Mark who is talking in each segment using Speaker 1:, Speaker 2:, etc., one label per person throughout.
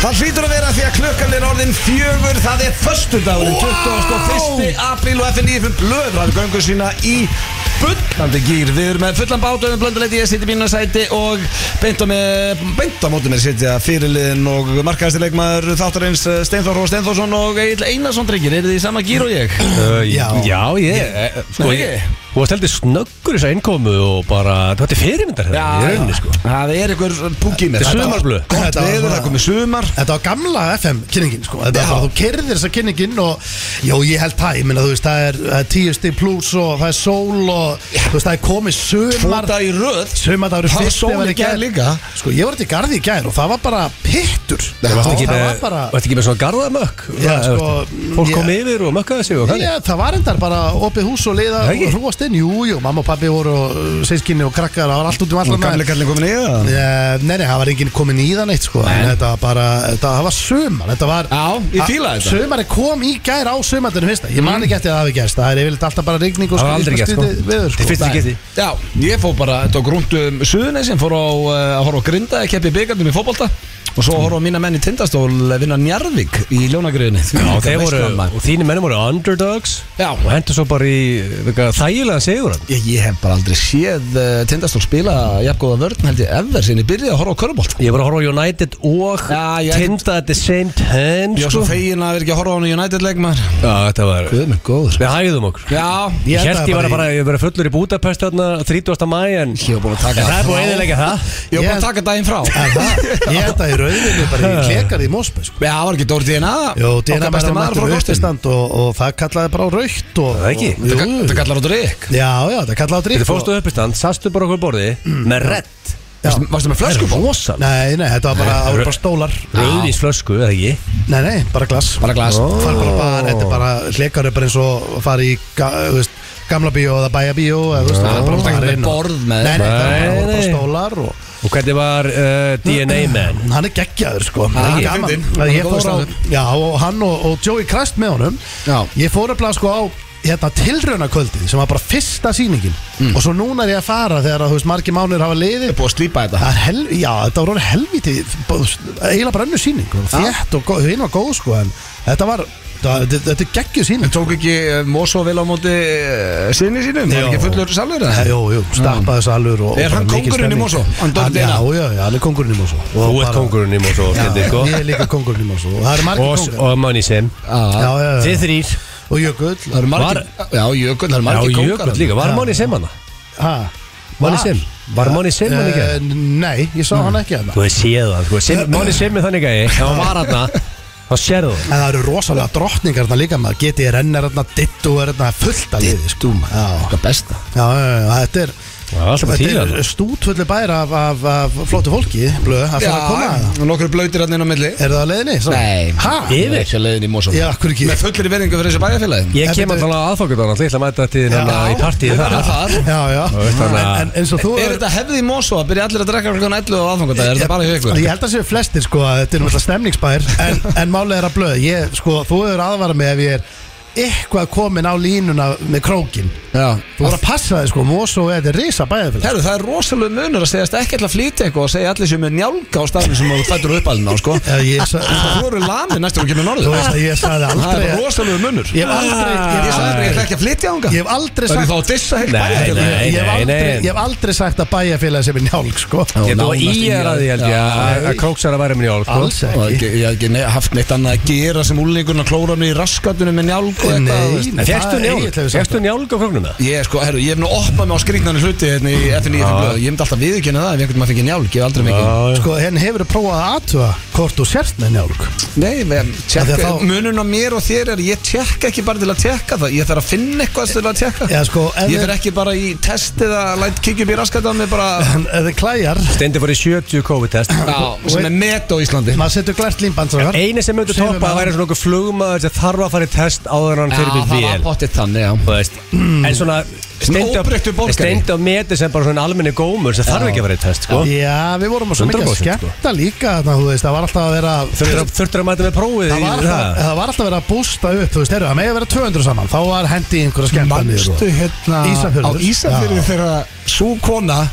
Speaker 1: Það hlýtur að vera því að klukkan er orðin fjögur Það er föstudagurinn 21. apríl og FNÍFum blöð Það er göngu sína í fullandi gýr Við erum með fullan bátum Blönduleiti, ég sitt í mínu sæti Og beint á, með, beint á móti mér sitja fyrirliðin Og markaðastilegmaður þáttarins eh, Steinþór og Steinþórsson Og Egil Einarsson drengir Eru þið í sama gýr og ég?
Speaker 2: Uh,
Speaker 1: Já. eh,
Speaker 2: já, ég, sko,
Speaker 1: Nei,
Speaker 2: ég
Speaker 1: ekki.
Speaker 2: Þú varst heldur snöggur þess að innkomu og bara, þú ætti fyrirmyndar hérna í rauninni, sko
Speaker 1: Það er einhver púki með
Speaker 2: Þetta er sumarblöð.
Speaker 1: Gott
Speaker 3: Þetta var
Speaker 1: veður,
Speaker 3: svona-
Speaker 1: það komið sumar
Speaker 3: Þetta var gamla FM kynningin sko Þetta var
Speaker 1: Já.
Speaker 3: bara þú kerðir þessa kynningin og Jó ég held það, ég meina þú veist það er það er 10 stig pluss og það er sól og þú veist það er komið sömar
Speaker 1: Fóta í röð
Speaker 3: Sömar það eru
Speaker 1: Það var
Speaker 3: fyrst
Speaker 1: sól í gær líka
Speaker 3: Sko ég var þetta í garði í gær og það var bara pittur
Speaker 2: Þú varst ekki,
Speaker 3: Það
Speaker 2: með-
Speaker 3: var bara
Speaker 2: varst ekki með svona garðamökk
Speaker 3: Já,
Speaker 2: Það-
Speaker 3: sko,
Speaker 2: Fólk
Speaker 3: ég-
Speaker 2: kom yfir og mökkaði sig og kannig
Speaker 3: Já, það var endar bara opið hús og leiða
Speaker 2: Það ekki?
Speaker 3: og hrúast inn, jú, jú, mamma og pabbi voru og seiskinni og krakkar, það var allt út um
Speaker 1: Og
Speaker 3: allan
Speaker 1: gamle kallin komin í það
Speaker 3: Eh, Nei, nei, það var enginn komin í það neitt sko En þetta var bara, þetta það var sömar Þetta var
Speaker 1: Já, ég fílaði þetta.
Speaker 3: Sömari kom í gær á sömandinu, finnst það Ég man ekki eftir að það hafi gæst Það er yfirleitt alltaf bara rigning og
Speaker 2: Mm. Það var aldrei gert, sko.
Speaker 3: skrýtið veður,
Speaker 2: Þetta er fyrsta
Speaker 3: Nei.
Speaker 2: geti
Speaker 1: Já, ég fór bara þetta á grúndum Suðunesin, fór á eh, að horfa á grinda að keppi byggandum í fótbolta og svo horfa á mína menn í tindastól eh, vinna Njarðvík í ljónagriðinni
Speaker 2: Já, þeir voru, og þínir mennum voru underdogs
Speaker 1: Já.
Speaker 2: Og hendur svo bara í vika, þægilega segur hann
Speaker 1: Ég, ég hef bara aldrei séð uh, tindastól spila jafngóða vörn held ég ever sinni byrjaði að horfa á körubolt
Speaker 2: Ég var að horfa á United og
Speaker 1: Já, ég-
Speaker 2: Tinda at the same time,
Speaker 1: Ég var svo
Speaker 2: sko
Speaker 1: fegin að vera ekki að horfa á hann í United leikmar
Speaker 2: Já, þetta var
Speaker 1: Guð mig góður
Speaker 2: Við hægðum okkur
Speaker 1: Já,
Speaker 2: Ég
Speaker 3: Ég
Speaker 2: held
Speaker 3: endaði
Speaker 2: ég var
Speaker 3: bara
Speaker 2: bara,
Speaker 3: í-
Speaker 2: ég var fullur í Budapest þarna 30. mæ en
Speaker 1: Ég var búin að taka
Speaker 2: en það er búið að eðilega það
Speaker 1: Ég var búin
Speaker 3: Ég-
Speaker 1: að taka daginn frá
Speaker 3: En það, Ég held að í rauðinu bara í klekar í Mosby sko
Speaker 1: Já, það var ekki Dóri DNA
Speaker 3: Jó, dýna
Speaker 1: Okkar besti
Speaker 2: um
Speaker 1: maður
Speaker 3: bara mættur
Speaker 1: frá kostin
Speaker 3: uppistand og, og það kallaði bara á raukt og,
Speaker 2: Það ekki?
Speaker 3: og-
Speaker 1: Þetta
Speaker 3: Jú.
Speaker 1: þetta kallar á drikk
Speaker 3: Já, já, það kallaði á
Speaker 2: Þetta
Speaker 3: drikk
Speaker 2: fórstu upp í stand, sastu bara okkur borði með redd
Speaker 1: Varstu- Varstu með flösku
Speaker 2: Rósal
Speaker 3: Nei, nei, þetta var bara, það voru
Speaker 2: rau-
Speaker 3: bara stólar
Speaker 2: Rauðinsflösku, Sko, eða ekki
Speaker 3: Nei, nei, bara glas
Speaker 1: Bara glas
Speaker 2: Ó.
Speaker 3: fara bara bara, þetta er bara hlekar er bara eins og að fara í ga, þú veist, gamla bíó eða bæja bíó eða þú veist,
Speaker 1: Það er bara
Speaker 3: fara
Speaker 1: með
Speaker 3: inn og-
Speaker 1: borð með-
Speaker 3: Nei, nei, það
Speaker 2: Nei,
Speaker 3: er bara- bara
Speaker 2: nei.
Speaker 3: stólar og
Speaker 2: Og hvernig var uh, DNA man?
Speaker 3: hann er geggjaður sko
Speaker 1: Það er
Speaker 3: Hann er
Speaker 1: ekki
Speaker 3: gaman.
Speaker 1: fyndinn. Hann er
Speaker 3: Ég
Speaker 1: góður
Speaker 3: fór á,
Speaker 1: staður.
Speaker 3: já, og hann og, og Joey Crest með honum
Speaker 1: Já.
Speaker 3: Ég fór að blaða sko á hérna, tilraunakvöldið sem var bara fyrsta sýningin
Speaker 1: Mm.
Speaker 3: og svo núna er ég að fara þegar að, þú veist, margir mánuður hafa liðið
Speaker 1: búið að slípa þetta
Speaker 3: Það er hel, já, þetta voru helviti bara, þú veist, eiginlega bara önnu síning og þétt og góð- hinn var góð sko en þetta var, það- þetta þetta er geggjuð síning
Speaker 1: Tók ekki eh, Mosó vel á móti eh, sinni sínum? Var
Speaker 3: Jó.
Speaker 1: ekki fullur salur
Speaker 3: Eh,
Speaker 1: það?
Speaker 3: Jú, jú, stappaði salur og, og
Speaker 1: Er
Speaker 3: bara
Speaker 1: hann
Speaker 3: mikil
Speaker 1: kóngurinn í
Speaker 3: stemning.
Speaker 1: Mosó? Hann Dóri
Speaker 3: Hann-
Speaker 1: Dina?
Speaker 3: Já, já, já, hann er kongurinn í Mosó
Speaker 2: Þú
Speaker 3: Og
Speaker 2: ert
Speaker 3: bara-
Speaker 2: kongurinn í Mosó,
Speaker 3: Já,
Speaker 2: Kendi, sko
Speaker 3: Ég er líka kongurinn í Mosó og það eru margir
Speaker 2: Og,
Speaker 3: kongur
Speaker 2: og manni sem
Speaker 3: Já,
Speaker 1: Já,
Speaker 3: já, já
Speaker 2: Þið þrýr
Speaker 3: Og Jökull
Speaker 1: það eru margir Já, Jökull, það eru
Speaker 2: Já,
Speaker 1: margir
Speaker 2: Jökull líka, var
Speaker 3: Já.
Speaker 2: manni sem hana?
Speaker 3: Ha?
Speaker 2: Manni
Speaker 3: Var?
Speaker 2: sem? Var manni sem hann ekki?
Speaker 3: Eh, Nei,
Speaker 2: Mm.
Speaker 3: ég sá hann ekki hann
Speaker 2: Þú hefði séð það, sko Sem- Manni sem er þannig gæi, ef hann var hana Þá sérðu það
Speaker 3: En það eru rosalega drottningar þarna líka maður GTRN er þarna, Ditto er þarna fullt að liði sko.
Speaker 1: Dúma,
Speaker 3: Já.
Speaker 1: það besta
Speaker 3: Já, já, já, já, þetta er
Speaker 2: Það er alltaf bara
Speaker 3: Þetta
Speaker 2: þýðar.
Speaker 3: er stútvöldu bær af, af, af flóttu fólki Blöð, það fyrir að koma að það
Speaker 1: og nokkur blöytir hann inn á milli
Speaker 3: Er það á leiðinni? Sá-
Speaker 1: Nei,
Speaker 3: Ha?
Speaker 2: Yfir?
Speaker 1: Ekki að leiðin í Mosó
Speaker 3: Já, hverju ekki?
Speaker 1: Með fullri verðingu fyrir þessu bæjarfélagin
Speaker 2: Ég
Speaker 3: En
Speaker 2: kem
Speaker 3: byrju-
Speaker 2: alltaf að aðfokkjöldan Ég ætla að mæta til hann í partíð
Speaker 1: Það er
Speaker 2: þar
Speaker 1: það
Speaker 3: Já, já
Speaker 2: Þú veist
Speaker 3: En,
Speaker 2: þannig að-
Speaker 3: en eins og þú
Speaker 1: Er þetta hefði í Mosó að byrja allir að drekka klokkan 11 á aðfangandag? Er þetta bara hjá ykkur?
Speaker 3: Ég held að séu flestir sko að Þetta er náttúrulega stemningsbær En, en málega er að blöð ég, sko, Þú hefur aðvara mig ef ég er eitthvað komin á línuna með krókin
Speaker 1: Já
Speaker 3: Þú voru að passa þig sko Mosó er þetta risa bæðafélag
Speaker 1: Herru, það er rosalega munur að segjast ekki alltaf flýta eitthvað og segja allir sem er njálga á staðinu sem þú fættur upp alveg á, sko
Speaker 3: Ég sa-
Speaker 1: Þú eru lamið næstur og kemur
Speaker 3: þú
Speaker 1: norður
Speaker 3: veist að ég sagði
Speaker 1: Það er
Speaker 3: aldrei
Speaker 1: rosalega munur
Speaker 3: Ég hef aldrei Ég
Speaker 1: Ég sagði
Speaker 3: hef
Speaker 1: bara, ég ætla
Speaker 3: aldrei,
Speaker 1: ekki að flytja ánga
Speaker 3: ég hef aldrei
Speaker 1: Það er
Speaker 3: sagt
Speaker 1: þá að dissa heilt
Speaker 2: Nei,
Speaker 1: bæjarfélag.
Speaker 2: nei,
Speaker 3: Ég hef
Speaker 2: nei,
Speaker 3: aldrei,
Speaker 2: nei.
Speaker 3: ég hef aldrei sagt að bæjarfélag sem er njálg sko
Speaker 2: Ég þú að
Speaker 1: nánast
Speaker 2: í er að því held ég
Speaker 1: Já,
Speaker 2: að- að króksar að væri minn í ál sko.
Speaker 3: Alls
Speaker 1: Og
Speaker 3: ekki
Speaker 1: ekki- Ég hef ekki ne- haft neitt annað að gera sem úlningurinn að klóra mig í raskatunum með njálg og eitthvað þú veist.
Speaker 3: Nei,
Speaker 2: En fjækstu
Speaker 3: það er
Speaker 2: njálg,
Speaker 3: Egil hefur sagt
Speaker 2: fjækstu njálg á króknum það?
Speaker 1: Ég, sko, herru, ég hef nú oppað mig á skrýtnarni hluti hérna í FNI Ég myndi alltaf viðurkenna það ef einhvern maður fengi njálg, ég hef aldrei fengið
Speaker 3: það. Sko, henn hefur prófað að aðtuga hvort þú sért með njálg
Speaker 1: Nei, men,
Speaker 3: Af því
Speaker 1: tjekka,
Speaker 3: að þá-
Speaker 1: munun á mér og þér er ég tjekka ekki bara til að tjekka það ég þarf að finna eitthvað til að tjekka
Speaker 3: Já, sko, ef
Speaker 1: ég
Speaker 3: þið-
Speaker 1: fer ekki bara í test eða læt kikja upp í raskatum bara,
Speaker 3: En ef þið klæjar,
Speaker 2: Steindi fór í 70 COVID-test
Speaker 1: já, sem er met á Íslandi
Speaker 3: maður setur glært límband strákar.
Speaker 2: Einu sem myndi
Speaker 3: Segðu
Speaker 2: toppa
Speaker 3: mér.
Speaker 2: að væri svona okkur flugmaður sem þarf að fara í test áður en hann fyrir við
Speaker 1: það var
Speaker 2: vél
Speaker 1: pottitt þannig, já
Speaker 2: Þú veist, En svona Steindi á-
Speaker 1: óbreyttur borgari.
Speaker 2: Steindi á meti sem bara svona almenni gómur sem þarf ekki að fara í test sko.
Speaker 3: Já, við vorum á svo mikið að
Speaker 2: 100% sko.
Speaker 3: skemmta líka þarna, þú veist, það var alltaf að vera
Speaker 2: Þurftur að- þurftur að mæta með prófið
Speaker 3: Það var,
Speaker 2: í
Speaker 3: alltaf,
Speaker 2: það
Speaker 3: það var alltaf að vera að bústa upp Þú veist, heyrðu, það megi að vera 200 saman Þá var hendi í einhverja skemmta
Speaker 1: Manstu hérna
Speaker 3: Ísafjörður
Speaker 1: á Ísafjörður
Speaker 3: Já.
Speaker 1: þegar Sú kona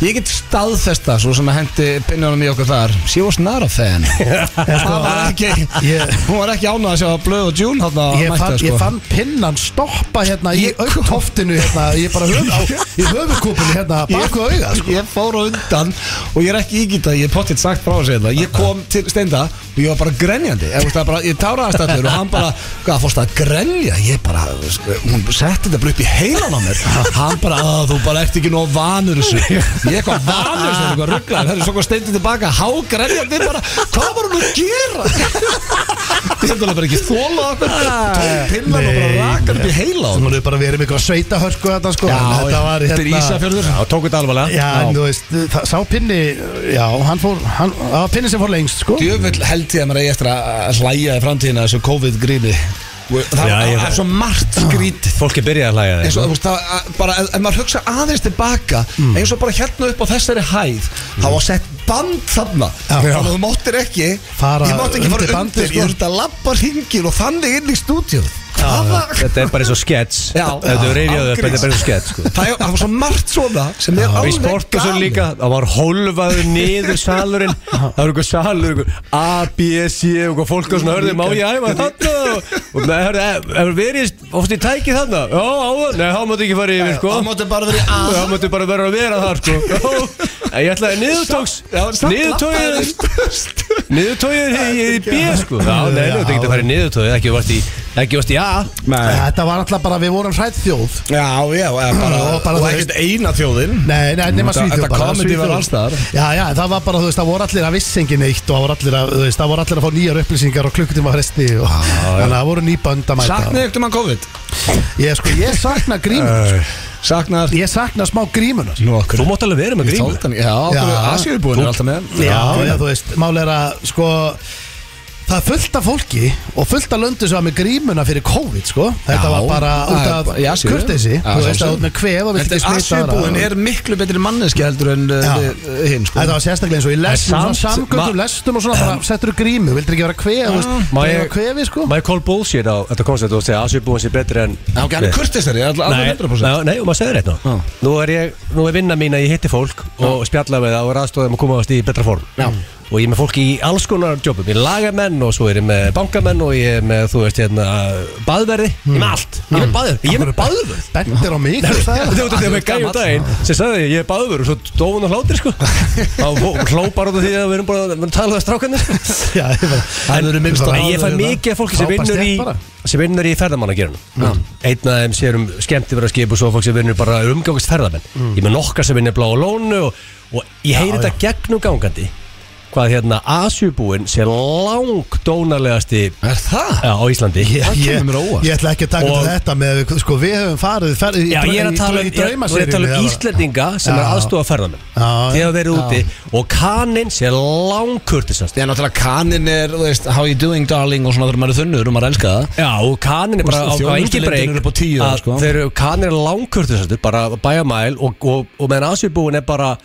Speaker 1: Ég get staðfesta Svo sem að hendi pinnunum í okkur þar She was not a fan Það var ekki
Speaker 3: Ég-
Speaker 1: Hún var ekki ánað að sjá Blöð og June Þarna
Speaker 3: Ég
Speaker 1: mættu,
Speaker 3: fann,
Speaker 1: sko.
Speaker 3: ég fann pinnan stoppa hérna í
Speaker 1: Ég-
Speaker 3: aukthoftinu hérna, ég bara höf, á, í höfukúpinu hérna baku auga sko.
Speaker 1: Ég fór á undan og ég er ekki ígýtað, ég er pottitt sagt frá þessu þetta Ég kom til steinda og ég var bara grenjandi Ég, veist, það bara, ég táraðast allur og hann bara, hvað fórst að grenja? Ég bara, sk- hún setti þetta bara upp í heilan á mér Hann bara, að þú bara ert ekki nóg vanur þessu Ég eitthvað vanur þessu, eitthvað rugglaður Það er svo hvað steindi tilbaka, hágrenjandi bara Hvað var hún að gera? Ég hef bara ekki þóla okkur Tók pillan og bara
Speaker 3: Nei,
Speaker 1: rakar upp í heila á
Speaker 3: Hún
Speaker 1: mér
Speaker 3: hefur bara verið með eitthvað sveitahörku þetta sko en þetta var hérna-
Speaker 1: þetta er Ísafjörður Já, tók þetta alvarlega
Speaker 3: Já, en þú veist, það, sá pinni, já, hann fór, hann, það var pinni sem fór lengst sko
Speaker 1: Djöfull held ég að maður eigi eftir að hlæja í framtíðina þessu COVID-grífi Það
Speaker 2: Já, ég-
Speaker 1: það er svo margt skrítið
Speaker 2: Fólk er byrjað að sko. hlæja
Speaker 1: eins
Speaker 2: þeim
Speaker 1: og þú veist, það, að- bara, ef- ef maður hugsa aðeins tilbaka eins og bara hérna upp á þessari hæð þá var sett band þarna
Speaker 3: Já.
Speaker 1: þannig að þú máttir ekki
Speaker 3: Fara
Speaker 1: ég mátti ekki
Speaker 3: undir
Speaker 1: fara undir,
Speaker 3: bandið, sko.
Speaker 1: ég þurfti að labba hringin og þannig inn í stúdíu hvaða
Speaker 2: Þetta er bara eins og skets
Speaker 1: Já.
Speaker 2: Þetta er reyðið upp, þetta er bara eins og skets sko.
Speaker 1: það er- það var svo margt svona sem er
Speaker 2: Við
Speaker 1: alveg
Speaker 2: sportasum líka, það var hólfaður niður salurinn Það var einhver salur, einhver A, B, C og eitthvað fólk á svona hörði, má ég æfa þarna og og það hörði, hefur verið ofst í tæki þarna? Já, áður, nei, þá máttu ekki fara yfir, sko
Speaker 1: það máttu bara verið að
Speaker 2: Það máttu bara vera að vera þar, sko Já, en ég ætlaði niðurtóks Niðurtóið Niðurtóið í B, sko Já, nei, nú, þetta getur farið niðurtóið, ekki varst í Ekki varst í A
Speaker 1: Nei.
Speaker 3: Þetta var alltaf bara, við vorum hræð þjóð
Speaker 1: Já, já, eða bara,
Speaker 3: Og bara, þú
Speaker 1: ekkert eina þjóðin
Speaker 3: Nei, nei, nema
Speaker 1: Þetta-
Speaker 3: Svíþjóð
Speaker 1: þetta
Speaker 3: bara,
Speaker 1: comedy
Speaker 3: Svíþjóð.
Speaker 1: var alls staðar.
Speaker 3: Já, já, það var bara, þú veist, það voru allir að viss engin eitt og það voru allir að, þú veist, það voru allir að fá nýjar upplýsingar og klukkutíma fresti og
Speaker 1: Ah,
Speaker 3: þannig að það voru ný bönd að mæta
Speaker 1: Saknaði ekkert um hann COVID?
Speaker 3: Ég, sko, ég sakna
Speaker 1: Eh.
Speaker 3: grímunar sko.
Speaker 1: Saknaði
Speaker 3: Ég sakna smá grímunar
Speaker 1: Nú okkur
Speaker 2: Þú mátt alveg vera með grímu
Speaker 1: Já, okkur
Speaker 3: Já.
Speaker 1: Asjúrbúin er alltaf með
Speaker 3: Já, já, þú veist, mál er að, sko Það er fullt af fólki og fullt af löndu sem var með grímuna fyrir COVID, sko Þetta
Speaker 1: Já,
Speaker 3: var bara
Speaker 1: það
Speaker 3: út
Speaker 1: er
Speaker 3: af
Speaker 1: bara- já, séu.
Speaker 3: kurteisi
Speaker 1: Já,
Speaker 3: Þú veist,
Speaker 1: sjálfsögðu.
Speaker 3: það var með kvef og vilt
Speaker 1: Þetta
Speaker 3: ekki smita aðra.
Speaker 1: Asjúrbúin er miklu betri manneski heldur en uh,
Speaker 3: Já.
Speaker 1: við, uh, hinn sko
Speaker 3: Þetta var sérstaklega eins og í lestum,
Speaker 2: En samt-
Speaker 3: samgöndum,
Speaker 2: ma- Mm.
Speaker 3: lestum og svona bara settur þú grímu, vildur ekki vera kveð, þú veist,
Speaker 2: Má
Speaker 3: það
Speaker 2: ég-
Speaker 3: er kvefi sko.
Speaker 2: Má ég call bullshit á þetta koncept og segja að sviðbúin sé betri en
Speaker 1: Já, ok, hann er kurtisari, alveg
Speaker 2: Nei,
Speaker 1: 100%
Speaker 2: nei, nei, og maður segir þetta
Speaker 1: Já.
Speaker 2: nú Nú er ég, nú er vinna mín að ég hitti fólk og spjalla með það og er aðstofað að komast í betra form
Speaker 1: Já.
Speaker 2: og ég er með fólk í alls konar jobbum ég er lagamenn og svo er ég með bankamenn og ég er með, þú veist, hérna baðverði, ég
Speaker 1: Hmm.
Speaker 2: er með allt, ég er með baðverð ég er með baðverð
Speaker 3: Bendir á mig, þú
Speaker 2: Þú
Speaker 3: sagði
Speaker 2: veist þetta með gæjum daginn sem sagði ég, ég er baður og svo dófun og hlátir sko þá hlópar út af því að við erum bara að tala það strákanir sko
Speaker 3: það.
Speaker 1: Það eru minnst
Speaker 2: En
Speaker 1: að
Speaker 2: ég fæ mikið af fólki sem
Speaker 3: Frábær
Speaker 2: vinnur í
Speaker 3: stétt bara.
Speaker 2: sem vinnur í ferðamannagerunum einn af þeim sér um skemmtifæraskip og svo fólk sem vinnur bara umgangast ferðamenn ég er með nokkar sem vinnur blá og lónu og, og ég heyri þetta gegnum gangandi hvað hérna Asjubúin sé lang dónalegasti
Speaker 1: Er það?
Speaker 2: á Íslandi
Speaker 1: Það
Speaker 3: Ég,
Speaker 1: kemur mér á óvart.
Speaker 3: ég ætla ekki að taka
Speaker 2: Og-
Speaker 3: til þetta með, sko, við höfum farið ferð,
Speaker 2: Já, ég er að tala um,
Speaker 3: í
Speaker 2: ég, ég er að tala um
Speaker 3: draumaseríunni,
Speaker 2: Íslendinga sem er
Speaker 3: Já.
Speaker 2: aðstofa ferðamenn
Speaker 3: Já, já.
Speaker 2: þegar þeir eru úti og kaninn sé langkurtisast
Speaker 1: Já, náttúrulega kanin er, þú veist, how you doing darling og svona þegar maður er þunnur og maður elska það
Speaker 2: Já, og kaninn er bara á, á
Speaker 1: Þjónustuleitin
Speaker 2: engin breyk
Speaker 1: er upp á tíu,
Speaker 2: að
Speaker 1: sko.
Speaker 2: þeir eru, kaninn er langkurtisastur bara bæjamæl og, og, og meðan Asjubúin er bara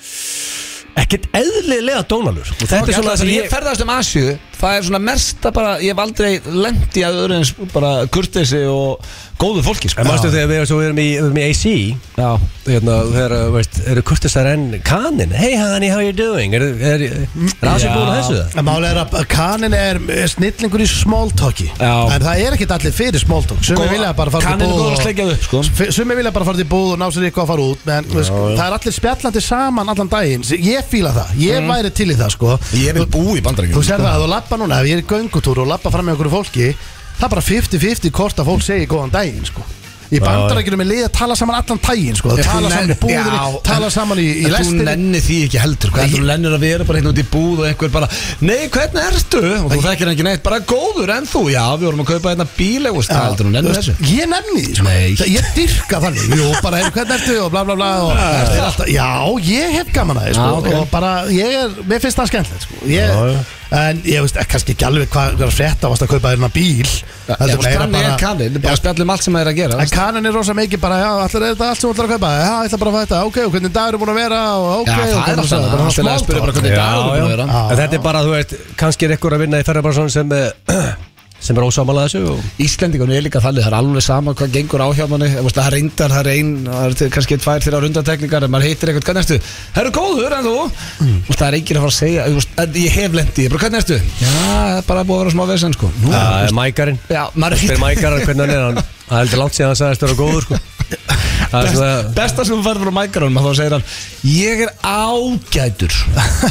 Speaker 2: ekkert eðlilega dónalur og þetta
Speaker 1: Ok,
Speaker 2: er
Speaker 1: alltaf
Speaker 2: svona það sem
Speaker 1: ég
Speaker 2: ég
Speaker 1: ferðast um Asju Það er svona mesta bara Ég hef aldrei lent í að öðru eins bara kurtesi og góðu fólki sko.
Speaker 2: En mástu þegar við, svo við erum í, við erum í AC
Speaker 1: Já,
Speaker 2: hérna, þegar, veist, eru kurtisar en kaninn Hey honey, how you doing? Er, er, er, er
Speaker 1: Já.
Speaker 2: Asjubúin að þessu það?
Speaker 3: En máli er að að kanin er er snillingur í smóltóki
Speaker 1: Já.
Speaker 3: En það er ekkert allir fyrir smóltók
Speaker 2: Sko,
Speaker 3: Sumi
Speaker 1: Góða-
Speaker 3: vilja bara fara
Speaker 1: kaninn
Speaker 3: til
Speaker 1: er
Speaker 3: búð
Speaker 1: góður að sleikja upp, sko.
Speaker 3: Sumi vilja bara fara til búð og ná sér eitthvað að fara út Men já, það er allir spjallandi saman allan daginn Ég fíla það, ég
Speaker 1: Mm.
Speaker 3: væri til í það sko
Speaker 1: ég vil bú í bandaríkjum
Speaker 3: Þú sér það að þú lappa núna, ef ég er í göngutúr og lappa fram með einhverju fólki Það er bara 50-50 hvort að fólk segir góðan daginn sko Í bandarækjunum er liðið að tala saman allan daginn sko
Speaker 1: Þú
Speaker 3: Tala saman í
Speaker 1: nenn-
Speaker 3: búðinni,
Speaker 1: Já,
Speaker 3: tala
Speaker 1: en-
Speaker 3: saman í, í
Speaker 1: en Þú
Speaker 3: lestinni
Speaker 1: nennir því ekki heldur Hvað heldur þú nennir að vera bara hérna út í búð og einhver bara Nei, hvernig ertu? Og þú þekkir ekki neitt Bara góður en þú Já, við vorum að kaupa hérna bíl eða Það heldur þú
Speaker 3: Þú
Speaker 1: nennir
Speaker 3: veist,
Speaker 1: þessu
Speaker 3: Ah. Ég nefni því sko.
Speaker 1: Nei.
Speaker 3: Það- Ég dyrka þannig Jú, bara er, hvernig ertu og bla bla bla og, er alltaf, Já, ég hef gaman að því sko.
Speaker 1: Já, Ah. ok.
Speaker 3: Og bara, ég er, mér finnst það skemmtilegt sko. ég, En ég veist eh, kannski ekki alveg hvað hva er frétt af að kaupa þérna bíl
Speaker 1: Það
Speaker 3: Heldur
Speaker 1: er
Speaker 3: meira
Speaker 1: kannin, kannin Bara spjallum allt sem það er að gera
Speaker 3: En kanin er rosa mikið bara, já, allir er þetta allt sem þú ætlar að kaupa Já, ég ætla bara að fá þetta, ok, og hvernig dagur er búin að vera og ok,
Speaker 1: Já,
Speaker 3: og
Speaker 1: það er
Speaker 3: hvernig
Speaker 1: alltaf
Speaker 3: bara
Speaker 1: Alltaf að
Speaker 3: small
Speaker 1: spyrja bara
Speaker 3: talk.
Speaker 1: hvernig dagur er búin að
Speaker 2: já.
Speaker 1: vera
Speaker 3: Já,
Speaker 2: En þetta er bara, þú veist, kannski er ekkur að vinna í ferðarbransan sem eh, sem er ósámalað þessu og
Speaker 1: Íslendingun er líka þannig, það er alveg sama hvað gengur á hjá manni, þú veist, það er reyndar, það er ein það er til- kannski tvær, þrjár undantekningar en maður heitir eitthvað, hvernig ertu? Það eru góður en þú mm. það er enginn að fara að segja, þú veist, en ég hef lendi, bara hvernig ertu? Já, það er bara búið að vera smá vesen, sko Nú,
Speaker 2: það er mækarinn
Speaker 1: Já, maður er
Speaker 2: Fyrir mækarar hvernig hann er hann Það er heldur langt síðan hann sagðist vera góður sko. Það er
Speaker 1: Best,
Speaker 2: svona
Speaker 1: besta sem þú færður frá mækarunum þá segir hann, ég er ágætur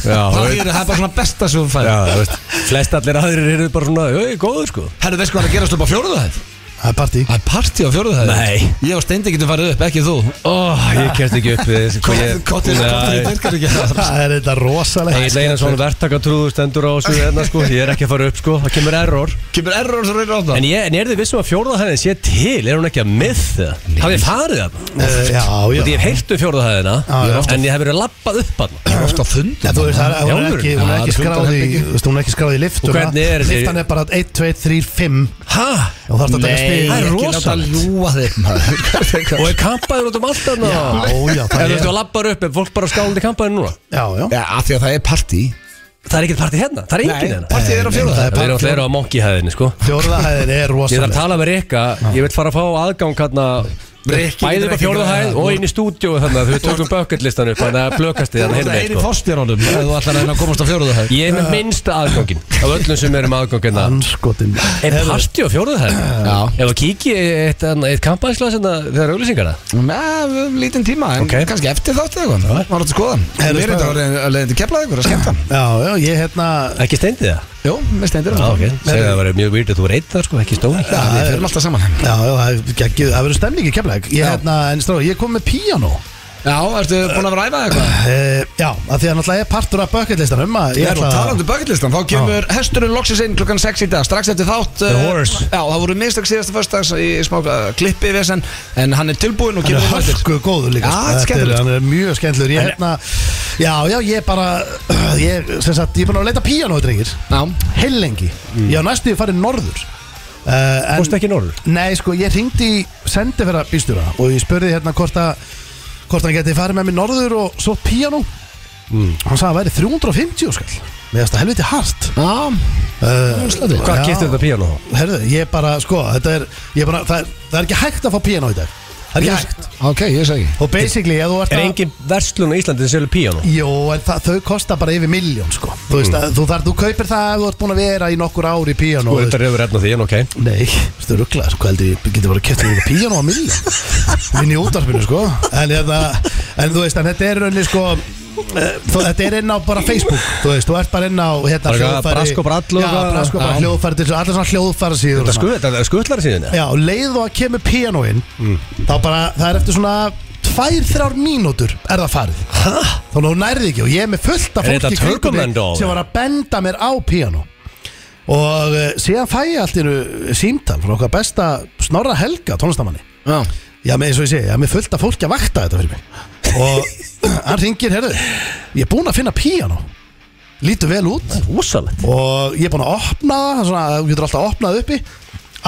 Speaker 2: Já,
Speaker 1: það,
Speaker 2: veit.
Speaker 1: er, það er bara svona besta sem þú
Speaker 2: Já,
Speaker 1: færður
Speaker 2: þú veist, Flest allir aðrir eru bara svona Jó, ég er góður sko
Speaker 1: Herru, veist hvað er að gerast upp á fjóruðahæð?
Speaker 3: Það er partí
Speaker 1: Það er partí á fjóruðahæð
Speaker 2: Nei.
Speaker 1: Ég og Steindi getum farið upp, ekki þú
Speaker 2: oh, Ég kemst ekki upp við þessu hvað ég-
Speaker 1: Kottir, kottir,
Speaker 2: Nei.
Speaker 1: virkar ekki
Speaker 3: Það er þetta rosalega
Speaker 2: Egil Einar svona verktakatrúður stendur á þessu hérna sko Ég er ekki að fara upp sko, það kemur error
Speaker 1: Kemur error svo reyna á það
Speaker 2: En ég, en ég er þið vissum að fjórðahæðin sé til, er hún ekki að myth það? Hafið farið það?
Speaker 3: Eh, Já,
Speaker 2: Þú veit,
Speaker 3: já
Speaker 2: ég hef heyrtu fjórðahæðina,
Speaker 3: Já, já.
Speaker 2: en ég hef verið lappað upp hann
Speaker 1: er ofta á fund
Speaker 3: En þú veist, það er- hún er ekki, hún
Speaker 1: Já,
Speaker 3: er ekki
Speaker 1: þetta er
Speaker 3: skráð í,
Speaker 1: fundarherbergi.
Speaker 3: þú veist, hún er ekki skráð í liftuna.
Speaker 2: Og hvernig er þessi-
Speaker 3: Liftan er bara 1, 2, 3, 5
Speaker 2: Hæ?
Speaker 3: og þarf þetta að spila.
Speaker 2: það er
Speaker 1: ekki láta
Speaker 2: rosalegt.
Speaker 1: ljúa þig maður.
Speaker 2: Og er kampaður út um allt hann?
Speaker 3: Já, já,
Speaker 2: Er
Speaker 3: það er,
Speaker 2: þetta að lappar upp, er fólk bara skálandi kampaður núna?
Speaker 3: já, já.
Speaker 1: Já, af því að það er partí
Speaker 2: Það er ekkert partí hérna, það er enginn hérna
Speaker 1: partí er á fjóruðahæð
Speaker 3: það
Speaker 2: Það er alltaf eru á monkeyhæðinni sko
Speaker 3: Fjórðahæðin er
Speaker 2: Ég þarf að
Speaker 3: rosalega.
Speaker 2: tala með Rikka, ég vil fara að fá aðgang hérna
Speaker 1: Rikki getur
Speaker 2: Bæði upp á
Speaker 1: ekki græðað.
Speaker 2: fjórðahæð og inn í stúdíu þannig að við tökum bucketlistan upp Þannig að blökast þið
Speaker 1: Það
Speaker 2: hann
Speaker 1: er
Speaker 2: hérna
Speaker 1: eini
Speaker 2: sko
Speaker 1: fórstjárunum ef þú ætlar að reyna að komast á fjóruðahæð
Speaker 2: Ég er með minnsta aðgangin Af öllum sem erum aðgangina
Speaker 3: Anskotin.
Speaker 2: hérna. Er partí á fjórðahæð?
Speaker 1: Já.
Speaker 2: Ef að kíkja í eitt, annað- eitt kampaðisglas hérna þegar auglýsingar það
Speaker 1: Með lítinn tíma, en
Speaker 2: Ok.
Speaker 1: kannski eftir þáttið eitthvað Það var þetta skoðan
Speaker 3: Heyrðu,
Speaker 1: Mér er þetta
Speaker 3: spennandi.
Speaker 1: orðið að leiðin til keflað ykkur að skemmta
Speaker 3: Já, já, ég hérna,
Speaker 2: Ekki steindi það?
Speaker 1: Jó, með steindir
Speaker 2: Já, ok Segðu að það var mjög weird að þú var einn þar sko, ekki stóri
Speaker 1: Já, við fyrir alltaf saman Já,
Speaker 3: já, já, það er geggjuð, það verður stemning í kemleik. Ég
Speaker 1: Já.
Speaker 3: hérna, en stráð, ég kom með píano.
Speaker 1: ertu búin að ræfa eitthvað?
Speaker 3: Uh, já, af því að náttúrulega er partur af bucketlistanum að
Speaker 1: Ég
Speaker 3: ég
Speaker 1: er nú
Speaker 2: um
Speaker 1: talandi um bucketlistan, þá kemur hesturinn loksins inn klukkan 6 í dag, strax eftir þátt
Speaker 2: The
Speaker 1: eh,
Speaker 2: horse.
Speaker 1: Já, það voru mistök síðasta fyrstags í smá eh, klippi við þess en hann er tilbúinn og
Speaker 3: Hann
Speaker 1: kemur
Speaker 3: er
Speaker 1: á eftir.
Speaker 3: hörku góður líka
Speaker 1: Já,
Speaker 3: sko.
Speaker 1: þetta er
Speaker 2: Ah,
Speaker 3: Þetta
Speaker 1: skemmtilegt.
Speaker 3: Hann er mjög skemmtilegur Ég hérna Já, já, ég bara Ég, sem sagt, ég er búin að leita píanói, drengir
Speaker 1: Já,
Speaker 3: Heil lengi Ég á næstu ég farið norður uh, en,
Speaker 2: Mm. Fórstu ekki norður?
Speaker 3: Nei, sko, ég ringdi í sendifæra bílstjóra Og ég spurði hérna hvort að Hvort hann geti farið með mér norður og svo píanó
Speaker 2: Mm.
Speaker 3: Hann sagði að væri 350 skall sko. Mér finnst það helviti hart
Speaker 1: já,
Speaker 3: uh,
Speaker 1: slöðu
Speaker 2: Hvað
Speaker 3: Já.
Speaker 2: getur þetta píano þá?
Speaker 3: Herðu, ég bara, sko, þetta er, ég bara, það, er, það er ekki hægt að fá píanó í dag Það er ekki hægt
Speaker 1: Ok, ég segi
Speaker 3: Og basically, ef þú ert
Speaker 2: Er
Speaker 3: að
Speaker 2: engin verslun á Íslandi sem selur píano?
Speaker 3: Jó, en það, þau kosta bara yfir miljón sko. Þú
Speaker 2: Mm.
Speaker 3: veist að þú, þar, þú kaupir það ef þú ert búin að vera í nokkur ár í
Speaker 2: Þú
Speaker 3: píanó þú veist.
Speaker 2: reyndar hefur efna því, en ok
Speaker 3: Nei, þú rugglar, hvað heldur ég getur bara kæft líka píanó á miljón Vinn í útarpinu sko en, eða, en þú veist, en þetta er rauninni sko eh, Þú, þetta er inn á bara Facebook Þú veist, þú ert bara inn á hérna,
Speaker 2: Bara eitthvað brask og brall og
Speaker 3: Já,
Speaker 2: eitthvað.
Speaker 3: brask og
Speaker 2: Já.
Speaker 3: brall, hljóðfæri til Allar svona hljóðfæri síður
Speaker 2: Það sku- Það skutlar síðan
Speaker 3: Já, og leið og að kemur píanóin Þá bara, það er eftir svona Tvær, þrjár mínútur er það farið Þá nú nærði ekki og ég er með fullt af
Speaker 2: Er
Speaker 3: fólki
Speaker 2: þetta
Speaker 3: í kringum
Speaker 2: Turkoman
Speaker 3: mig
Speaker 2: doll?
Speaker 3: Sem var að benda mér á píanó Og uh, síðan fæ ég allt í einu símtal Frá okkar besta Snorra Helga, tónlistamanni
Speaker 1: Já,
Speaker 3: Já, með eins og ég segi, ég er með fullt af fólki að vakta þetta fyrir mig Og hann ringir, herðu Ég er búinn að finna píanó Lítur vel út
Speaker 2: Úsalett
Speaker 3: og ég er búinn að opna það það er svona, þú getur alltaf að opna það uppi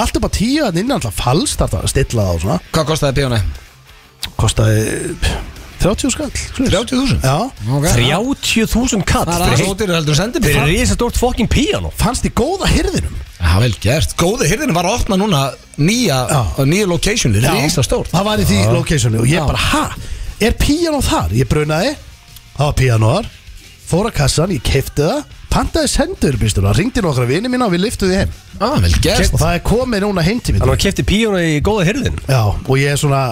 Speaker 3: allt upp á tíu, þannig innan alltaf falskt alltaf að stilla það og svona,
Speaker 1: hvað kostaði bíóni?
Speaker 3: kostaði eh, 30 skall svoleiðis.
Speaker 1: 30.000?
Speaker 3: Já,
Speaker 1: Okay.
Speaker 2: 30.000 kall
Speaker 1: Það er
Speaker 2: fyrir
Speaker 1: aðeins
Speaker 2: heilt-
Speaker 1: ódýru heldur en sendir
Speaker 2: Fyrir risastórt fokkin píano
Speaker 3: fannst í góða hirðinum
Speaker 1: Já, vel gert Góði hirðin var að opna núna nýja,
Speaker 3: Já.
Speaker 1: nýja location Rísa stórt
Speaker 3: það var í því locationu og
Speaker 1: Já.
Speaker 3: ég bara, ha, er píanó þar? ég brunaði, það var píanóar fór að kassan, ég keipti það pantaði sendurbýstuna, ringdi nokkra vini mína og við liftuði heim
Speaker 1: Já, vel gert
Speaker 3: og það er komið núna heim til mín
Speaker 2: Þannig að kefti píano í góða hirðin
Speaker 3: Já, og ég er svona,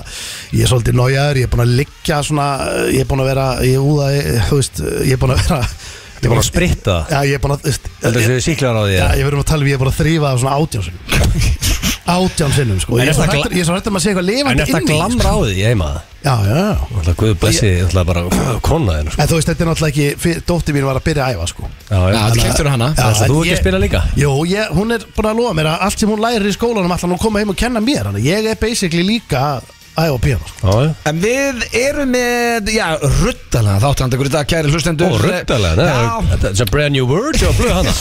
Speaker 3: ég er svolítið nájaður, ég er búinn að liggja svona, ég er búinn að vera, ég er úða, þú veist, ég er búinn að vera Ég
Speaker 2: búinn að spritta?
Speaker 3: Já, ég er búinn að, þú veist
Speaker 2: Heldur
Speaker 3: ég-
Speaker 2: þessu síklar á því
Speaker 3: Já,
Speaker 2: eða?
Speaker 3: ég verðum að tala um, ég er búinn að þrýfa það svona átján sinnum Átján sinnum, sko,
Speaker 2: En
Speaker 3: ég
Speaker 2: er
Speaker 3: er svo
Speaker 2: það
Speaker 3: hrættur,
Speaker 2: gla-
Speaker 3: ég er svo hrættur um að sé eitthvað
Speaker 2: En
Speaker 3: lifandi
Speaker 2: eftir að
Speaker 3: inn í því,
Speaker 2: glamra á því ég heima það
Speaker 3: sko. Já, já, já
Speaker 2: Þannig að guð blessi Þannig að bara kona þinn sko.
Speaker 3: En þú veist, þetta er náttúrulega ekki, fyr- dóttir mín var að byrja að æfa, sko
Speaker 2: Já,
Speaker 1: Já,
Speaker 2: já.
Speaker 1: þetta keftur hana
Speaker 3: Já,
Speaker 2: Ætlar
Speaker 3: en
Speaker 2: þú ekki
Speaker 3: ég-
Speaker 2: að spila líka?
Speaker 3: Jó, ég, hún er búin að lofa mér að allt sem hún lærir í skólanum ætlar hún að koma heim og kenna mér Þannig að ég er basically líka að Æ, og píano sko.
Speaker 2: Já, já
Speaker 1: En við erum með, já, ruttalega þáttandakur í dag, kæri hlustendur
Speaker 2: Ó, ruttalega
Speaker 1: Já,
Speaker 2: það er- Þetta er a brand new word hjá blöð hana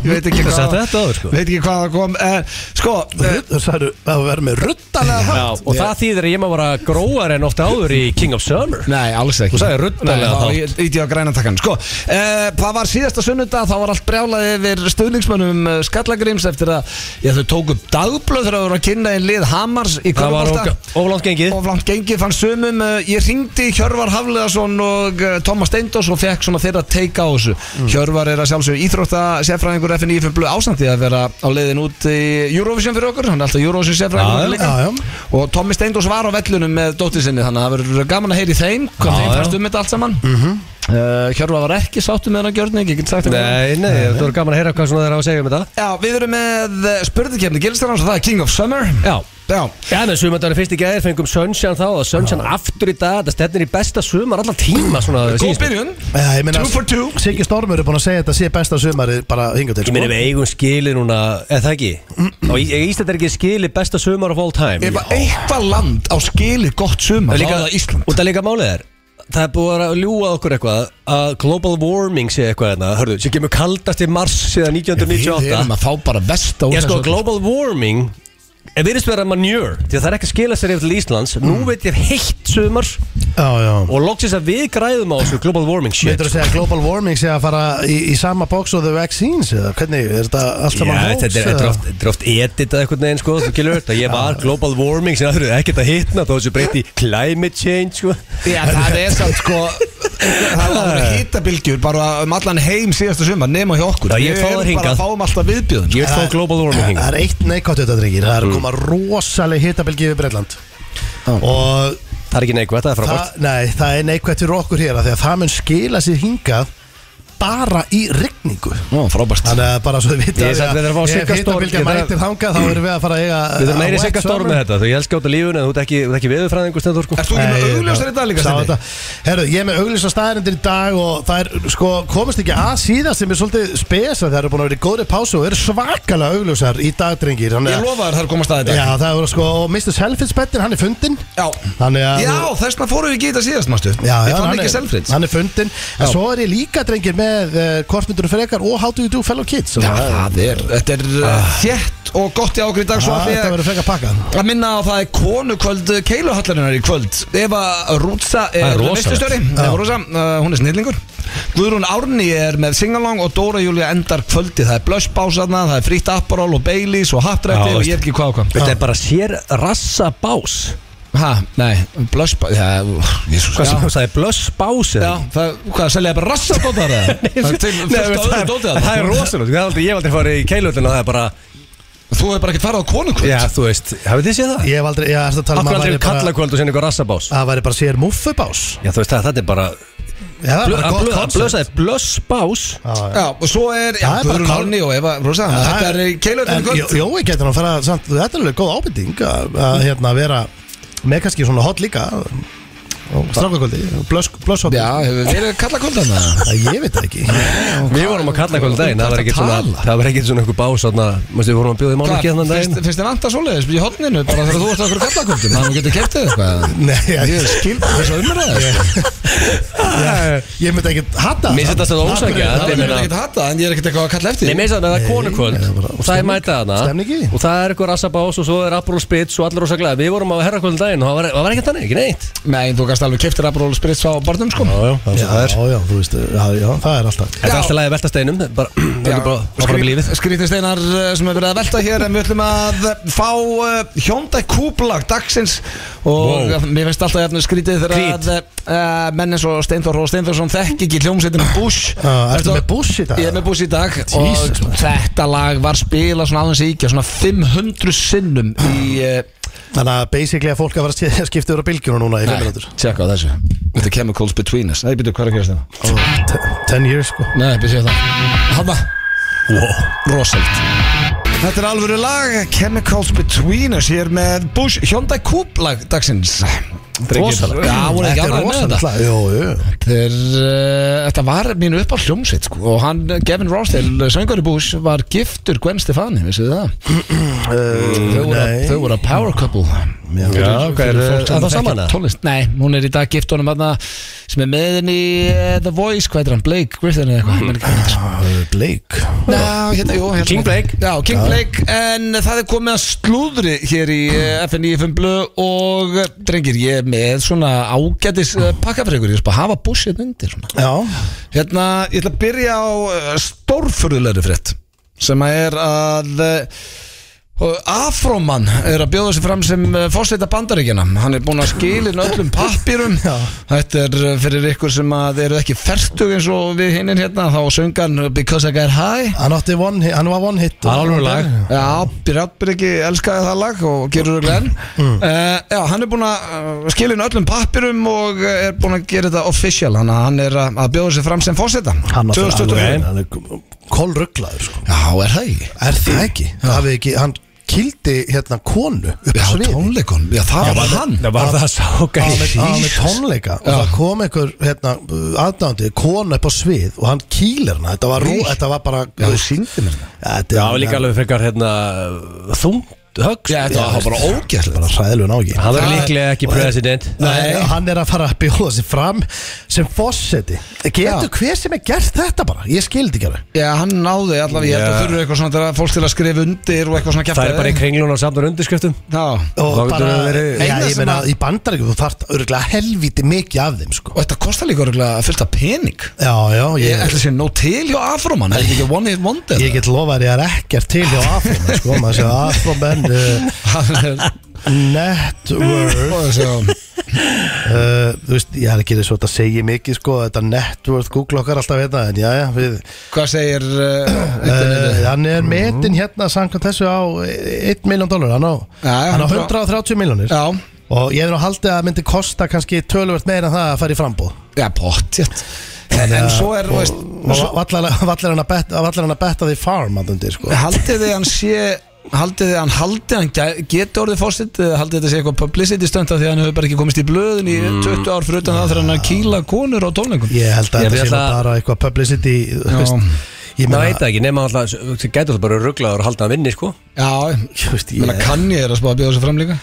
Speaker 1: ég veit ekki
Speaker 2: Ég
Speaker 1: hvað
Speaker 2: sagði þetta áður, sko.
Speaker 1: Veit ekki hvað það kom eh, Sko, eh,
Speaker 3: Rudd- Það eru að vera með ruttalega
Speaker 2: Já,
Speaker 3: þátt
Speaker 2: og það þýðir að ég maður að gróar en oft áður í King of Summer
Speaker 1: Nei, alls ekki
Speaker 2: Þú sagði ruddalega
Speaker 1: þá
Speaker 2: þátt.
Speaker 1: Ég íti á grænatakkan Sko, e, það var síðasta sunnudag Þá var allt brjálað yfir stuðningsmönnum eh, Skallagríms eftir að já, Þau tók upp dagblöð þegar þau voru að kynna einn lið Hamars í
Speaker 2: Það var
Speaker 1: Körbólta
Speaker 2: oflant gengið
Speaker 1: Og langt gengið fann sumum eh, Ég ringdi Hjörvar Hafleðarsson og eh, Tómas Steindós og fekk svona þeirra teika á þessu
Speaker 2: Mm.
Speaker 1: Hjörvar er að sjálfsögðu íþrótta sérfræðingur FNF Blöð ásamt í að vera á leiðin út í Eurovision fyrir okkur Hann er alltaf Eurovision
Speaker 2: Já,
Speaker 1: sérfræðingur líka
Speaker 3: já, já.
Speaker 1: og Tommi Steindós var á vellunum með dóttir sinni þannig að það verður gaman að heyri þeim hvað
Speaker 2: Já,
Speaker 1: þeim
Speaker 2: já. Mhm.
Speaker 1: fannst um þetta allt saman mm -hmm. Hjörfa var ekki sáttu með hann gjörning ég get sagt ykkur það.
Speaker 2: Nei, nei, þú eru gaman að heyra hvað svona þeir hafa að segja um þetta
Speaker 1: Já, við erum með spurðikefni Gilstarans og það er King of Summer
Speaker 2: Já
Speaker 1: Já,
Speaker 2: Já, með sumandagur fyrst í gæðir fengum Sunshine þá og Sunshine aftur í dag Þetta stefnir í besta sumar allar tíma svona
Speaker 1: góð
Speaker 2: sýnist mér.
Speaker 1: byrjun
Speaker 3: Já, ég meina
Speaker 1: Two for two.
Speaker 3: Siggi Stormur er búin að segja þetta sé besta sumari bara hinga til
Speaker 2: Ég meina við eigum skilið núna, eða það ekki Og Ísland er ekki skilið besta sumar of all time
Speaker 1: Ef að eitthvað land á skilið gott sumar
Speaker 2: Það
Speaker 1: þá
Speaker 2: líka,
Speaker 1: er það Ísland
Speaker 2: Og það líka málið er Það er búið að ljúa okkur eitthvað að global warming sé eitthvað hérna, hörðu, sem kemur kaldast í mars síðan
Speaker 1: Við
Speaker 2: 1998
Speaker 1: erum að fá bara vest á
Speaker 2: Ég sko,
Speaker 1: þessu.
Speaker 2: global warming er virðist vera manjur því að það er ekki að skila sér yfir til Íslands nú veit ég af heitt sumar
Speaker 3: Já, já
Speaker 2: og loksins að við græðum á þessu global warming Oh, shit
Speaker 3: Veitur að segja að global warming sé að fara í, í sama box og the vaccines eða hvernig, er þetta
Speaker 2: Já,
Speaker 3: allt saman
Speaker 2: þetta er, þetta er oft, þetta er oft editað eitthvað neginn sko, þú gilur þetta, ég var global warming sem aðrið ekkert að hitna þá þessu breyti climate change sko
Speaker 1: Já, það er samt sko Það var hittabilgjur bara um allan heim síðasta sumar nema hjá okkur
Speaker 2: Já, ég fá
Speaker 1: Við
Speaker 2: það
Speaker 1: erum bara
Speaker 2: hingað.
Speaker 1: að fáum alltaf sko. viðbjöðun
Speaker 2: Ég vil fá global warming
Speaker 3: Það
Speaker 2: hingað Mm.
Speaker 3: er eitt neikvætt þetta drengir Það er að koma rosaleg hitabylgi yfir Breitland Og
Speaker 2: Það er ekki neikvægt, það er frábært
Speaker 3: það, nei, það er neikvætt fyrir okkur hér af Því að það mun skila sér hingað bara í rigningu
Speaker 1: Ó, frábært
Speaker 3: Þannig að bara svo þið vita
Speaker 2: Ég er samt við erum að fá Sigga Storm,
Speaker 3: hitabylgja
Speaker 2: ég þarf-
Speaker 3: mætir þangað þá erum við að fara að eiga
Speaker 2: Við þurfum
Speaker 3: a
Speaker 2: meiri
Speaker 3: wet
Speaker 2: sigga
Speaker 3: summer.
Speaker 2: storm með þetta Þú ég elska út af lífun en þú ert ekki, þú ert ekki veðurfræðingur stendur sko
Speaker 1: Ert þú ekki með augljósar í dag líka, Steindi?
Speaker 3: Stendi? Herru, ég er með augljósar staðarindir í dag og það er, sko, komist ekki að síðast sem er svolítið spesa það eru búin að vera í góðri pásu og eru svakalega augljósar í dag, drengir Þannig
Speaker 1: Ég
Speaker 3: að-
Speaker 1: lofa þér þar komast að
Speaker 3: Já,
Speaker 1: þetta
Speaker 3: það eru sko, og Mr. Selfridge-bettin, hann er fundin
Speaker 1: Já,
Speaker 3: Þannig að
Speaker 1: já þess vegna fórum við ekki í þetta síðast, mástu
Speaker 3: Já, já,
Speaker 1: Við
Speaker 3: hann
Speaker 1: fannum
Speaker 3: er-
Speaker 1: ekki selfrits
Speaker 3: Hann er fundin En svo er ég líka, drengir, með uh, Kortmyndur og frekar og How do you do fellow kids
Speaker 1: Já, það er, þetta er ah. þétt og gott í ágrið í dag Svo að
Speaker 3: Ah, Þetta
Speaker 1: ég
Speaker 3: verður frekar pakkað
Speaker 1: að minna á að það er konukvöld Keiluhallarinnar í kvöld Eva Rútsa
Speaker 2: Það er
Speaker 1: er
Speaker 2: rosalegt.
Speaker 1: veistustjóri Eva Rútsa, uh, hún er snillingur Guðrún Árni er með singalong og Dóra Júlia endar kvöldi Það er blössbásarna, það er frítt apparól og beilis og hattrætti
Speaker 2: Já,
Speaker 1: og
Speaker 2: veist.
Speaker 1: ég er ekki hvað og hvað
Speaker 2: Þetta er bara sér rassa bás
Speaker 1: Ha, nei, blössbás, já, jésús
Speaker 2: Hvað sem þú sagði, blöss bás
Speaker 1: Já, það, hvað, selja bara rassadótar eða? Það er til fullt af öðru dóti
Speaker 2: Það
Speaker 1: þarna.
Speaker 2: það er rosalegt, ég hef aldrei- ég hef aldrei farið í keilutin og það er bara,
Speaker 1: Þú hefur bara ekkert farið á konukvöld
Speaker 2: já þú veist, hafið þið séð það?
Speaker 3: Ég hef aldrei, já, þetta tala um
Speaker 2: Akkur
Speaker 3: að
Speaker 2: aldrei
Speaker 3: væri
Speaker 2: um
Speaker 3: bara-
Speaker 2: kallakvöld og sinni eitthvað rassa bás
Speaker 3: að væri bara sér muffubás
Speaker 2: Já þú veist það, þetta er bara,
Speaker 3: Já, það er bara gott
Speaker 2: að
Speaker 3: koncept
Speaker 2: blösaði blöss bás
Speaker 3: Já, já.
Speaker 1: Já, og svo er, já,
Speaker 3: Það er bara
Speaker 1: Guðrún
Speaker 3: kál-
Speaker 1: Árni og Eva Rosa
Speaker 3: Já,
Speaker 1: Þetta er keilöðin
Speaker 3: En
Speaker 1: kvöld
Speaker 3: Jó- Jói getur hann að fara samt, Þetta er alveg góð ábyrting að, að hérna vera með kannski svona hot líka Strákakvöldi, blösshot
Speaker 1: Já, hefur verið kalla kvöldan það
Speaker 3: Ég veit það ekki
Speaker 2: Við vorum að kalla kvöld daginn, það var ekkert svona, það var ekkert svona einhver bás þarna, Manstu, við vorum að bjóða í mánu ekki þannig
Speaker 1: finnst
Speaker 2: daginn
Speaker 1: finnst þér vanta svoleiðis í hotninu bara þegar þú ert okkur kalla kvöldin þannig að þú getur kert þig eitthvað
Speaker 3: Nei,
Speaker 1: Ég
Speaker 3: ég,
Speaker 1: er skild þessu umræðis
Speaker 3: ég myndi ekkert hatta
Speaker 2: Mér finnst þetta svo ósækja,
Speaker 1: Það er mér ekkert að hata, en ég er ekkert eitthvað að kalla eftir
Speaker 2: Nei, meins að það er konukvöld
Speaker 3: það er bara
Speaker 2: og það er
Speaker 3: stemning.
Speaker 2: mæta hana
Speaker 3: Stemning í því.
Speaker 2: og það er eitthvað rassabás og svo er Aperol Spritz og allir rosa glæði Við vorum á herrakvöld daginn og það var, það var ekkert þannig, ekki neitt
Speaker 1: Nei, þú gæst alveg keftir Aperol Spritz á barnum sko
Speaker 2: já,
Speaker 3: Já, já, þú veist, já, já, það er alltaf
Speaker 2: Þetta er
Speaker 1: Já.
Speaker 2: alltaf lagið veltasteinum, það er bara, það er bara, það er bara lífið
Speaker 1: Skrítisteinar eh, sem er verið að velta hér En við ætlum að fá uh, Hyundai Kúblag dagsins Og
Speaker 2: Wow.
Speaker 1: mér finnst alltaf jafnir skrítið
Speaker 2: Krít.
Speaker 1: Þegar að uh, menn eins og Steintor og Steintorsson Þekki ekki hljómsveitin Bush
Speaker 3: Já, ertu með Bush í dag?
Speaker 1: Ég er með Bush í dag
Speaker 3: Jesus,
Speaker 1: Og
Speaker 3: maður.
Speaker 1: þetta lag var spilað svona aðeins íkja Svona 500 sinnum í uh,
Speaker 3: Þannig að basically að fólk að fara að skipta yfir á bylgjuna núna í fimm minútur
Speaker 1: tjekka á þessu With the chemicals between us Nei, byrju, hvað er að gerast það?
Speaker 3: Ten years, sko
Speaker 1: Nei, byrju það Hanna Wow Rosald Þetta er alvöru lag Chemicals Between Us Hér með Bush Hyundai Coupe lag dagsins
Speaker 2: Rosalega.
Speaker 1: Já, hún er ekki
Speaker 3: Þetta er
Speaker 1: ánægð með
Speaker 3: rosalega
Speaker 1: þetta
Speaker 3: slag. Jú, jú
Speaker 1: Þeir, uh, þetta var mínu upp á hljómsveit sko. og hann, eh, Gavin Rossdale, söngari Bush var giftur Gwen Stefani, vissu þið það?
Speaker 2: Eh,
Speaker 1: þau, voru,
Speaker 3: nei.
Speaker 1: þau voru að power couple Já,
Speaker 2: hvað er, eh, að það saman eða?
Speaker 1: Tónlist, nei, hún er í dag gift honum aðna sem er með henni í eh, The Voice, hvað er hann, Blake Griffin eða eitthvað ég man ekki hvað hann heitir.
Speaker 3: Ah, Blake
Speaker 1: Já, hérna, jú, hérna.
Speaker 2: King Blake.
Speaker 1: Já, King Blake, en það er komið að slúðri hér í FNI FM Blu og eh, drengir, ég er með svona ágætis eh, pakka fyrir ykkur, ég er bara að hafa bussið undir svona
Speaker 3: Já
Speaker 1: Hérna, ég ætla að byrja á eh, stórfurðulegri frétt sem að er að eh, Afroman er að bjóða sig fram sem fórsveita bandaríkjana hann er búinn að skilin öllum pappýrum þetta er eh, fyrir ykkur sem að eru ekki fertug eins og við hinnin hérna þá söngan Because I Got High
Speaker 3: Hann átti one hit Hann var one hit
Speaker 2: Það er alveg lag
Speaker 1: Já, Bjarnbyrgi elskaði það lag og gerur það glenn uh, Já, hann er búinn að uh, skilja inn öllum pappirum og eh, er búinn að gera þetta official Þannig að hann er að að bjóða sér fram sem fórseta
Speaker 3: Hann átti
Speaker 1: 2025.
Speaker 3: alveg Hann er kolrugglaður sko
Speaker 1: Já, er það ekki?
Speaker 3: Er það ekki? Það hafið ekki Hann kildi hérna konu upp
Speaker 1: Já,
Speaker 3: á sviði
Speaker 1: tónleikon, já það var hann
Speaker 2: Það var það
Speaker 3: Á
Speaker 2: sákæði
Speaker 3: með, á með tónleika og
Speaker 1: Já.
Speaker 3: það kom einhver hérna, aðdándi, kona upp á svið og hann kýlir hana, þetta var, rú,
Speaker 1: Nei.
Speaker 3: þetta var bara
Speaker 1: Já, þú sýndir mér það
Speaker 3: þetta
Speaker 2: Já,
Speaker 3: er-
Speaker 2: líka alveg frekar hérna þungt högst
Speaker 1: Já, þetta var bara ógæslega
Speaker 3: bara sæðilegu nági
Speaker 2: Hann er
Speaker 1: Það-
Speaker 2: líklega ekki president
Speaker 3: Nei, hann er að fara að bjóða sig fram sem fosseti Getur
Speaker 1: Já.
Speaker 3: hver sem er gert þetta bara? Ég skildi ekki alveg
Speaker 1: Já, hann náði allavega, ég held að
Speaker 2: Já.
Speaker 1: þurfu eitthvað svona til að fólk til að skrifa undir og eitthvað svona
Speaker 2: Það er bara í kringlun og samnar undirskriftum
Speaker 1: Já,
Speaker 3: Og
Speaker 2: Þá getur
Speaker 3: bara,
Speaker 2: það verið-
Speaker 3: já,
Speaker 1: Eina
Speaker 3: ég
Speaker 1: sem
Speaker 3: meina,
Speaker 1: að-
Speaker 3: í bandaríkjum þú þarft örgulega helviti mikið af þeim sko
Speaker 1: og þetta kostar líka örgulega fullt af pening
Speaker 3: Já, já,
Speaker 1: Ég
Speaker 3: ég,
Speaker 1: ætla að sé nóg til hjá Afroman, er þetta ekki one hit wonder?
Speaker 3: ég get lofað að ég er ekkert til hjá Afromen sko, maður sé að Afromen uh, Network
Speaker 1: Og þessi-
Speaker 3: uh, Þú veist, ég er ekki eins og þetta segir mikið sko, þetta Network Google okkar alltaf hérna, en já, já, við
Speaker 1: Hvað segir uh,
Speaker 3: Uh, hann er metin hérna samkvæmt þessu á 1 miljón dólar hann á,
Speaker 1: Já, já,
Speaker 3: hann á
Speaker 1: 100
Speaker 3: 130 miljónir
Speaker 1: Já,
Speaker 3: og ég er nú haldið að það myndi kosta kannski tölvöld meira en það að fara í frambúð
Speaker 1: já, pottjett en, en svo er, þú veist
Speaker 3: og
Speaker 1: svo,
Speaker 3: vallar vallar hann að betta, vallar hann að betta því farm hann undir sko
Speaker 1: Haldið þið hann sé Haldið þið hann haldið hann gæ- geti orðið fórsitt Haldið þetta sé eitthvað publicity stönd Því að hann hefur bara ekki komist í blöðin í 20 ár Fyrir utan það þegar hann er að kýla konur á tónleikum
Speaker 3: Mm. ég
Speaker 2: Ég
Speaker 3: held að þetta
Speaker 2: vil
Speaker 3: sé nú
Speaker 2: að-
Speaker 3: bara eitthvað publicity þú
Speaker 1: Já.
Speaker 3: veist, ég
Speaker 2: Það
Speaker 3: meina
Speaker 2: veit það ekki, nema alltaf Það gæti alltaf bara rugglaður að halda að vinni, sko
Speaker 1: Já,
Speaker 3: þú veist,
Speaker 1: ég meina
Speaker 3: ég-
Speaker 1: kann ég er að spá að bjóða sér fram líka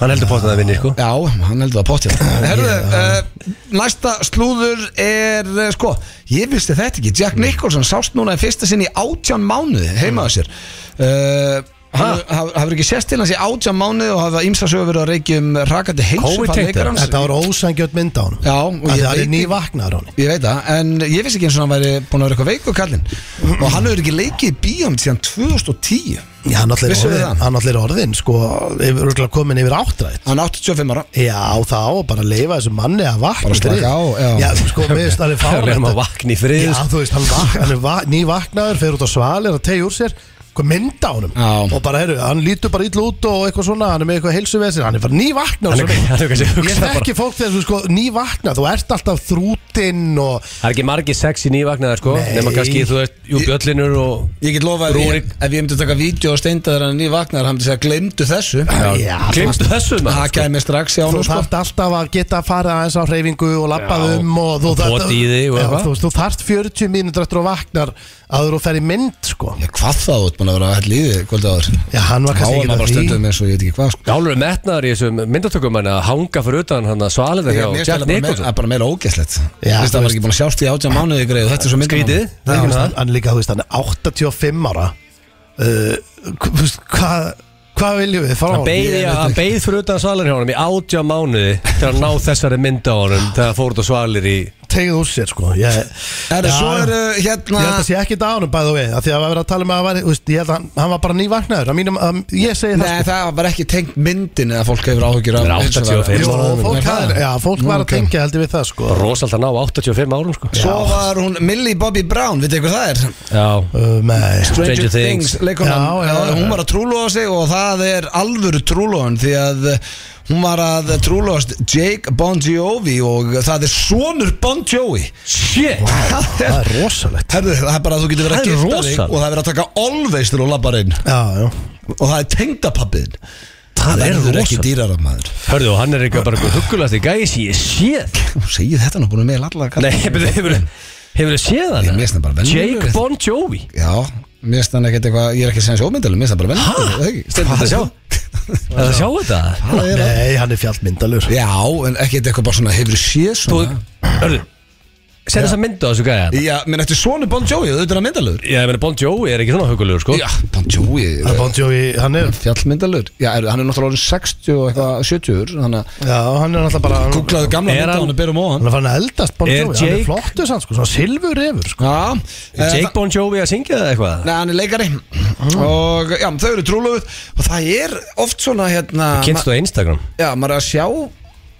Speaker 2: Hann heldur postað að vinni, sko
Speaker 1: Já, hann heldur það pottjætt Herðu, uh, næsta slúður er uh, Sko, ég vissi þetta ekki Jack Nicholson sást núna í fyrsta sinn í 18 mánuði Heima að sér uh, Hann haf- hafur ekki sérst til hans í 18 mánuði Og hafa ímsa sögur verið að reykja um rakandi heilsu
Speaker 2: Covid
Speaker 1: far
Speaker 2: tengt
Speaker 1: leikarans.
Speaker 3: þetta var ósangjöld mynd á hann
Speaker 1: Já, og
Speaker 3: það
Speaker 1: ég
Speaker 3: er
Speaker 1: veit
Speaker 3: ný
Speaker 1: ekki-
Speaker 3: vaknaður hann
Speaker 1: Ég veit það, en ég vissi ekki eins og hann væri búin að vera eitthvað veiku kallinn Og hann hefur ekki leikið í bíómynd síðan 2010
Speaker 3: Já, hann allir
Speaker 1: Vissuð þið
Speaker 3: orðin,
Speaker 1: það?
Speaker 3: hann allir orðin sko, yfir, örugglega kominn yfir áttrætt
Speaker 1: Hann er 85 ára
Speaker 3: Já, þá bara leifa þessu manni að vakna
Speaker 1: Bara slaka
Speaker 3: í friði.
Speaker 1: á, já.
Speaker 3: sko, mér veist, hann er
Speaker 2: Það er
Speaker 3: fárið
Speaker 2: maður vakna í
Speaker 3: Já,
Speaker 2: frið sko.
Speaker 3: þú veist, hann, vak, hann er va nývaknaður, fer út á svalir að tegja úr sér hvað mynda á honum
Speaker 1: Já.
Speaker 3: og bara, heyrðu, hann lítur bara illa út og eitthvað svona hann er með eitthvað heilsuvesin, hann er bara nývaknaður
Speaker 2: Hann er-
Speaker 3: svo
Speaker 2: hann er
Speaker 3: mikið.
Speaker 2: kannski að hugsa
Speaker 3: Ég þekki fólk þegar þú sko nývaknað, þú ert alltaf þrútinn og
Speaker 2: Það er ekki margir sexi nývagnar, sko
Speaker 3: Nei.
Speaker 2: Nema kannski, þú veist, jú, bjöllinur og
Speaker 1: Ég get lofa að ég,
Speaker 2: Rúrik.
Speaker 1: ef ég myndi taka vídeo og steinda þegar hann er nývagnar Hann myndi segja, glemdu þessu
Speaker 3: Já,
Speaker 2: Glimstu þessu,
Speaker 1: Það
Speaker 2: maður, sko
Speaker 1: gæði mér strax í
Speaker 3: þú
Speaker 1: ánum sko
Speaker 3: þarft alltaf að geta að fara aðeins á hreyfingu og lappa
Speaker 2: Já.
Speaker 3: um og þú
Speaker 2: Og
Speaker 3: þarft-
Speaker 2: pota í þig og
Speaker 3: Já,
Speaker 2: eitthvað.
Speaker 3: þú veist, þú þarft 40 mínútur eftir að vaknar að þú fer í mynd sko
Speaker 1: Já, hvað þá, þú ert búin að vera hætt líði kvölda áður
Speaker 3: Já, hann var
Speaker 1: Þá
Speaker 3: kannski
Speaker 1: er
Speaker 3: ekkert
Speaker 1: maður
Speaker 3: að
Speaker 1: bara
Speaker 3: því.
Speaker 1: stundum eins og ég veit ekki hvað sko
Speaker 2: Já, alveg metnaður í þessum myndatökum en að hanga fyrir utan hann að svalið
Speaker 1: Ég-
Speaker 2: hjá
Speaker 1: mér finnst
Speaker 2: Jack
Speaker 1: það bara meira- það
Speaker 2: Nicholson
Speaker 1: er bara meira ógæslegt
Speaker 3: Já,
Speaker 1: Fyrst að
Speaker 3: þú
Speaker 1: maður
Speaker 3: veist.
Speaker 1: ekki búin að sjást í átján mánuði greið og þetta er svo myndin á
Speaker 2: Skrítið,
Speaker 1: honum.
Speaker 2: það er ekki með
Speaker 3: Já, hann,
Speaker 2: það
Speaker 3: hann er líka, þú veist, hann er 85 ára uh, hva- þú veist, Hvað Hvað viljum við fara á
Speaker 2: Hann beið,
Speaker 3: Ég-
Speaker 2: já, hann beið fyrir utan svalið hjá honum í átja mánuði til að ná þessari mynd á honum þegar fór út á svalir í
Speaker 3: Tegið úr sér, sko Ég,
Speaker 1: Herru,
Speaker 3: Já,
Speaker 1: svo eru
Speaker 3: ég
Speaker 1: hérna
Speaker 3: held að sé ekki dánum bæðu við af Því að við verðum að tala um að hann væri, þú veist, Ég held að hann, hann var bara nývagnaður að mínum, að, Ég segi það, sko.
Speaker 1: Nei, það var ekki tengt myndin eða fólk hefur áhugir af
Speaker 2: Það er 85
Speaker 3: sko
Speaker 2: Jó,
Speaker 3: Jó,
Speaker 1: Er
Speaker 3: fólk,
Speaker 1: það?
Speaker 3: hafði, já, fólk
Speaker 1: Nú,
Speaker 3: var að
Speaker 1: ok.
Speaker 3: tengja heldur við það, sko
Speaker 2: rosalt að ná 85 árum sko
Speaker 1: Svo var hún Millie Bobby Brown, veit eitthvað það er?
Speaker 2: Já,
Speaker 3: Uh, Nei
Speaker 2: Stranger Things.
Speaker 1: leikonan,
Speaker 3: Já, já,
Speaker 1: eh,
Speaker 3: já.
Speaker 1: hún var að trúlóa sig og það er alvöru trúlóan því að eh, hún var að trúlóast Jake Bon Jovi og það er sonur Bon Jovi
Speaker 2: shit
Speaker 1: það
Speaker 3: Það
Speaker 1: er
Speaker 3: er rosalegt
Speaker 1: Herðu, það er bara að þú getur verið að
Speaker 2: Það er
Speaker 1: gifta þig
Speaker 2: rosalegt.
Speaker 1: og það er verið að taka always til og labba reyn
Speaker 3: Já, já
Speaker 1: og það er tengdapappin
Speaker 2: Það er
Speaker 1: verður ekki
Speaker 2: rosa.
Speaker 1: dýrar af maður
Speaker 2: Hörðu, og hann er eitthvað bara huggulegast í gæs Ég sé
Speaker 1: Þú segir þetta nú búin að með allar
Speaker 2: Nei, hefur þú séð hann?
Speaker 1: Ég mér finnst hann bara venjulegur.
Speaker 2: Jake Bon Jovi
Speaker 1: Já, mér finnst hann ekkert eitthvað Ég er ekki að segja sjómyndalum, mér finnst hann bara
Speaker 2: Ha?
Speaker 1: venjulegur, eða ekki?
Speaker 2: Stendur þetta að sjá? Er það að sjá þetta?
Speaker 1: Það er það.
Speaker 3: Nei, hann er fjallmyndalur
Speaker 1: Já, en ekkert eitthvað bara svona Hefur séð
Speaker 2: Þú,
Speaker 1: svona
Speaker 2: hörðu Sett þess að mynda á þessu gæja
Speaker 1: Já, menn eftir svona Bon Jovi, þú veitur að myndalur
Speaker 2: Já, ég meina Bon Jovi er ekki svona huggulegur, sko
Speaker 1: Já, Bon Jovi
Speaker 3: Bon Jovi, hann er
Speaker 1: Fjallmyndalur Já, er, hann er náttúrulega orðinn 60 og eitthvað 70 Þannig að
Speaker 3: Já, hann er náttúrulega bara Hann
Speaker 1: googlaðu gamla
Speaker 2: Er hann-
Speaker 1: myndalunum Berum ofan
Speaker 3: hann er fann að eldast Bon
Speaker 2: Er
Speaker 3: Jovi Hann
Speaker 2: Jake-
Speaker 3: er flottur sann, sko Svona silfurrefur, sko
Speaker 1: Já,
Speaker 2: Er
Speaker 1: eh,
Speaker 2: Jake Bon Jovi að syngja það eitthvað?
Speaker 1: Nei, hann er leikari og já, þau eru trúluð og það er oft svona hérna
Speaker 2: Kynstu á Instagram
Speaker 1: ma- Já, maður er að sjá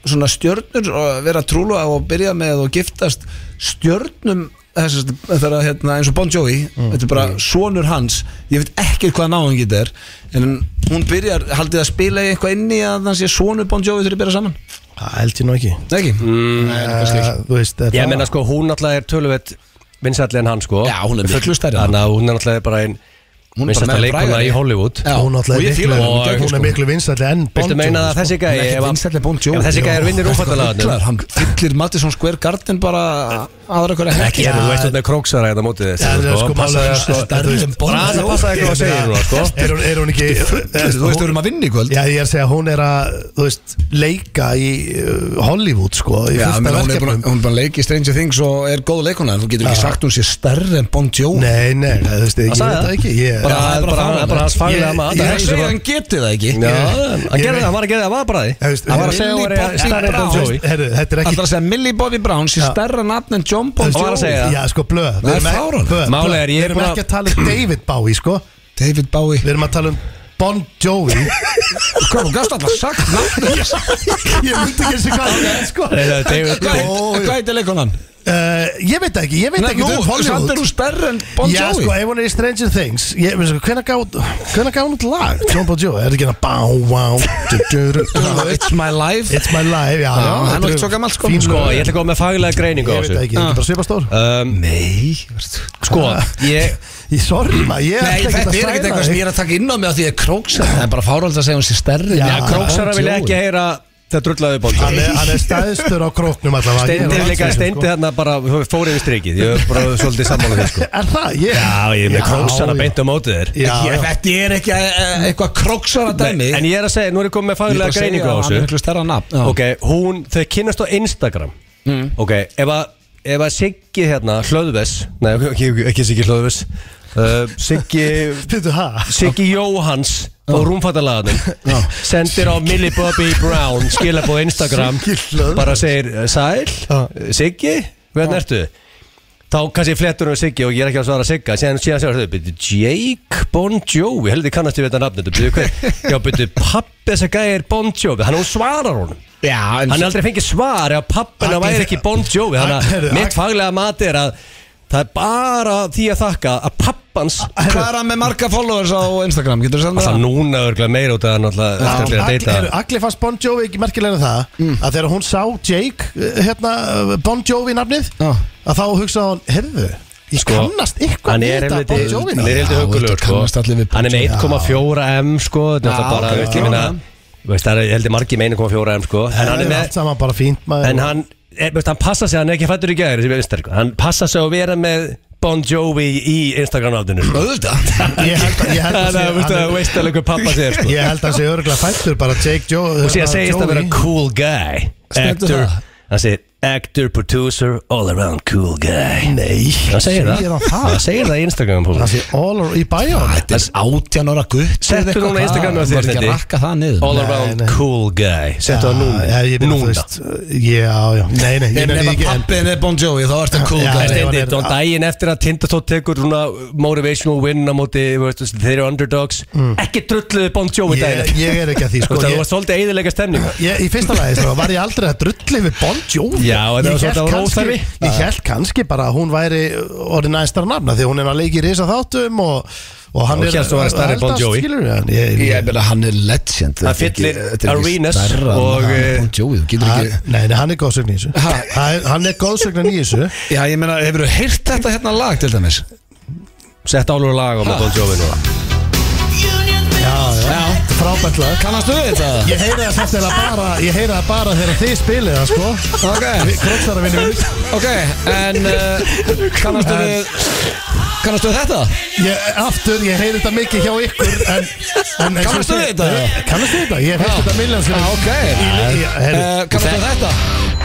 Speaker 1: svona stjörnur og vera trúluð og byrja með og giftast stjörnum þessast, þegar að hérna eins og Bon Jovi þetta er bara sonur hans ég veit ekki hvað náðan geta er en hún byrjar, haldið að spila í eitthvað inni að hann sé sonur Bon Jovi þegar byrja saman
Speaker 3: Það held ég nú ekki
Speaker 1: Nei, ekki? Mm.
Speaker 3: Eh, Þú veist, þetta
Speaker 2: Ég meina sko, hún náttúrulega er tölvöld vinsætli en hann sko
Speaker 1: Já, hún er miklu stærri en hann.
Speaker 2: Þannig að hún er náttúrulega bara ein
Speaker 1: Hún er bara
Speaker 2: vinsætla
Speaker 1: meðal
Speaker 2: leikona
Speaker 1: frægari.
Speaker 2: í Hollywood
Speaker 1: Já,
Speaker 3: Hún náttúrulega
Speaker 1: og ég
Speaker 3: er
Speaker 1: fíla
Speaker 3: miklu-
Speaker 1: hana, hún
Speaker 2: Og-
Speaker 1: geggjur,
Speaker 3: Hún
Speaker 1: sko.
Speaker 3: er miklu vinstætli en Bon
Speaker 2: Viltu
Speaker 3: Jovi
Speaker 2: meina að
Speaker 3: sko.
Speaker 2: þessi gæi
Speaker 1: Hún er
Speaker 2: ef
Speaker 1: ekkert
Speaker 2: hann-
Speaker 1: vinsælli Bon Jovi.
Speaker 2: ef Þessi gæi er
Speaker 1: Já,
Speaker 2: vinnir
Speaker 1: hann
Speaker 2: úfættalega
Speaker 1: ruglar, Hann fyllir Madison Square Garden bara aðra hverja
Speaker 2: Ekki,
Speaker 1: helgi.
Speaker 2: þú veist þetta er króksara hérna þetta mótið
Speaker 3: Já, það
Speaker 2: þessi
Speaker 3: er sko
Speaker 2: Passa
Speaker 3: málega
Speaker 2: þessu
Speaker 1: stærri en Bon
Speaker 2: Brasa
Speaker 1: Jovi.
Speaker 2: passa eitthvað að segja núna sko
Speaker 3: Er hún- er hún ekki sko?
Speaker 1: Þú veist, við erum að vinna í kvöld
Speaker 3: Já, ég er að segja, hún er að, þú veist, leika í uh, Hollywood, sko, í
Speaker 1: Já,
Speaker 3: fyrsta
Speaker 1: menn, hún er bara,
Speaker 3: verkefnum.
Speaker 1: hún er bara að leika í Stranger Things og er góð leikona en þú getur ekki
Speaker 3: Já.
Speaker 1: sagt hún sé stærri en Bon Jovi
Speaker 3: Nei, nei, þú veist, ég veit
Speaker 2: sagði
Speaker 3: það
Speaker 2: það.
Speaker 3: ekki. Ég,
Speaker 2: Bara-
Speaker 3: Já,
Speaker 2: það er bara- það er bara hans faglega mat.
Speaker 1: Ég
Speaker 2: Það er
Speaker 1: hef
Speaker 2: ekki
Speaker 1: segið
Speaker 2: bara-
Speaker 1: að hann geti það ekki
Speaker 2: Já, hann
Speaker 3: Ég
Speaker 2: gerði
Speaker 3: veit-
Speaker 2: það, hann var að gera það, hann var bara því
Speaker 3: þú veist,
Speaker 2: Hann var að segja
Speaker 1: Lily
Speaker 2: að hún er
Speaker 1: Bobby
Speaker 2: stærri en Bon
Speaker 1: Brown.
Speaker 2: Jovi
Speaker 3: Herru, þetta er
Speaker 1: Það er
Speaker 3: ekki
Speaker 1: að segja Millie Bobby Brown sé
Speaker 3: Já.
Speaker 1: stærra nafn en John Bon
Speaker 2: Hann var að
Speaker 1: Jovi
Speaker 2: segja það.
Speaker 3: Já, sko, blöð
Speaker 1: Það er
Speaker 3: Við erum ekki-
Speaker 1: fáránlegt.
Speaker 3: blöð,
Speaker 2: Málið
Speaker 3: blöð.
Speaker 2: er, ég
Speaker 3: Við
Speaker 2: er
Speaker 3: erum
Speaker 2: búin að-
Speaker 3: ekki að tala um David Bowie, sko
Speaker 1: David Bowie
Speaker 3: Við erum að tala um Bon Jovi
Speaker 1: Hvað, þú gafst alltaf sagt nafn
Speaker 3: Ég myndi ekki þessi hvað það er, sko
Speaker 2: Nei, það er David
Speaker 1: Hvað
Speaker 2: Bowie.
Speaker 1: heit- hvað heitir leikonan?
Speaker 3: Eh, Ég veit ekki, ég veit
Speaker 1: Nei,
Speaker 3: ekki
Speaker 1: þú,
Speaker 3: um
Speaker 1: samt er
Speaker 3: Hollywood
Speaker 1: hún stærri en Bon
Speaker 3: Já, sko,
Speaker 1: Jovi
Speaker 3: ef hún er í Stranger Things ég, veist, Hvenær gáð Hvenær gáð hún út lag? John Bon Jovi, er ekki hérna Bá, wow du, du, du, du,
Speaker 1: It's my life
Speaker 3: It's my life, já, já
Speaker 1: hann er
Speaker 3: þetta
Speaker 1: ekki
Speaker 3: eru
Speaker 1: svo gamall, sko.
Speaker 3: fín
Speaker 2: Sko,
Speaker 3: lög.
Speaker 2: ég ætla að koma með faglega greiningu á
Speaker 3: Ég veit það
Speaker 2: þessu
Speaker 3: ekki, ég er bara svipa stór
Speaker 2: Um,
Speaker 1: Nei
Speaker 2: Sko, ég
Speaker 3: Ég sorry maður, ég
Speaker 1: Eh. Nei,
Speaker 3: ætla
Speaker 1: þetta er
Speaker 3: ekki að
Speaker 1: ekkert
Speaker 3: særa
Speaker 1: eitthvað sem ég
Speaker 3: þig
Speaker 1: er að taka inn á mig á því að króksara Það er bara fáröld að segja hún sé stærri
Speaker 3: Já,
Speaker 2: Já,
Speaker 1: Ah,
Speaker 2: króksara vilja ekki heyra Það drullaði Bon
Speaker 3: Hann
Speaker 2: Jovi
Speaker 3: er- Hann er stæðstur á króknum allavega Ég er
Speaker 2: Steindi
Speaker 3: á
Speaker 2: líka,
Speaker 3: landsliðinu,
Speaker 2: steindi
Speaker 3: sko.
Speaker 2: þarna bara Fórið við strikið, ég er bara svolítið sammála því sko
Speaker 3: Er það? Ég-
Speaker 2: Já, ég er með króksana
Speaker 3: já.
Speaker 2: beint á mótið þér
Speaker 3: Já,
Speaker 1: Ég,
Speaker 3: já.
Speaker 1: þetta er ekki eh, eh, eitthvað króksara dæmi
Speaker 2: Nei, En ég er að segja, nú er ég komið með faglega greiningu á
Speaker 1: Hann er
Speaker 2: þessu
Speaker 1: miklu stærra nafn
Speaker 2: Ok, hún, þau kynnast á Instagram
Speaker 3: Mm.
Speaker 2: Ok, ef að Ef að Siggi hérna, Hlöðves Nei, ekki, ekki Siggi Hlöðves uh, Siggi
Speaker 3: Pítu, ha?
Speaker 2: Siggi Jóhans og rúmfattalaganum sendir á Millie Bobby Brown skilabóð Instagram
Speaker 3: Siggi Hlöðver.
Speaker 2: bara segir "Eh, Sæl,
Speaker 3: Já.
Speaker 2: Siggi, hvernig ertu? Þá kannski flettur um Siggi og ég er ekki að svara Sigga síðan síðan sér þau, byrju Jake Bon Jovi heldur kannast ég við þetta nafn byrju hver, já byrju pappi þess að gæja er Bon Jovi hann hún svarar honum
Speaker 1: Já, en
Speaker 2: hann er aldrei fengið svar ef pappina
Speaker 3: Agli-
Speaker 2: væri ekki Bon Jovi þannig
Speaker 3: Herru,
Speaker 2: að mitt
Speaker 3: Agli-
Speaker 2: faglega mati er að það er bara því að þakka að pappans
Speaker 1: hvað er hann með marga followers á Instagram? Getur þú
Speaker 2: Alltaf
Speaker 1: það?
Speaker 2: núna örgulega meira út af hann alltaf eftir að byrja að
Speaker 3: Agli- heyrðu,
Speaker 2: deyta
Speaker 3: Agli fannst Bon Jovi ekki merkilega en það að þegar hún sá Jake eh, hérna, eh, Bon Jovi nafnið
Speaker 1: Já.
Speaker 3: að þá hugsaði hún, heyrðu ég
Speaker 2: Sko,
Speaker 3: kannast eitthvað
Speaker 2: Hann
Speaker 3: við
Speaker 2: er
Speaker 3: þetta
Speaker 2: helviti,
Speaker 3: Bon
Speaker 2: hann
Speaker 3: Jovi
Speaker 2: er
Speaker 3: nafn."
Speaker 2: helviti
Speaker 1: Já,
Speaker 2: hugulegur
Speaker 1: þetta
Speaker 2: sko
Speaker 1: kannast allir við Bon
Speaker 2: Hann er
Speaker 1: Jovi.
Speaker 2: með 1,4M sko Þetta er
Speaker 1: Já,
Speaker 2: alltaf bara,
Speaker 1: ok,
Speaker 2: veist, ég
Speaker 1: já.
Speaker 2: meina veist, Það er heldur margi með 1,4M sko En hann er
Speaker 3: allt
Speaker 2: með,
Speaker 3: saman bara fínt maður
Speaker 2: en hann er, veist, hann passa sig, hann er ekki fættur í gæðir sko. Hann passa sig að vera með Bon Jovi í Instagram-aldinu sko
Speaker 1: Auðvitað
Speaker 3: ég held að- ég held
Speaker 2: Þannig
Speaker 3: að sé-
Speaker 2: að veist,
Speaker 3: hann
Speaker 2: það
Speaker 3: er-
Speaker 2: veist alveg hvað pappa þér sko
Speaker 3: ég held að hann sé örgulega fættur bara Jake Jo
Speaker 2: Og síðan segist að vera cool guy
Speaker 1: Stendur
Speaker 2: Actor,
Speaker 1: það?
Speaker 2: hann segir Actor, producer, all around cool guy
Speaker 3: nei
Speaker 2: Hann segir það
Speaker 3: segir hann það?
Speaker 2: Hann segir það í Instagram-púlum
Speaker 3: hann sé all over í bæjón
Speaker 1: Þetta er átján ára gutt
Speaker 2: Settu núna Instagram á þér,
Speaker 1: Það er ekki að
Speaker 2: Steindi.
Speaker 1: rakka það niður
Speaker 2: All
Speaker 3: Nei,
Speaker 2: around
Speaker 3: nei.
Speaker 2: cool guy Settu það núna
Speaker 3: já, ég meina, þú
Speaker 2: Núna
Speaker 3: veist, já, já, nei, nei ég
Speaker 1: En
Speaker 3: meina
Speaker 1: ef að
Speaker 3: ekki- en-
Speaker 1: pappin er Bon Jovi þá ertu cool
Speaker 3: Já,
Speaker 2: Það
Speaker 1: guy
Speaker 2: er
Speaker 3: nei, hann
Speaker 2: stendir
Speaker 3: er-
Speaker 2: Dón daginn eftir að Tindatótt tekur svona motivational win á móti veist, þeir eru underdogs Ekki drulluðu Bon Jovi
Speaker 3: Mm. ég
Speaker 2: daginn
Speaker 3: ég er ekki að því
Speaker 2: Þú
Speaker 3: sko
Speaker 2: veist, Það
Speaker 3: ég-
Speaker 2: var svolítið eðilega stemning
Speaker 3: Ég, í fyrsta lagi þá var ég aldrei að drulli við Bon Jovi
Speaker 2: Já, og þetta
Speaker 3: Ég
Speaker 2: var svona-
Speaker 3: hélt
Speaker 2: þetta var
Speaker 3: kannski-
Speaker 2: óþarfi.
Speaker 3: Ég held kannski bara að hún væri orðin aðeins stærra nafna því að hún er að leiki í risa þáttum og, og hann
Speaker 2: Já, hélt hún væri stærri en Bon
Speaker 3: eldast,
Speaker 2: Jovi.
Speaker 3: skilurðu, en ég-
Speaker 1: Ég
Speaker 3: ég-
Speaker 1: meina hann er legend
Speaker 2: Það fyllir arenas og, eh,
Speaker 1: Bon Jovi, þú getur
Speaker 3: Hann-
Speaker 1: ekki
Speaker 3: Nei, nei, hann er góðsögn í þessu Það er- Hann er góðsögn í þessu
Speaker 1: Já, ég meina, hefur þú heyrt þetta hérna lag til dæmis?
Speaker 2: Sett álur lag á móti Bon Jovi núna
Speaker 3: Já, já
Speaker 1: Já,
Speaker 3: frábært lag
Speaker 1: Kannastu við þetta?
Speaker 3: Ég heyri það samt eða bara Ég heyri það bara þegar þið spilið það sko
Speaker 1: Ok,
Speaker 3: Kroksara vinni minn
Speaker 1: ok, en uh, kannastu við Kannastu við þetta?
Speaker 3: ég, Aftur, ég heyri þetta mikið hjá ykkur en, en,
Speaker 1: Kannastu við þetta?
Speaker 3: Kannastu við þetta? Ég heyri þetta miljón
Speaker 2: Ah,
Speaker 1: Já, Ah, ok uh, Kannastu við þetta?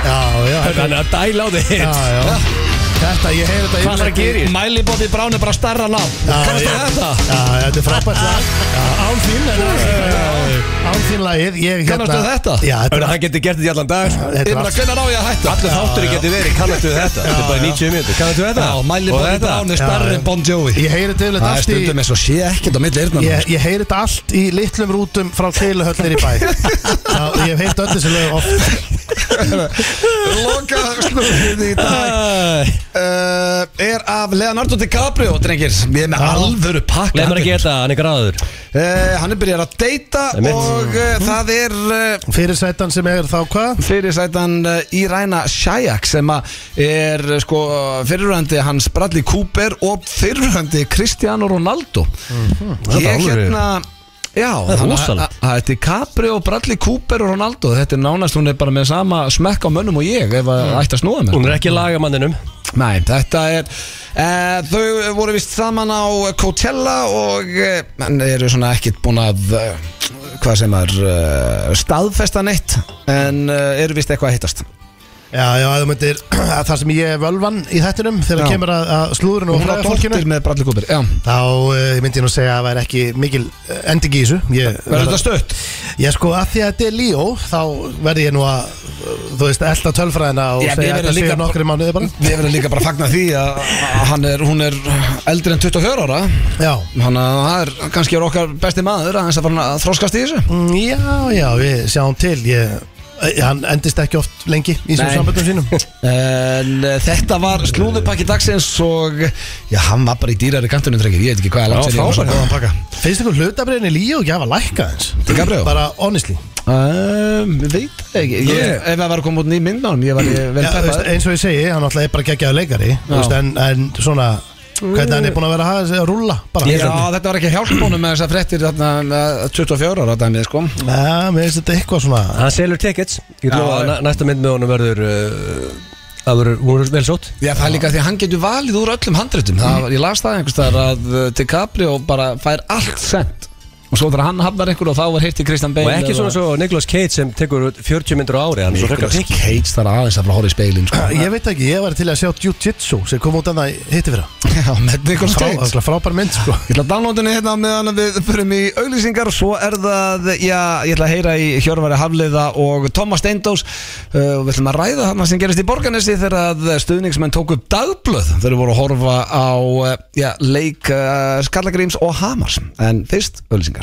Speaker 3: Já, já, herri,
Speaker 2: Þannig að dæla á þig
Speaker 3: já, já Þetta, ég heyri
Speaker 2: Hvað
Speaker 3: þetta
Speaker 2: það
Speaker 3: innleggi.
Speaker 2: gerir?
Speaker 1: Miley Bobby Brown er bara starra nafn
Speaker 3: Já,
Speaker 1: Kannastu
Speaker 3: já.
Speaker 1: við þetta?
Speaker 3: Já, þetta er frábært lag Já, Án þín en- Án þín lagið ég, hérna,
Speaker 1: Kannastu þetta?
Speaker 3: Já, þetta
Speaker 2: Þannig
Speaker 3: er
Speaker 2: að hann getur gert þetta í allan dag
Speaker 3: Þetta
Speaker 1: Ég
Speaker 3: er
Speaker 1: meina,
Speaker 3: allt-
Speaker 1: hvernig á ég að hætta?
Speaker 2: Allir þáttur getur verið, kannast við þetta Þetta er bara 90 minútur, kannast við þetta
Speaker 1: Já, Miley
Speaker 2: Og
Speaker 1: Bobby
Speaker 2: þetta?
Speaker 1: Brown er
Speaker 3: Já,
Speaker 1: starri
Speaker 3: já.
Speaker 1: en Bon Jovi
Speaker 3: Ég heyri þetta yfirleitt
Speaker 1: Það er
Speaker 3: allt í
Speaker 1: stundum eins og sé ekkert á milli eyrna
Speaker 3: Ég, ég heyri þetta allt í litlum rútum frá keiluhöllir í bæ Já, Ég hef heyrt öll þessi lög oft
Speaker 1: Loka slúðið í dag
Speaker 2: Æ,
Speaker 1: uh, Er af Leonardo DiCaprio, drengir Við erum með alvöru pakka
Speaker 2: Leif mér að geta, hann er gráður
Speaker 1: Eh, Hann er byrjar að deyta
Speaker 2: Það er mitt.
Speaker 1: og uh,
Speaker 2: Mhm.
Speaker 1: það er uh,
Speaker 3: Fyrir sætan sem er þá hvað?
Speaker 1: fyrirsætan uh, Irina Shayk sem að er uh, sko fyrirhandi hans Bradley Cooper og fyrirhandi Cristiano Ronaldo
Speaker 2: Það Mhm. er
Speaker 1: ég
Speaker 2: alveg-
Speaker 1: hérna Já,
Speaker 2: er
Speaker 1: þannig að-
Speaker 2: rosalegt.
Speaker 1: að- að þetta er Capri og Bradley Cooper og Ronaldo Þetta er nánast, hún er bara með sama smekk á mönnum og ég ef að ætti að snúa mér
Speaker 2: Mhm. Hún er ekki lagamanninum
Speaker 1: Nei, þetta er e, Þau voru vist saman á Coachella og e, en eru svona ekkit búin að e, hvað sem er e, staðfesta neitt en e, eru vist eitthvað að hittast
Speaker 3: Já, já, þú myndir að það sem ég er völvan í þettinum þegar
Speaker 1: Já.
Speaker 3: kemur að, að slúðurinn
Speaker 1: og
Speaker 3: og
Speaker 1: hún á
Speaker 3: fræða fólkinu
Speaker 1: dóttir með Bradley Cooper Já,
Speaker 3: Þá uh, myndi ég nú segja að það væri ekki mikil uh, ending í þessu Ég,
Speaker 1: verður þetta stött?
Speaker 3: ég sko, að því að þetta er Líó þá verði ég nú að, uh, þú veist, elda tölfræðina og
Speaker 1: Já, við
Speaker 3: segja að
Speaker 1: verðum
Speaker 3: þetta
Speaker 1: líka-
Speaker 3: séu nokkri mánuði bara
Speaker 1: Við verðum líka bara að fagna því að að hann er, hún er eldri en 24 ára
Speaker 3: Já,
Speaker 1: Þannig að það er kannski er okkar besti maður aðeins að fara hann að þroskast í þessu
Speaker 3: Mm, já, já, við sjáum til ég, eh, Hann endist ekki oft lengi í þessum
Speaker 1: Nei.
Speaker 3: samböndum sínum
Speaker 1: En eh, þetta var slúðupakki dagsins og já, hann var bara í dýrari kantunum drengir, ég veit ekki hvað er langt
Speaker 2: Já,
Speaker 1: sér ég var
Speaker 2: frábært.
Speaker 1: svona góðan pakka
Speaker 3: Finnst ykkur hlutabriðinni líu og gjafa lækka eins?
Speaker 1: Til Gabriel?
Speaker 3: Bara honestly
Speaker 1: Um, við veit það ekki ég,
Speaker 2: Ég-
Speaker 1: Ef það var að koma út ný mynd á hann Ég var ég vel
Speaker 3: Já, þú veist,
Speaker 1: peppað
Speaker 3: eins og ég segi, hann alltaf er bara geggjaður leikari þú veist, en, en svona hvernig hann er búin að vera að hafa sig að rúlla bara
Speaker 1: Já, þetta var ekki hjálpunum með þessar fréttir þarna, eh, 24 ára dæmið sko
Speaker 3: Já, mér finnst þetta eitthvað svona
Speaker 2: Hann selur tickets Ég
Speaker 1: Já,
Speaker 2: trú að
Speaker 1: já.
Speaker 2: næ- næsta mynd með honum verður uh, Það verður, hún verður vel sótt
Speaker 1: Já, það er líka því að hann getur valið úr öllum handritum það, var- Ég las það einhvers þar að eh, DiCaprio bara fær allt sent Og svo þegar hann hafnar einhver og þá var heitt í Kristjan Bale
Speaker 2: Og ekki svona
Speaker 1: eða-
Speaker 2: svo Nicolas Cage sem tekur út 40 myndur á ári Hann er svo hrekka
Speaker 1: Nicolas
Speaker 2: pikk
Speaker 1: Cage þar aðeins að fara að horfa í speilin sko.
Speaker 3: Ég veit ekki, ég var til að sjá Jiu-Jitsu sem kom út annað hitti fyrir
Speaker 1: Já, með Nicolas
Speaker 3: Frá,
Speaker 1: Cage
Speaker 3: örugglega frábær mynd sko
Speaker 1: Ég ætla að downloada henni hérna meðan að við förum í auglýsingar Svo er það, já, ég ætla að heyra í Hjörvari Hafliða og Thomas Steindós uh, og Við ætlum að ræða hann sem gerist í Borganesi Þegar að stuðningsmenn tók upp dagblöð Þeir voru að horfa á, uh, já, leik uh, Skallagríms og Hamars En fyrst, auglýsingar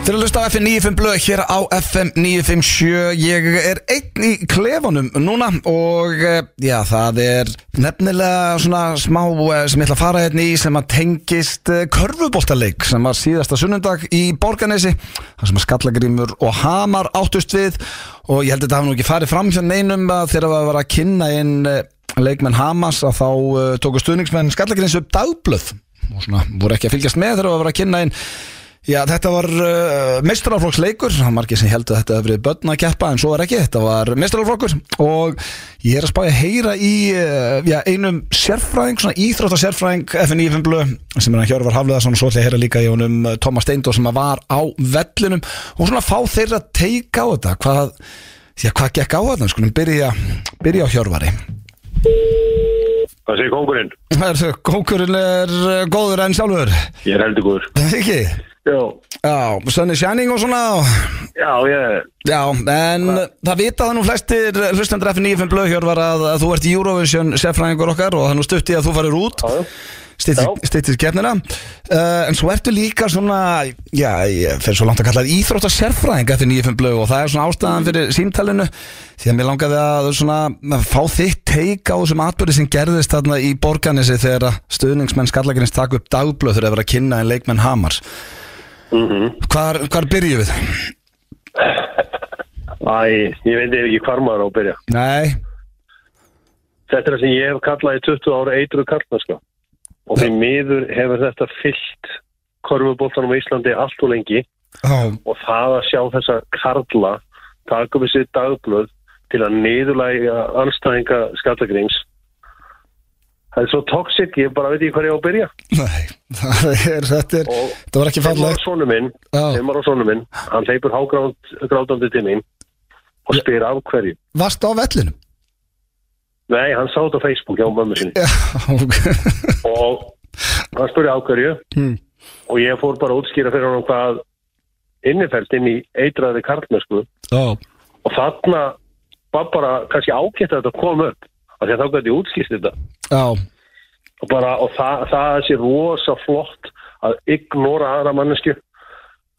Speaker 1: Þeir að hlusta á FM 95 blöð hér á FM 957 Ég er einn í klefanum núna og eh, já, það er nefnilega svona smá eh, sem ég ætla að fara hérna í sem að tengist eh, körfuboltaleik sem var síðasta sunnundag í Borganesi þar sem að Skallagrímur og Hamar áttust við og ég held að þetta hafi nú ekki farið fram hjá neinum að þegar það var að kynna inn eh, leikmenn Hamas að þá uh, tóku stuðningsmenn Skallagríms upp dagblöð og svona voru ekki að fylgjast með þegar það var að kynna inn Já, þetta var uh, mestrarflokksleikur, það var margir sem heldur að þetta hefur verið börn að keppa en svo er ekki, þetta var mestrarflokkur og ég er að spája að heyra í uh, já, einum sérfræðing, svona íþróttasérfræðing FNÍFM Blu sem er hann Hjörvar Hafleðarsson og svo ætla ég að heyra líka í honum eh, Tómas Steindó sem að var á vellinum og svona fá þeirra teika á þetta, hvað, já, hvað gekk á þetta, skulum byrja, byrja á Hjörvari.
Speaker 4: Hvað segir kókurinn?
Speaker 1: Herðu, Kókurinn er eh, góður en sjálfur,
Speaker 4: Ég er heldur góður.
Speaker 1: ekki?
Speaker 4: Já,
Speaker 1: Já, Sunny Shining og svona og...
Speaker 4: já, ég,
Speaker 1: Já, en það vita það nú flestir hlustendur F95 Blöðhjör var að, að þú ert í Eurovision sérfræðingur okkar og það er nú stutti að þú farir út
Speaker 4: já, Já.
Speaker 1: stýttir keppnina uh, en svo ertu líka svona já, ég fer svo langt að kalla það íþróttar sérfræðing F95 Blöð og það er svona ástæðan fyrir símtalinu því að mér langaði að svona að fá þitt teik á þessum atbyrði sem gerðist þarna í borganessi þegar að stuðningsmenn Skallagrins takk upp dagblöð þegar að vera að kynna en leikmenn Hamars
Speaker 4: Mhm.
Speaker 1: Hvar, hvar byrjum við?
Speaker 4: æ, ég veit ekki hvar maður á að byrja.
Speaker 1: Nei,
Speaker 4: Þetta er það sem ég hef kallað í 20 ára eitruð karlmennska. Og því miður hefur þetta fyllt korfuboltanum á Íslandi allt og lengi
Speaker 5: Já,
Speaker 4: og það að sjá þessa karla taka við sér dagblöð til að niðurlæga anstæðinga skallagrings það er svo toxic, ég bara veit ekki hvað ég á að byrja
Speaker 1: Nei, það er, þetta er,
Speaker 4: Og-
Speaker 1: það var ekki
Speaker 4: fimm ára
Speaker 1: fallegt
Speaker 4: sonu minn,
Speaker 1: Já.
Speaker 4: fimm ára sonu minn hann leipur hágrátandi til mín og spyr af hverju
Speaker 1: Varst á vellinum?
Speaker 4: nei, hann sá þetta á Facebook hjá mömmu sinni
Speaker 1: Já, ok
Speaker 4: og hann spurði af hverju og ég fór bara að útskýra fyrir hann hvað innifælt inn í eitraði karlmennsku
Speaker 1: Já,
Speaker 4: og þarna var bara kannski ágætt að þetta kom upp af því að þá gæti ég útskýrt þetta
Speaker 1: já,
Speaker 4: og, bara, og það, það sé rosa flott að ignora aðra mannesku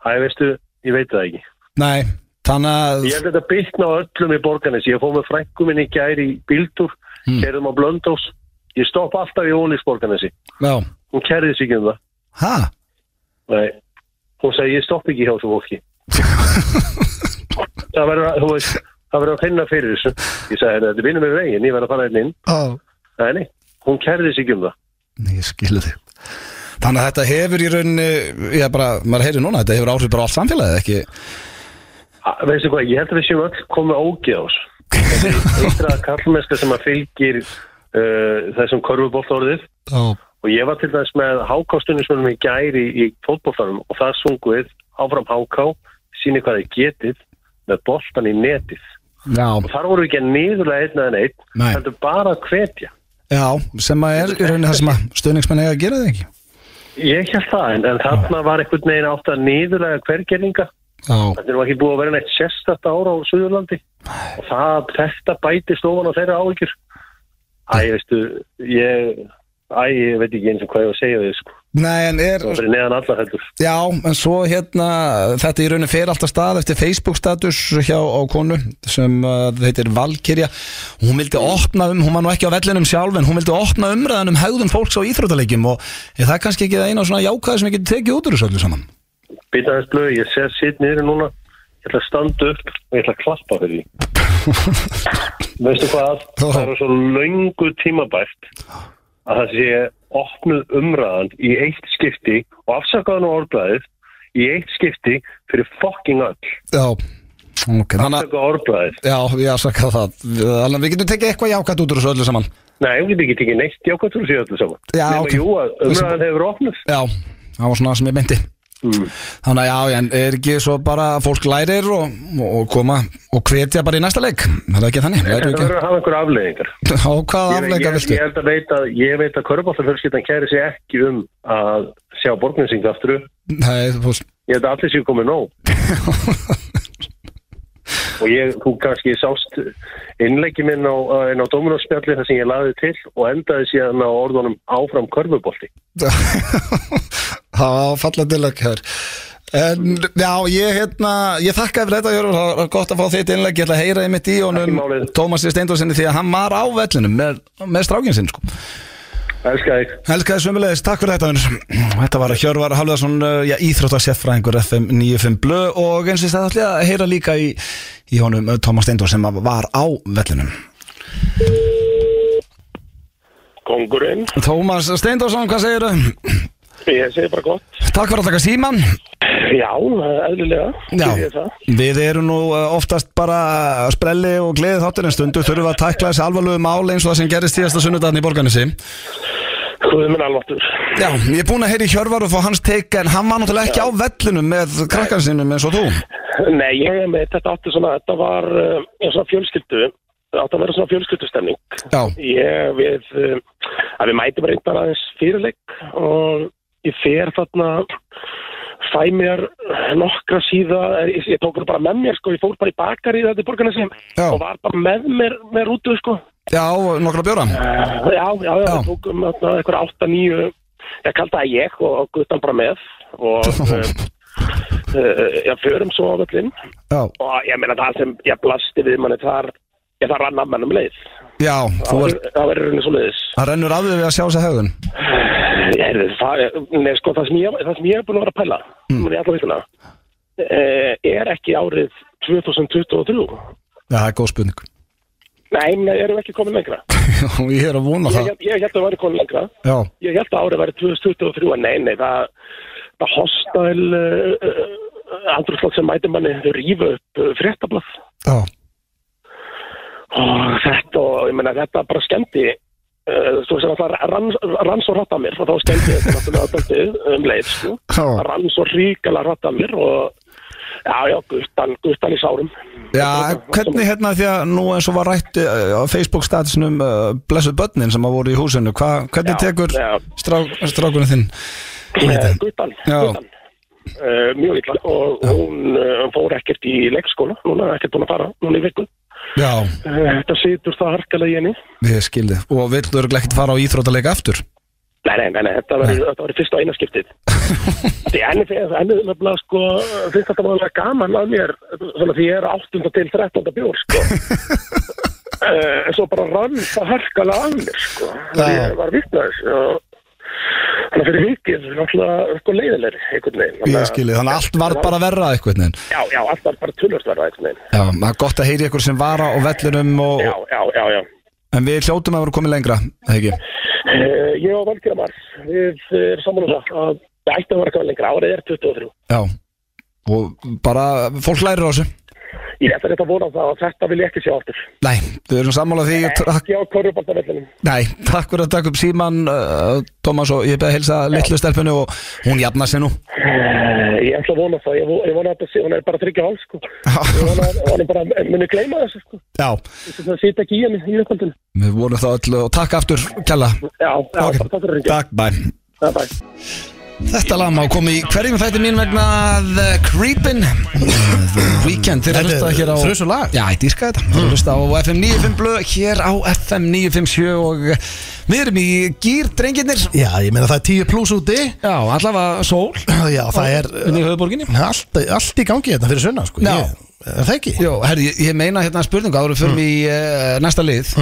Speaker 4: Æ, veistu, ég veit það ekki
Speaker 1: nei, þannig að
Speaker 4: Ég held að þetta bytna á öllum í borganis Ég fóð með frænku minni í gær í bíldur mm. Kerðum á Blöndós Ég stopp alltaf í ólís borganesi
Speaker 1: Já,
Speaker 4: Hún kerði sig ekki um það
Speaker 1: ha,
Speaker 4: Nei. Hún segi ég stopp ekki hjá þessu fólki Það verður að, þú veist Það verður að finna fyrir þessu Ég sagði henni, þetta vinnum við veginn, ég verður að fara hérna inn
Speaker 1: já,
Speaker 4: Nei, nei, hún kerði sig ekki um það
Speaker 1: nei, ég skilu þig Þannig að þetta hefur í rauninni, ég bara, maður heyri núna, þetta hefur áhrif bara á allt samfélagið, ekki?
Speaker 4: Að- Veistu hvað, ég held að við séum öll komið ógeð á þessu Eitra kallmennska sem að fylgir uh, þessum korfubolt orðið
Speaker 1: Já,
Speaker 4: og ég var til dæmis með hákástunismunum í gæri í fótbolltarum og það sunguð áfram háká síni hvað þið getið með boltan í netið og
Speaker 1: já,
Speaker 4: þar voru ekki að niðurlega einn eða neitt
Speaker 1: Nei.
Speaker 4: heldur bara að hvetja
Speaker 1: já, sem að er í rauninni það sem að stuðningsmenn eiga að gera þig ekki?
Speaker 4: ég held það en, en þarna var einhvern veginn átt að niðurlega hvergerninga
Speaker 1: Já,
Speaker 4: þetta var ekki búið að vera neitt sérstætt ára á Suðurlandi og það, þetta bætist ofan á þeirra áhyggjur Æ, veistu, ég Æ, ég veit ekki eins og hvað ég var að segja við þig, sko.
Speaker 1: nei, en er,
Speaker 4: Það fyrir neðan allar heldur.
Speaker 1: já, en svo hérna, þetta í rauninni fer alltaf stað eftir Facebook-status hjá á konu sem uh, heitir Valkyrja. Hún vildi opna um, hún var nú ekki á vellinum sjálf, en hún vildi opna umræðan um hegðun fólks á íþrótaleikjum og er það kannski ekki það eina svona jákvæði sem við getum tekið út úr þessu öllu saman?
Speaker 4: Býta þess blöð, ég sé sitt niður núna Ég ætla að standa upp og ég ætla að klappa fyrir því Veistu hvað? Það er svo löngu tímabært að það sé opnuð umræðan í eitt skipti og afsakaðan og orðblæðið í eitt skipti fyrir fucking öll
Speaker 1: Já, ok, þannig að
Speaker 4: afsakaðan orðblæðið
Speaker 1: Já, ég afsaka það Þannig að við getum tekið eitthvað jákvæmt út úr þessu öllu saman
Speaker 4: Nei, ég get ekki tekið neitt jákvæmt úr sér öllu saman
Speaker 1: Já,
Speaker 4: Nema
Speaker 1: ok.
Speaker 4: jú að umræðan hefur opnuð
Speaker 1: Já, það var svona sem ég myndi Þannig að já, en er ekki svo bara að fólk lærir og, og koma og hvetja bara í næsta leik Það er ekki þannig
Speaker 4: Þetta
Speaker 1: lærir
Speaker 4: verður að hafa einhver afleiðingar
Speaker 1: ekki Á hvaða
Speaker 4: Ég-
Speaker 1: afleika
Speaker 4: ég-
Speaker 1: viltu?
Speaker 4: Ég held að veit að, ég veit að Körbáttarfjörskiptan kæri sig ekki um að sjá borgninsing aftur upp.
Speaker 1: Nei, þú veist
Speaker 4: Ég held að allir séu komið nóg. og ég, þú kannski sást innleggi minn á, á- inn á Dominos-spjalli þar sem ég laði til og endaði síðan á orðunum áfram körfubolti.
Speaker 1: Það var falla til að kjör En já, ég hérna Ég þakka fyrir þetta, Jörgur Það var gott að fá þitt innlegg Ég ætla að heyra einmitt í
Speaker 4: Ekki
Speaker 1: honum
Speaker 4: málið.
Speaker 1: Tómasi Steindorsinni því að hann var á vellinum með, með strákinn sinn sko.
Speaker 4: Elskar þig.
Speaker 1: Elskaði sömulegis, takk fyrir þetta vinur. Þetta var Hjörvar Halvarsson, já, íþróttarsjæffræðingur FM 95 Blö og eins og þess að ætla ég að heyra líka í, í honum eh, Tómas Steindor sem að var á vellinum.
Speaker 6: Kongurinn,
Speaker 1: Tómas Steindorsson, hvað segir þau?
Speaker 6: ég segi bara gott.
Speaker 1: Takk fyrir að taka síman.
Speaker 6: Já, eðlilega. Ég segi
Speaker 1: Já,
Speaker 6: það.
Speaker 1: við erum nú eh, oftast bara eh, sprelli og gleðið þáttur en stundu þurfum við að tækla þessi alvarlegu mál eins og það sem gerist tíðasta sunnudagarn í borganessi.
Speaker 6: Guð minn alvartur.
Speaker 1: Já, ég er búin að heyra í Hjörvar og fá hans teik en hann var náttúrulega ekki á vellinum með krakkan sínum eins og þú.
Speaker 6: Nei, ég hef með þetta átti svona, þetta var
Speaker 4: eh,
Speaker 6: uh, svona fjölskyldu, þetta átti að vera svona fjölskyldustemning.
Speaker 1: Já,
Speaker 6: Ég við, uh, að við mætum reyndar aðeins fyrirleik og ég fer þarna, fæ mér nokkra síða, eh, ég, ég tók þetta bara með mér sko, ég fór bara í bakar í þetta í borgarnesi
Speaker 1: Já.
Speaker 6: og var bara með mér með rútu sko. Eh,
Speaker 1: já, nokkra bjóra.
Speaker 6: Já, já, já,
Speaker 1: Já.
Speaker 6: við tókum þarna einhver 8-9, ég kaldi það ég og guttan bara með og uh, uh, já, förum svo á völlinn
Speaker 1: Já,
Speaker 6: og ég meina það sem ég blasti við manni þar, ég þar rann af mennum leið.
Speaker 1: já, þú
Speaker 6: Það
Speaker 1: var,
Speaker 6: verður- það verður henni svo leiðis.
Speaker 1: það rennur af því við að sjá þessa hegðun
Speaker 6: Ég heyrði, það, er- nei, sko, það sem ég, það sem ég er búin að vera að pæla, mm. allan vikuna, eh, er ekki árið 2023.
Speaker 1: Já, það er góð spurning
Speaker 6: Nei, nei, erum við ekki komin lengra.
Speaker 1: Ég er að vona
Speaker 6: Ég,
Speaker 1: það
Speaker 6: hélt- ég held að við væri komin lengra.
Speaker 1: Já,
Speaker 6: Ég held að árið væri 2023 en Nei, nei, það, það hostel uh, uh,
Speaker 4: andrúslátt sem mætir manni rífa upp eh, fréttablað
Speaker 1: Já,
Speaker 4: og þetta, og ég meina þetta bara skemmti
Speaker 6: eh,
Speaker 4: uh, svo sem alltaf rann, rann svo hratt að mér og þá skemmti þetta náttúrulega döldið um leið sko.
Speaker 1: Já.
Speaker 4: rann svo ríkala hratt að mér og já, já, guttan, guttan í sárum
Speaker 1: já en hvernig hérna því að nú eins og var rætt eh, á Facebook statusnum uh, blessuð börnin sem að voru í húsinu hva, hvernig
Speaker 4: Já,
Speaker 1: tekur
Speaker 4: já.
Speaker 1: strák, strákunum þinn
Speaker 4: Eh, guttan,
Speaker 1: Já.
Speaker 4: guttan Uh, mjög illa og hún uh, fór ekkert í leikskóla núna er ekkert búin að fara núna í vikun
Speaker 1: Já,
Speaker 4: uh, þetta situr það harkalega í henni
Speaker 1: ég skildi og vill örglega ekkert fara á íþrótaleika aftur
Speaker 4: Nei, nei, nei, nei þetta var, þetta var fyrst og eina skiptið Því enni fyrir enni nefnilega sko finnst þetta mjög gaman að mér svona því ég er 8. til 13. bjór sko Eh, en svo bara rann það harkala að mér sko ég var vitnaðis og þannig að fyrir vikið náttúrulega sko leiðilegri einhvern veginn Þannig
Speaker 1: Ég
Speaker 4: að-
Speaker 1: skildi, þannig að allt var bara verra eitthvað neginn.
Speaker 4: Já, já, allt var bara tölvöld verða einhvern veginn
Speaker 1: Já, það er gott að heyri ykkur sem vara á vellinum og,
Speaker 4: Já, já, já, já
Speaker 1: en við hljótum að vera komið lengra eða ekki?
Speaker 4: Eh, Ég og Valgir Amar við erum saman um það að það ætti að vera eitthvað lengra árið er 23
Speaker 1: Já, og bara fólk lærir á þessu
Speaker 4: Ég ætla þetta að vona það að þetta vil ég ekki sjá aftur
Speaker 1: Nei, þau erum sammála því og takk,
Speaker 4: ekki á korruboltavellinum
Speaker 1: Nei, takk fyrir að taka upp síman uh, Tómas og ég beði að hilsa litlu stelpunu og hún jafna sig nú
Speaker 4: Eh, ég ætla að vona það, ég, vo- ég vona að það sé- hún er bara þryggja hálf sko ég vona að hún er bara muni gleyma þessu sko
Speaker 1: Já,
Speaker 4: þess að það sýta ekki í henni í upphandinu
Speaker 1: við vorum þá öll og takk aftur, Kjalla
Speaker 4: já, já, okay. takk fyrir ringja
Speaker 1: Takk, bæ
Speaker 4: bye bye
Speaker 1: Þetta lag má koma í hverjum þætti mín vegna The Creepin The Weekend, þeir
Speaker 3: Þetta er Mm.
Speaker 1: hlusta hér á
Speaker 3: þrusu lag.
Speaker 1: Já, ég dýrka þetta, þeir hlusta á FM 95 blöð hér á FM 957 og við erum í gýr, drengirnir
Speaker 3: Já, ég meina það er 10 pluss úti
Speaker 1: Já, allavega sól
Speaker 3: Já, það er eh,
Speaker 1: inn í höfuborginni
Speaker 3: allt, allt í gangi hérna fyrir sunna sko.
Speaker 1: Já.
Speaker 3: ég, Er það ekki?
Speaker 1: Jó, herri, ég, ég meina hérna spurningu áður fyrir mm. í uh, næsta lið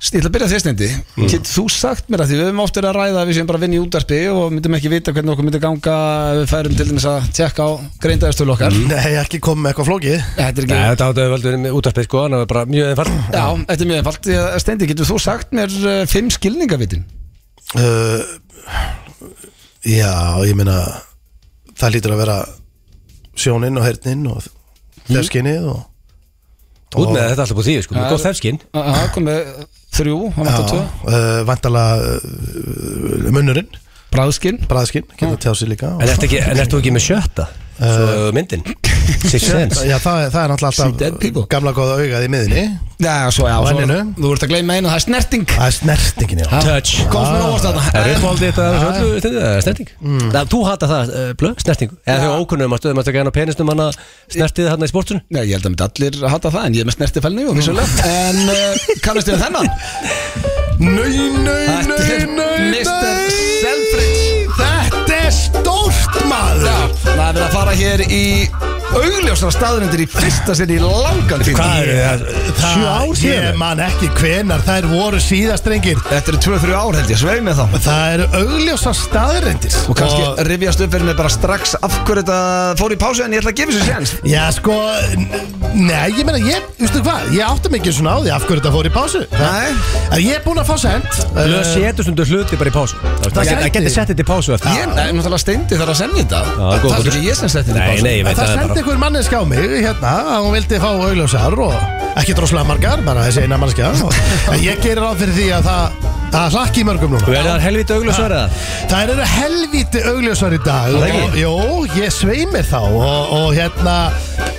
Speaker 1: Ég ætla að byrja þér stendi mm. þú sagt mér að því við höfum oft verið að ræða að við séum bara að vinna í útarpi og myndum ekki vita hvernig okkur myndi ganga ef við færum til dæmis að tjekka á greindaðastölu okkar
Speaker 3: Nei, ekki komið með eitthvað flókið
Speaker 1: Þetta er ekki
Speaker 2: Nei, þetta áttu að veldu með útarpið sko, þannig að það er bara mjög einfalt
Speaker 1: Já, þetta er mjög einfalt Því að, Steindi, getur þú sagt mér uh, fimm skilningavitin?
Speaker 3: uh, Já, ég meina það lítur að vera sjóninn og herninn og þeskinnið og
Speaker 2: Út með þetta alltaf búið því, sko, með gott þefskinn
Speaker 1: Það komið þrjú, hann vantar tvö
Speaker 3: uh, vantala uh, munnurinn,
Speaker 1: Bráðskinn
Speaker 3: bræðskinn, geta tjáð sér líka og,
Speaker 2: En ertu ekki, en ertu ekki með sjötta?
Speaker 1: Eh.
Speaker 2: Svo myndin Six Sense
Speaker 3: Já, það, er- það er náttúrulega
Speaker 1: dead people.
Speaker 3: alltaf gamla góða augað í miðinni
Speaker 1: Já, svo já,
Speaker 3: Á
Speaker 1: svo,
Speaker 3: enninu.
Speaker 1: þú ert að gleyma einu, það er snerting
Speaker 3: Það er snertingin, já
Speaker 2: Touch
Speaker 1: Komst mér óvart þarna Mm.
Speaker 2: Það er
Speaker 1: En-
Speaker 2: uppáldið þetta þessu öllu stundið, það er snerting Það, þú hata það, eh, blöð, snertingu Eða þau um ókunnum að stöðum að taka hann á penisnum hann að snertið hann í sportinu
Speaker 1: Nei, ég held að myndi allir hata það en ég er með snertifælni og vissulega En uh, kannast við þennan?
Speaker 3: Nei, nei,
Speaker 1: Þetta er Mr. Selfridge
Speaker 3: Þetta er stórt maður
Speaker 1: Já, það er verið að fara hér í augljósra staðurindir í fyrsta sinni í langan tíma
Speaker 2: Hvað eru það?
Speaker 3: Sjö ár síðan Ég man ekki hvenar, þær voru síðast rengir
Speaker 1: Þetta eru 2-3 ár held ég, sveig með þá
Speaker 3: Það eru augljósa staðrendir
Speaker 1: Og kannski rifjast upp fyrir mig bara strax af hverju þetta fór í pásu en ég ætla að gefa sér séns
Speaker 3: Já, sko, n- nei, ég meina, ég, veistu hvað, ég átti mikið svona á því af hverju þetta fór í pásu
Speaker 1: Nei.
Speaker 3: En ég er búinn að fá eh, send
Speaker 2: Blöð setur stundu hluti bara í pásu Það
Speaker 3: gæti-
Speaker 2: geti- það geti sett þetta í pásu eftir
Speaker 1: Ég, nei, náttúrulega steindi þarf að semja þetta
Speaker 2: það er góð
Speaker 1: Það er
Speaker 2: punktur.
Speaker 1: ekki ég sem setti þetta í
Speaker 2: Nei,
Speaker 1: pásu.
Speaker 2: nei, ég
Speaker 3: En
Speaker 2: veit
Speaker 3: það
Speaker 2: það er
Speaker 3: sendi
Speaker 2: bara
Speaker 3: einhver manneska á mig hérna að hún vildi fá augljósar og ekki droslega margar, bara þessi eina manneska og- en ég gerir ráð fyrir því að það það hlakki í mörgum
Speaker 2: Þú
Speaker 3: núna
Speaker 2: er það helviti augljósvar eða?
Speaker 3: Það eru helvíti augljósar í dag
Speaker 2: Það er
Speaker 3: og,
Speaker 2: ekki?
Speaker 3: Jó, ég sveimir þá og, og hérna,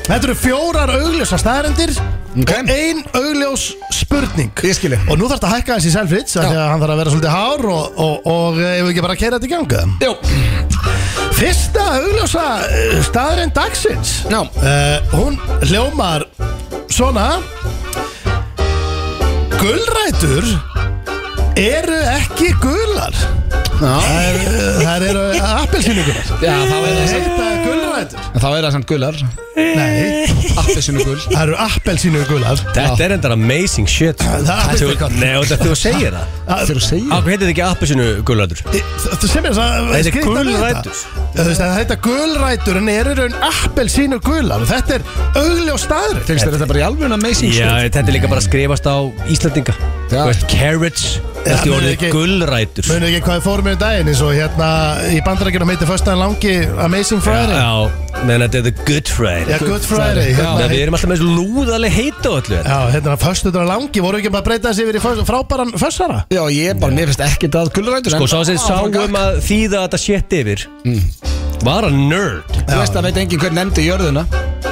Speaker 3: þetta eru fjórar augljósar staðarendir
Speaker 1: Ok.
Speaker 3: og ein augljós spurning
Speaker 1: Ég skil ég.
Speaker 3: Og nú þarf þetta að hækka þessi selfrits af því að hann þarf að vera svolítið hár og, og, og eh, ef við ekki bara að keira þetta í ganga
Speaker 1: Jó,
Speaker 3: Fyrsta augljósa staðurinn dagsins
Speaker 1: Já.
Speaker 3: Eh, Hún hljómar svona Gulrætur eru ekki gular
Speaker 1: já,
Speaker 3: Það eru- Það eru appelsinugular
Speaker 1: já þá er það samt
Speaker 3: Þetta er gulrætur
Speaker 1: En þá er það samt gular
Speaker 3: Nei,
Speaker 1: Appelsinu gul
Speaker 3: það eru appelsinugular
Speaker 2: Þetta er endar amazing shit
Speaker 3: Það er
Speaker 2: Þú-
Speaker 3: eitthvað.
Speaker 2: Nei, þetta er þú að segja það
Speaker 1: Þegar þú segir
Speaker 2: Akkur heitir þetta ekki appelsinu gulrætur?
Speaker 3: Það sem er það
Speaker 2: Þetta er
Speaker 3: skrýtna við
Speaker 2: gulrætur.
Speaker 3: þetta. Þú veist að Þetta er gulrætur en eru í raun appelsinugular og þetta er augljós staður
Speaker 1: Fengst þér þetta bara í alveg amazing
Speaker 2: Já,
Speaker 1: shit?
Speaker 2: þetta er líka bara að skrifast á Íslandinga
Speaker 1: Já.
Speaker 2: Þú veist, carrots
Speaker 3: Já,
Speaker 2: Þetta er
Speaker 3: menn
Speaker 2: orðið
Speaker 3: ekki-
Speaker 2: gulrætur
Speaker 3: Munu ekki hvað við fórum um daginn eins og hérna í bandarækjunum heitir föstaðan langi Amazing Friday
Speaker 2: Já, meðan þetta er The Good Friday
Speaker 3: Já, Good Friday
Speaker 2: Já,
Speaker 3: hérna,
Speaker 2: við erum alltaf með þessu lúðaleg heita á öllu
Speaker 3: Já, hérna, föstudagur langi, voru ekki bara að breyta þessi yfir í föst- frábæran föstara?
Speaker 1: Já, ég bara, mér finnst ekkert að gullurætur
Speaker 2: Sko, sá sem sáum að þýða þetta shit yfir Var að nerd
Speaker 1: Þú veist að veit enginn hver nefndi jörðuna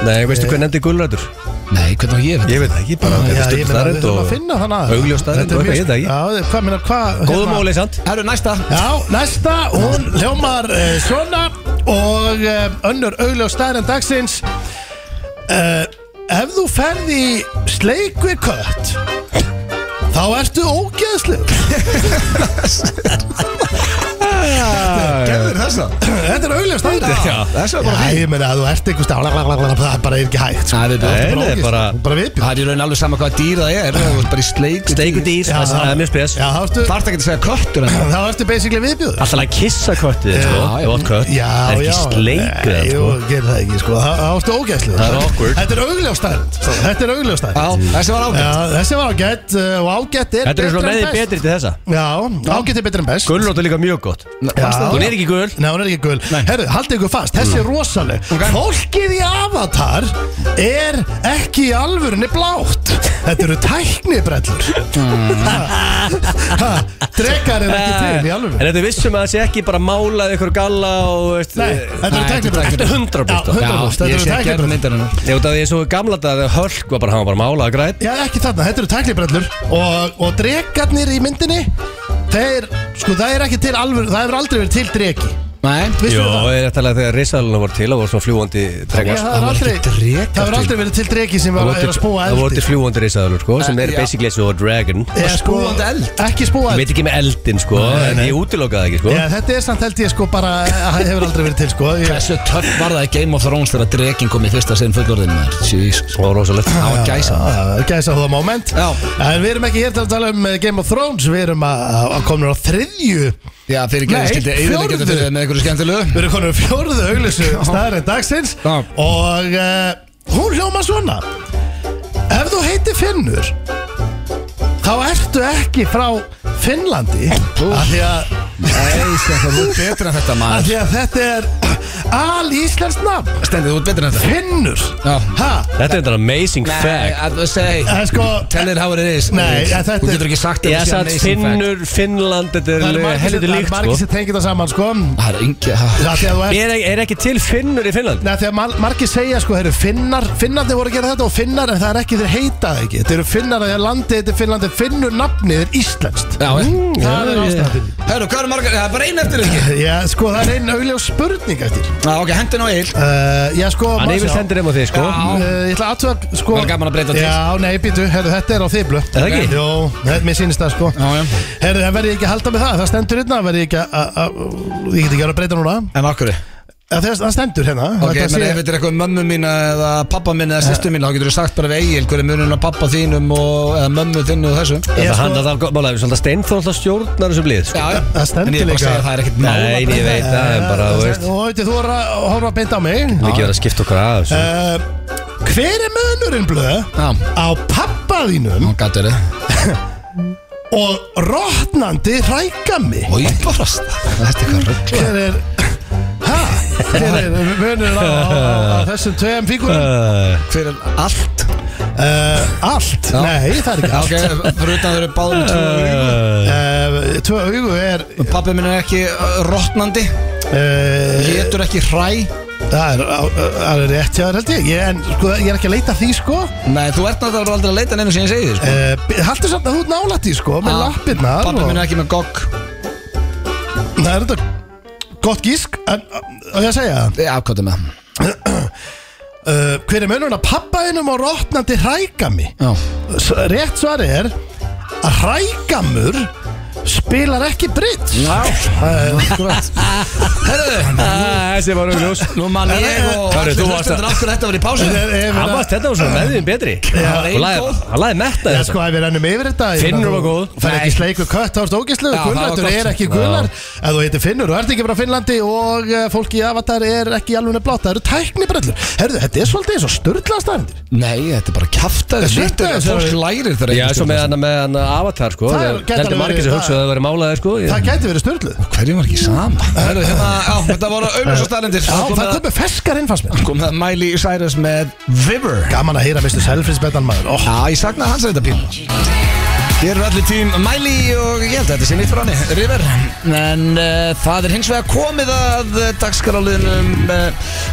Speaker 2: Nei, veistu hvað nefndi gulrætur?
Speaker 1: Nei, hvernig á ég veit
Speaker 2: Ég veit það ekki, bara
Speaker 3: Já,
Speaker 2: þetta er
Speaker 3: ég
Speaker 2: stund
Speaker 3: meina, við
Speaker 2: starrend
Speaker 3: þurfum að finna þann
Speaker 2: og
Speaker 3: aðila.
Speaker 2: augljós starrend
Speaker 3: Þetta er
Speaker 2: og eitthvað,
Speaker 3: mjög-
Speaker 2: ég veit það ekki
Speaker 3: Já, hvað, minna, hvað
Speaker 2: Góðum
Speaker 3: hérna-
Speaker 2: óli, sant?
Speaker 1: Herru, næsta
Speaker 3: Já, næsta, hún hljómar uh, svona og uh, önnur augljós staðarinn dagsins uh, Ef þú ferð í sleikvi kött þá ertu ógeðslu
Speaker 7: Gerður þessa
Speaker 3: Þetta er augljós staðarinn
Speaker 2: Já.
Speaker 7: Þessa
Speaker 3: Já, ég meina að þú ert einhvers staðar það er bara ekki hægt sko.
Speaker 1: Nei, við
Speaker 2: Nei,
Speaker 1: bjóðum
Speaker 2: nei, bara
Speaker 3: Þú bara viðbjörn
Speaker 1: Það er í raun alveg sama hvaða dýr það er Þú ert bara í sleik
Speaker 2: Steiku dýr,
Speaker 3: Já,
Speaker 2: það er mjög spes
Speaker 3: Já, þá ertu,
Speaker 1: Þarf það ekki að segja köttur hérna. en
Speaker 3: þá ertu basically viðbjörn
Speaker 2: Alltaf að kissa köttið, sko
Speaker 1: já.
Speaker 2: Ég vant kött,
Speaker 3: Já,
Speaker 2: það er
Speaker 3: já
Speaker 2: ekki sleikur
Speaker 3: Nei, Jú,
Speaker 2: sko.
Speaker 3: gerir það ekki, sko Þá þá ertu ógeðslu
Speaker 2: Það er awkward.
Speaker 3: Þetta er augljós staðarinn Þetta er augljós staðarinn
Speaker 1: Já, þessi var ágætt
Speaker 3: Já, þessi var ágætt uh, og ágætt er
Speaker 2: Þetta er svona með því betri til þessa
Speaker 3: Já, ágætt er betri en best
Speaker 2: Gulrót er líka mjög gott
Speaker 3: Já.
Speaker 2: Hún er ekki gul
Speaker 3: Nei, hún er ekki gul Herru, haldið ykkur fast, þessi er rosaleg Fólkið í Avatar er ekki í alvörunni blátt Þetta eru tæknibrellur Drekar er ekki til í
Speaker 2: En
Speaker 3: alvörunni
Speaker 2: þetta er vissum að það sé ekki bara málað ykkur galla og veist eh,
Speaker 3: Nei, þetta eru
Speaker 1: Nei, þetta er
Speaker 3: tæknibrellur
Speaker 2: Þetta er 100%
Speaker 3: Já, 100%, þetta
Speaker 1: ég
Speaker 3: eru
Speaker 1: sé ekki að
Speaker 3: tæknibrellur
Speaker 1: mynda hennar
Speaker 2: Ég veit að því ég svo gamla dag að Hölk var bara, hann var bara málað að græt
Speaker 3: Já, ekki þarna, þetta eru tæknibrellur og, og drekarnir í myndinni Þeir, sko, það er ekki til alvöru Það hefur aldrei verið til dregi
Speaker 1: Nei,
Speaker 2: Jó,
Speaker 3: Vissu það?
Speaker 2: ég er réttalega þegar risalina voru til og voru svona fljúandi
Speaker 3: Já,
Speaker 2: drengar
Speaker 3: það er aldrei, það hefur aldrei verið til dregi sem var,
Speaker 2: voru
Speaker 3: er að
Speaker 2: til-
Speaker 3: spúa
Speaker 2: það voru
Speaker 3: eldi
Speaker 2: til fljúandi risalur sko sem er
Speaker 1: já.
Speaker 2: basically svo dragon
Speaker 3: Eða sko,
Speaker 1: spúandi eld?
Speaker 3: Ekki spúa
Speaker 2: Ég
Speaker 3: eld
Speaker 2: veit ekki með eldin sko en ég útilokaði ekki sko
Speaker 3: Já, þetta er samt held ég sko bara Það hefur aldrei verið til sko ég,
Speaker 1: Þessu töff var það í Game of Thrones þegar dregin kom í fyrsta sinn fullorðin maður Jesus
Speaker 2: Það var rosalegt
Speaker 1: Það var gæsa
Speaker 3: Já, Gæsa hóða moment
Speaker 1: Já.
Speaker 3: En við erum ekki hér til að tala um eh, Game of Thrones Við erum að, að að komin á þriðju Við
Speaker 1: Já, fyrir
Speaker 3: Nei,
Speaker 1: gerði skildi
Speaker 3: fjórðu.
Speaker 1: Eðurlega getur fyrir þér með einhverju skemmtilegu
Speaker 3: erum komin á fjórðu auglýsu staðarinn dagsins
Speaker 1: Já.
Speaker 3: Og uh, hún hljóma svona Ef þú heitir Finnur Þá ertu ekki frá Finnlandi Af því að
Speaker 1: Nei, Stefán, þú ert betur en þetta
Speaker 3: Af
Speaker 1: maður
Speaker 3: því að þetta er al íslensk nafn
Speaker 1: Stendið, þú ert betur en þetta
Speaker 3: Finnur
Speaker 1: Já.
Speaker 3: Ha?
Speaker 2: Þetta er þetta amazing
Speaker 1: Nei,
Speaker 2: fact
Speaker 1: að þú segi
Speaker 3: Það er sko
Speaker 1: Tell it how it is
Speaker 3: Nei, ja, þetta
Speaker 1: Þú
Speaker 3: er-
Speaker 1: getur ekki sagt að
Speaker 2: Ég
Speaker 1: þetta sé
Speaker 2: satt
Speaker 1: amazing fact.
Speaker 2: Finnur, Finnland Þetta
Speaker 3: Það
Speaker 2: er
Speaker 3: eru margir sem-
Speaker 2: helviti
Speaker 3: það eru
Speaker 2: líkt
Speaker 3: margir
Speaker 2: sko
Speaker 3: sem tengir það saman sko
Speaker 1: Það er engi
Speaker 3: Það því að þú
Speaker 2: Er,
Speaker 3: er
Speaker 2: er ekki til Finnur í Finnland?
Speaker 3: Nei, því að mar- margir segja sko, þeir eru finnar Finnarnir voru að gera þetta og finnar En það er ekki, þeir heita það ekki Þeir eru finnar að því að landið þetta er Finnlandi Finnur nafnið er íslenskt
Speaker 1: Já, mm,
Speaker 3: Það er ástæðan
Speaker 1: Hörru, hvað eru margar? Það er bara einn eftir ekki
Speaker 3: Já, sko, það er einn augljós spurning eftir
Speaker 1: Já, ok, hendur nú eil
Speaker 3: uh, Já, sko
Speaker 2: Hann
Speaker 3: má
Speaker 2: yfir
Speaker 3: sjá.
Speaker 2: sendir um á þig sko
Speaker 1: Já.
Speaker 3: Uh, Ég ætla aðtöða, sko
Speaker 1: Það er gaman að breyta til.
Speaker 3: Já, nei, býtu, herru, þetta er á þiblu
Speaker 2: það ekki?
Speaker 3: Jó, þetta- mér sýnist það, sko
Speaker 1: Já, já.
Speaker 3: Herru, það verði ég ekki að halda með það Það stendur hérna, verði ég ekki að- að að- Ég get ekki að breyta núna
Speaker 1: En okkur
Speaker 3: Já, þess- Það stendur hérna
Speaker 1: Ok,
Speaker 3: Þetta
Speaker 1: menn
Speaker 3: sé-
Speaker 1: ef þetta er eitthvað mömmu mín eða pappa mín eða sýstu mín þá getur þú sagt bara við eigil hverju munurinn á pappa þínum og, eða mömmu þinnu og þessu
Speaker 2: Það
Speaker 3: Ég
Speaker 2: er
Speaker 3: sko-
Speaker 2: hann að það er málega Svolítið steinþór alltaf stjórnar þessu blíð sko.
Speaker 1: Já, já
Speaker 3: Það
Speaker 1: En
Speaker 3: stendur
Speaker 1: ég er bara að
Speaker 3: líka.
Speaker 1: segja að það er ekkert mál að
Speaker 2: Nei, ég
Speaker 1: breyta.
Speaker 2: veit það
Speaker 3: sko-
Speaker 2: er bara, þú veist
Speaker 3: Þú veit, þú voru að horfa beint á mig
Speaker 2: Við ekki verið að skipta okkur að þessu
Speaker 3: uh, Hver er munurinn blöð
Speaker 1: Já.
Speaker 3: á pappa þínum
Speaker 1: Nú, gætu verið
Speaker 3: og rotnandi hrækami?
Speaker 1: Og ég bara Það er eitthvað rögg
Speaker 3: Hver er Hæ? Hver er munurinn á, á, á þessum tveim fígurum?
Speaker 1: Eh.
Speaker 2: Uh,
Speaker 1: Fyrir allt
Speaker 3: Uh, allt?
Speaker 1: Já.
Speaker 3: Nei, það er ekki
Speaker 1: Ok,
Speaker 3: allt
Speaker 1: fyrir utan þau eru báðum tvö augu.
Speaker 3: uh, Tvö augu er
Speaker 1: Pappi minn er ekki uh, rotnandi
Speaker 3: uh,
Speaker 1: Getur ekki hræ
Speaker 3: Það er, það er rétt hjá þér held ég Ég, en, sko, ég er ekki að leita að því sko
Speaker 1: Nei, þú ert náttúrulega aldrei að leita nefnum sem ég segi þér sko.
Speaker 3: uh, Haldur samt að þú nálætt því sko Með
Speaker 1: Ah,
Speaker 3: lappirnar
Speaker 1: Pappi
Speaker 3: og-
Speaker 1: minn er ekki með gogg
Speaker 3: Það er þetta gott gísk En að ég að segja það
Speaker 1: Já, hvað er með það?
Speaker 3: uh, Hver er munurinn að pappaðinum og rotnandi hrækami?
Speaker 1: Já.
Speaker 3: S- Rétt svar er að hrækamur spilar ekki britt
Speaker 2: Þessi var augljós
Speaker 1: Nú man ég og
Speaker 2: Hörru,
Speaker 1: allir
Speaker 2: þú varst
Speaker 1: hlustendur
Speaker 2: að-
Speaker 1: af hverju þetta var í pásu
Speaker 2: Hann var þetta var svona með því betri
Speaker 1: var
Speaker 2: Og
Speaker 1: ein
Speaker 2: lagði-
Speaker 1: góð.
Speaker 2: Hann laði metta
Speaker 3: Já
Speaker 2: þess
Speaker 3: sko, ef við rennum yfir þetta ég
Speaker 2: Finnur
Speaker 3: meina,
Speaker 2: var
Speaker 3: þú-
Speaker 2: góð.
Speaker 3: þú Fær ekki
Speaker 1: Nei.
Speaker 3: sleiku kött, þá erst ógislu
Speaker 1: Já, það var
Speaker 3: Gullartur
Speaker 1: gott.
Speaker 3: er ekki gullar Ef þú heitir Finnur og ert ekki frá Finnlandi Og uh, fólki í Avatar er ekki alveg blátt Það eru tæknibrellur Herðu, þetta er svolítið eins og sturgla staðarindir
Speaker 1: Nei, þetta er bara kjaftaði
Speaker 3: Þetta er
Speaker 1: Þetta er
Speaker 3: þetta
Speaker 1: fólk
Speaker 3: er-
Speaker 1: lærir þegar
Speaker 2: Já,
Speaker 1: ekki
Speaker 2: svo
Speaker 1: stjórnar
Speaker 2: með
Speaker 1: þessu.
Speaker 2: hann með hann avatar sko
Speaker 3: Það er-
Speaker 2: Það
Speaker 3: gæti
Speaker 2: heldur
Speaker 3: alveg
Speaker 2: margir
Speaker 3: verið-
Speaker 2: sem hugsaðu að það væri málaði sko ég-
Speaker 3: Það gæti verið störluð
Speaker 8: Hverjum var ekki sama?
Speaker 1: Herru, hérna, á, þetta voru auðvitað staðlendir
Speaker 3: Já, það komið feskar inn fannst mér
Speaker 1: kom það Miley Cyrus með Viver
Speaker 3: Gaman að heyra Mr. Selfridge betan maður oh.
Speaker 1: Já, ég saknaði hans þetta píl Hér eru allir tím Miley og ég held að þetta sé nýtt frá hann River En uh, það er hins vegar komið að uh, dagskaráliðinum uh,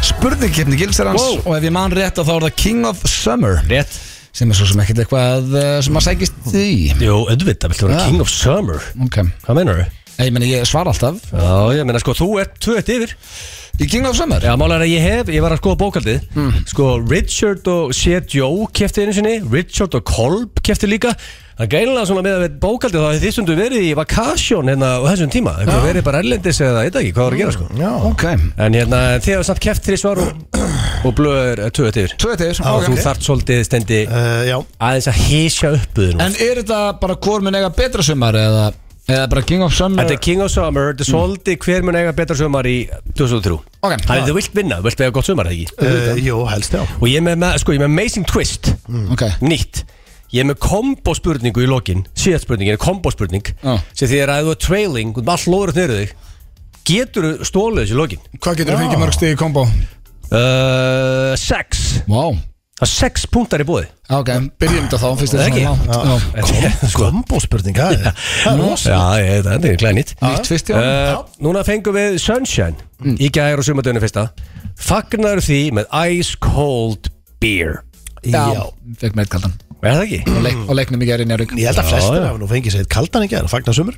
Speaker 1: spurningkeppni gildsarans
Speaker 2: Wow.
Speaker 1: og ef ég man rétt að þá er það King of Summer
Speaker 2: Rétt
Speaker 1: sem er svo sem ekkert eitthvað uh, sem að sækist í
Speaker 2: Jú, auðvitað, viltu vera King of Summer
Speaker 1: Ok, Eh,
Speaker 2: Hvað meinar þau?
Speaker 1: ég meni ég svara alltaf
Speaker 2: Já, ég meina sko, þú ert tvö eitt yfir
Speaker 1: Í King of Summer?
Speaker 2: Já, málega er að ég hef, ég var að skoða bókaldið
Speaker 3: Mm.
Speaker 2: Sko, Richard og Seth Joe kefti einu sinni Richard og Kolb kefti líka Það gænilega svona með að við bókaldið þá hefði þið stundu verið í vakasjón hérna á þessum tíma Eitthvað verið bara erlendis eða eitthvað ekki, hvað var að gera sko
Speaker 3: Já,
Speaker 1: Ok,
Speaker 2: En hérna, þið hefur samt keft þrið svar og, og blöður tvö eitt yfir
Speaker 1: tvö til
Speaker 2: Og
Speaker 1: ok.
Speaker 2: þú þart svolítið stendi
Speaker 3: uh, já.
Speaker 2: aðeins að hísja upp við nú
Speaker 1: En er þetta bara hvort mun eiga betra sumar eða, eða bara King of Summer?
Speaker 2: Þetta er King of Summer, þetta er svolítið hver mun eiga betra sumar í 2003
Speaker 1: Ok.
Speaker 2: Það er þú vilt vinna, þú vilt eiga gott sumar, eða ekki?
Speaker 3: Uh, jú, helst já
Speaker 2: Og ég er með, með- sko, ég er með Amazing Twist
Speaker 1: Ok,
Speaker 2: Nýtt Ég er með kombospurningu í lokin Síðast spurningin er kombospurning
Speaker 1: Já.
Speaker 2: Sem því er að ef þú er trailing um All lóður nýrðu þig Getur þú stólið þessi lokin
Speaker 8: Hvað getur þú fengið mörg stig í kombo?
Speaker 2: uh, Sex
Speaker 1: wow
Speaker 2: Það er sex punktar í bóði
Speaker 1: Ok, byrjum þetta þá fyrst þetta
Speaker 2: Það
Speaker 1: er
Speaker 2: ekki?
Speaker 1: svona langt Já.
Speaker 2: Sko
Speaker 3: Kombospurning, það er- það er rosa
Speaker 2: Já, ég, það er klæðið nýtt
Speaker 1: Nýtt fyrst já
Speaker 2: Uh, núna fengum við Sunshine í gæðar og sumadöðinu fyrsta Fagnar því með Ice Cold Beer
Speaker 1: Já, fekk með kaldan
Speaker 2: Er það ekki?
Speaker 1: og, leik, og leiknum í gerðin í rygg
Speaker 3: Ég held að
Speaker 2: Já,
Speaker 3: flestir
Speaker 2: já.
Speaker 3: hafa nú fengið sér eitt kaldan í gerð og fagnar sumur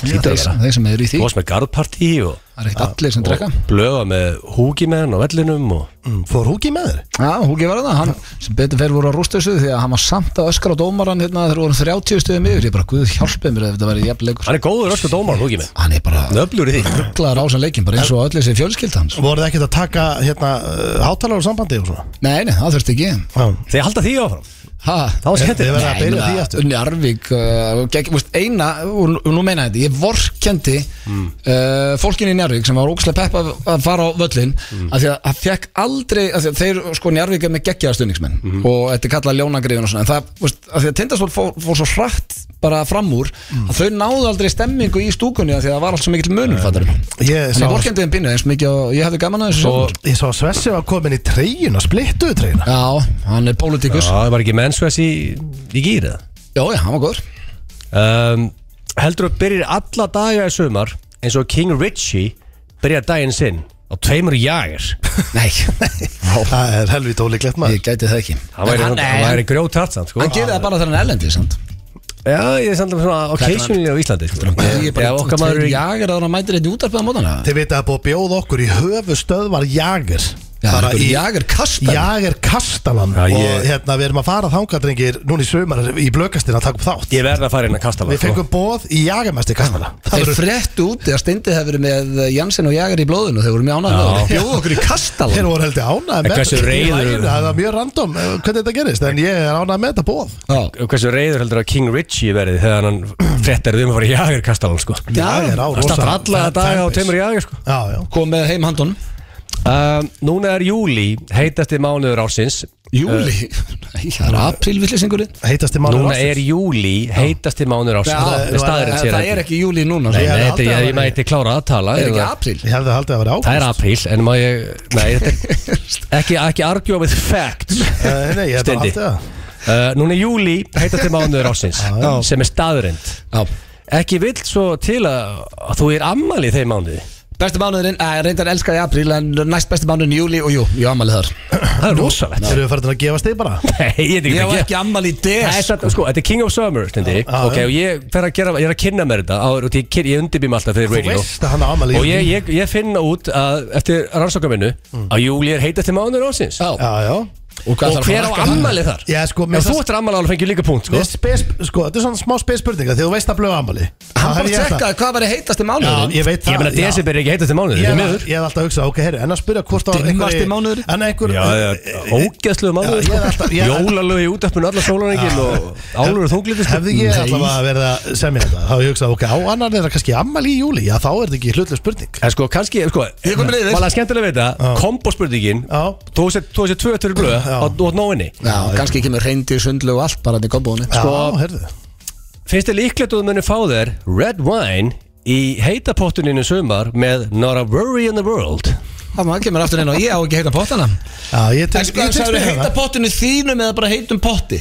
Speaker 1: Þeir þeir sem eru í því
Speaker 2: Þú varst með garðpartí og
Speaker 1: Það er ekkert allir sem drekka
Speaker 2: blöða með húgimenn og vellinum og
Speaker 3: mm, Fór húki með þér?
Speaker 1: Já, Húki var það Hann sem betur fer voru á rústöðsöðu því að hann var samt að öskar á dómaran hérna þegar voru 30 stöðum yfir Ég bara, guð hjálpið mér ef þetta væri jafn leikur
Speaker 2: Hann er góður ösku dómar, húgimenn
Speaker 1: Hann er bara
Speaker 2: Nöflur í því
Speaker 1: rugglaður á sem leikin bara eins og öllu sem fjölskylda hans
Speaker 3: Voruð þið ekkert að taka hérna uh, hátalar og sambandi og svona?
Speaker 1: Nei, nei, það þurfti ekki
Speaker 3: Já
Speaker 2: Þeir halda því áfram
Speaker 1: Ha?
Speaker 2: Það var
Speaker 3: Þið
Speaker 2: skemmtilegt
Speaker 3: verða að byrja því aftur
Speaker 1: Unni Arvík uh, gegn, veist, eina, og nú- nú meina ég þetta ég vorkendi mm. uh, fólkin í Njarvík sem var ókslega peppa að- að fara á völlin af því að það fekk aldrei af því að þeir sko Njarvík er með geggjaða stuðningsmenn og þetta er kallað ljónagrifin og svona en það, veist, af því að tindastól fór, fór svo hratt bara fram úr að þau náðu aldrei stemmingu í stúkunni af því að það var allt svo mikill munum fattar en
Speaker 3: Ég sá,
Speaker 1: ég vorkendi þeim bínu eins mikið og ég hefði gaman að þessu sjálfur.
Speaker 3: ég sá að Svessi var komin í treyjuna, splittuðu treyjuna
Speaker 1: já, hann er
Speaker 2: Já,
Speaker 1: pólitíkus já,
Speaker 2: það var ekki mennsvæs í, í gýrið
Speaker 1: já, hann var góður
Speaker 2: um, Heldur að byrjir alla daga í sumar eins og King Richie byrjar daginn sinn á tveimur jægir
Speaker 1: nei,
Speaker 3: Það er helvít ólíklegt maður
Speaker 1: ég gæti það ekki
Speaker 2: Það væri,
Speaker 1: En
Speaker 2: hann, hann væri grjótart samt sko.
Speaker 1: Hann gerir það bara þegar hann er erlendi samt.
Speaker 2: Já, ég er samt alveg svona occasionally á Íslandi sko.
Speaker 1: Ég er
Speaker 2: Já,
Speaker 1: bara
Speaker 2: okkar maður er-
Speaker 1: jagar að hann mætir eitt útarpið á mótana
Speaker 3: Þið veit að það er búið að bjóða okkur í höfu stöðvar Jagir
Speaker 1: Já, hann er jagar kastar
Speaker 3: Jagir Kastalan
Speaker 2: Já, ég-
Speaker 3: Og hérna, við erum að fara þangadrengir núna í sumar í blökastin að taka upp þátt
Speaker 2: Ég verð að fara inn að sko. kasta
Speaker 3: Við fengum bóð í Jagermæsti Kastala Það
Speaker 1: Þeir
Speaker 3: verður
Speaker 1: fréttu úti að Steindi hefur verið með Jansen og Jagar í blóðinu Þeir voru mjög ánægð með
Speaker 2: Já.
Speaker 1: það Bjóðu okkur í
Speaker 3: Þeir
Speaker 1: kastalan
Speaker 3: voru heldur ánægð
Speaker 2: En hversu reiður-
Speaker 3: Það var mjög random eh, hvernig þetta gerist En ég er ánægð með þetta bóð
Speaker 1: Já,
Speaker 2: Hversu reyður heldur að King Richie verið þegar hann frettar um að fara í jægir kastalan sko.
Speaker 1: Já,
Speaker 3: Jagir á
Speaker 2: Það startar alla daga á tveimur jægir sko.
Speaker 3: Já, já
Speaker 1: kom með heim handun
Speaker 2: Um, núna er júli, heitasti mánuður ársins
Speaker 1: Júli Eh, Nei, það er aprílvillisingurinn
Speaker 3: Heitast í mánu
Speaker 2: Núna er júli, heitasti mánuður ársins Það er staðurinn
Speaker 1: Eh,
Speaker 2: sér
Speaker 1: Það er ekki júli núna
Speaker 2: Nei,
Speaker 1: sko.
Speaker 3: Ég
Speaker 2: nei,
Speaker 3: hefði
Speaker 2: þetta
Speaker 3: haldið að
Speaker 2: er, ég
Speaker 3: það væri-
Speaker 2: mæti klára að tala
Speaker 1: Er ekki
Speaker 2: eða-
Speaker 1: apríl
Speaker 3: Ég hefði haldið að vera ágæð
Speaker 2: Það er apríl, en má ég Nei, þetta er ekki, ekki argue with facts
Speaker 3: Eh, Nei, ég hefði bara
Speaker 2: Steindi.
Speaker 3: haldið að
Speaker 2: uh, Núna er júli, heitasti mánuður ársins Sem er staðurind
Speaker 1: Já.
Speaker 2: Ekki vill svo til að, að þú er ammali þeim mánuði
Speaker 1: Besti mánuðurinn, að reyndar elskaði apríl En næst besti mánuðurinn júli og jú, ég ámæli þar
Speaker 2: Það er rosalegt
Speaker 3: Þeir eru farin að gefa stið bara
Speaker 2: Nei, ég er
Speaker 1: Ég
Speaker 2: ekki
Speaker 1: var
Speaker 2: að
Speaker 1: ekki ammali í
Speaker 2: Það er
Speaker 1: DS
Speaker 2: satt, sko, þetta er King of Summer, stendi
Speaker 3: já.
Speaker 2: Ok, og ég fer að gera, ég er að kynna mér þetta áður, og Ég, ég undirbým alltaf fyrir
Speaker 3: Þú
Speaker 2: radio
Speaker 3: veist að hann á amali
Speaker 2: Og ég, ég, ég finna út að eftir rannsókaminnu að júli er heitast til mánuður ásins
Speaker 1: Já,
Speaker 3: Mm. Já, já
Speaker 1: og hvað
Speaker 2: Og
Speaker 1: þarf að
Speaker 2: hver á
Speaker 1: marka það?
Speaker 2: ammali þar?
Speaker 3: Já, sko, mér
Speaker 2: Ef þú
Speaker 3: fannst-
Speaker 2: ættir ammali ára fengið líka punkt sko.
Speaker 3: Mér spes, sko, þetta er svona smá spesspurninga Þegar þú veist að blöða amali
Speaker 1: Hann bara tjekkaði hvað verið heitast í mánuðurinn
Speaker 3: Ég veit
Speaker 2: Ég
Speaker 3: það
Speaker 2: meina
Speaker 3: já.
Speaker 2: desember er ekki heitast til mánuður
Speaker 3: Ég
Speaker 2: Ég
Speaker 3: hef-
Speaker 2: meður
Speaker 3: ég hef alltaf hugsað, ok, herri, en að spyrja hvort á
Speaker 1: Dimmasti
Speaker 3: einhverju-
Speaker 1: mánuðurinn?
Speaker 3: En einhver
Speaker 2: Já, já, ógeðsluðu mánuður
Speaker 3: ég er
Speaker 2: sko.
Speaker 3: alltaf- ég er-
Speaker 2: Jólalög í útöppinu alla sólarengil og álur og þunglindi sko.
Speaker 3: Hefði ég
Speaker 2: Nei.
Speaker 3: allavega verið að semja þetta Þá hef ég hugsað, ok, á annan er það kannski ammali í júli Já, þá er þetta ekki hlutlega spurning
Speaker 2: En sko, kannski, sko
Speaker 1: Ég kom niður.
Speaker 2: Málega skemmtilega við þetta Kombospurningin
Speaker 3: Já.
Speaker 2: Þú sett þú sett tvö til blöð á nóinni
Speaker 1: Sko,
Speaker 2: Sko-
Speaker 1: Já, kannski kemur reyndi, sundlu og allt bara til kombónu
Speaker 3: Já, herðu
Speaker 2: Finnst þið líklegt að þú munir fá þér Red Wine í heitapottuninu sumar með Not a Worry in the World
Speaker 1: Það maður kemur aftur inn og ég á ekki heita pottana
Speaker 3: Já, ég tek- ég tekst
Speaker 1: Það
Speaker 3: með
Speaker 1: eru heita
Speaker 3: það
Speaker 1: pottinu þínum eða bara heitum potti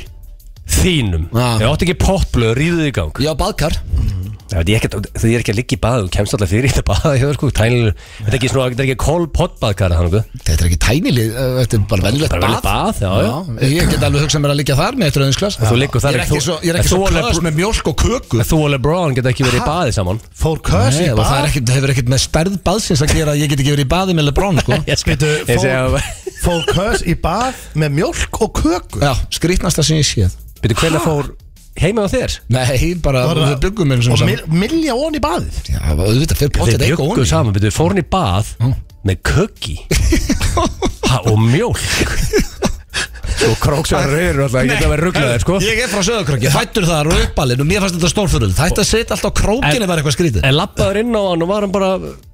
Speaker 2: Þínum
Speaker 1: Já.
Speaker 2: Ég átti ekki pottblöð, ríðu þig í gang
Speaker 1: Já, baðkar
Speaker 2: Það er ekki, að- þú er ekki að ligga í baðu, þú kemst alltaf fyrir í þetta baða hjá þér, sko, tænilegur Þetta er ekki svona, þetta er ekki kól pottbaðkara þannig
Speaker 1: Þetta er ekki tænilið, uh, þetta er bara venjulegt
Speaker 2: Bara
Speaker 1: bað
Speaker 2: vel í bað, já, já
Speaker 1: Ég get alveg hugsað mér að liggja þar með eitt rauðinsglas
Speaker 2: Þú liggur þar
Speaker 1: Ég er
Speaker 2: ekki-
Speaker 1: ekki svo, ég er
Speaker 2: en
Speaker 1: ekki
Speaker 2: þú
Speaker 1: svo
Speaker 2: alveg
Speaker 1: klöðs
Speaker 2: brú-
Speaker 1: með mjólk og köku
Speaker 2: En þú og LeBron geta ekki verið í baði saman
Speaker 3: Fór kös í
Speaker 1: Nei, og það er
Speaker 3: bað
Speaker 1: ekkert- það hefur ekkert með stærð baðsins að gera að Ég get ekki verið í baði með Lebrón sko.
Speaker 2: Ég sko,
Speaker 3: Bíddu,
Speaker 2: ég
Speaker 3: fór-
Speaker 2: segja
Speaker 3: Fór kös í bað með mjólk og köku
Speaker 1: Já, skrýtnasta sem ég séð
Speaker 2: Býttu, hvernig fór heima á þér?
Speaker 1: Nei, bara
Speaker 3: Var það-
Speaker 1: við byggum eins og
Speaker 3: Og
Speaker 1: saman
Speaker 3: mil- milja ón í baðið
Speaker 1: Já, auðvitað fyrir
Speaker 2: Þeir
Speaker 1: pottet eitthvað
Speaker 2: bjöggu
Speaker 1: onni
Speaker 2: saman, býttu, fór hann í bað með köki ha, og mjólk Svo króksar reyður alltaf, ég geta verið rugglaðir, sko
Speaker 1: Ég er frá söðakröki, fættur þar og uppalinn og mér fannst þetta stórfurul Þetta setja alltaf á krókinni var eitthvað skrítið
Speaker 2: En lappaður inn á hann og var hann bara,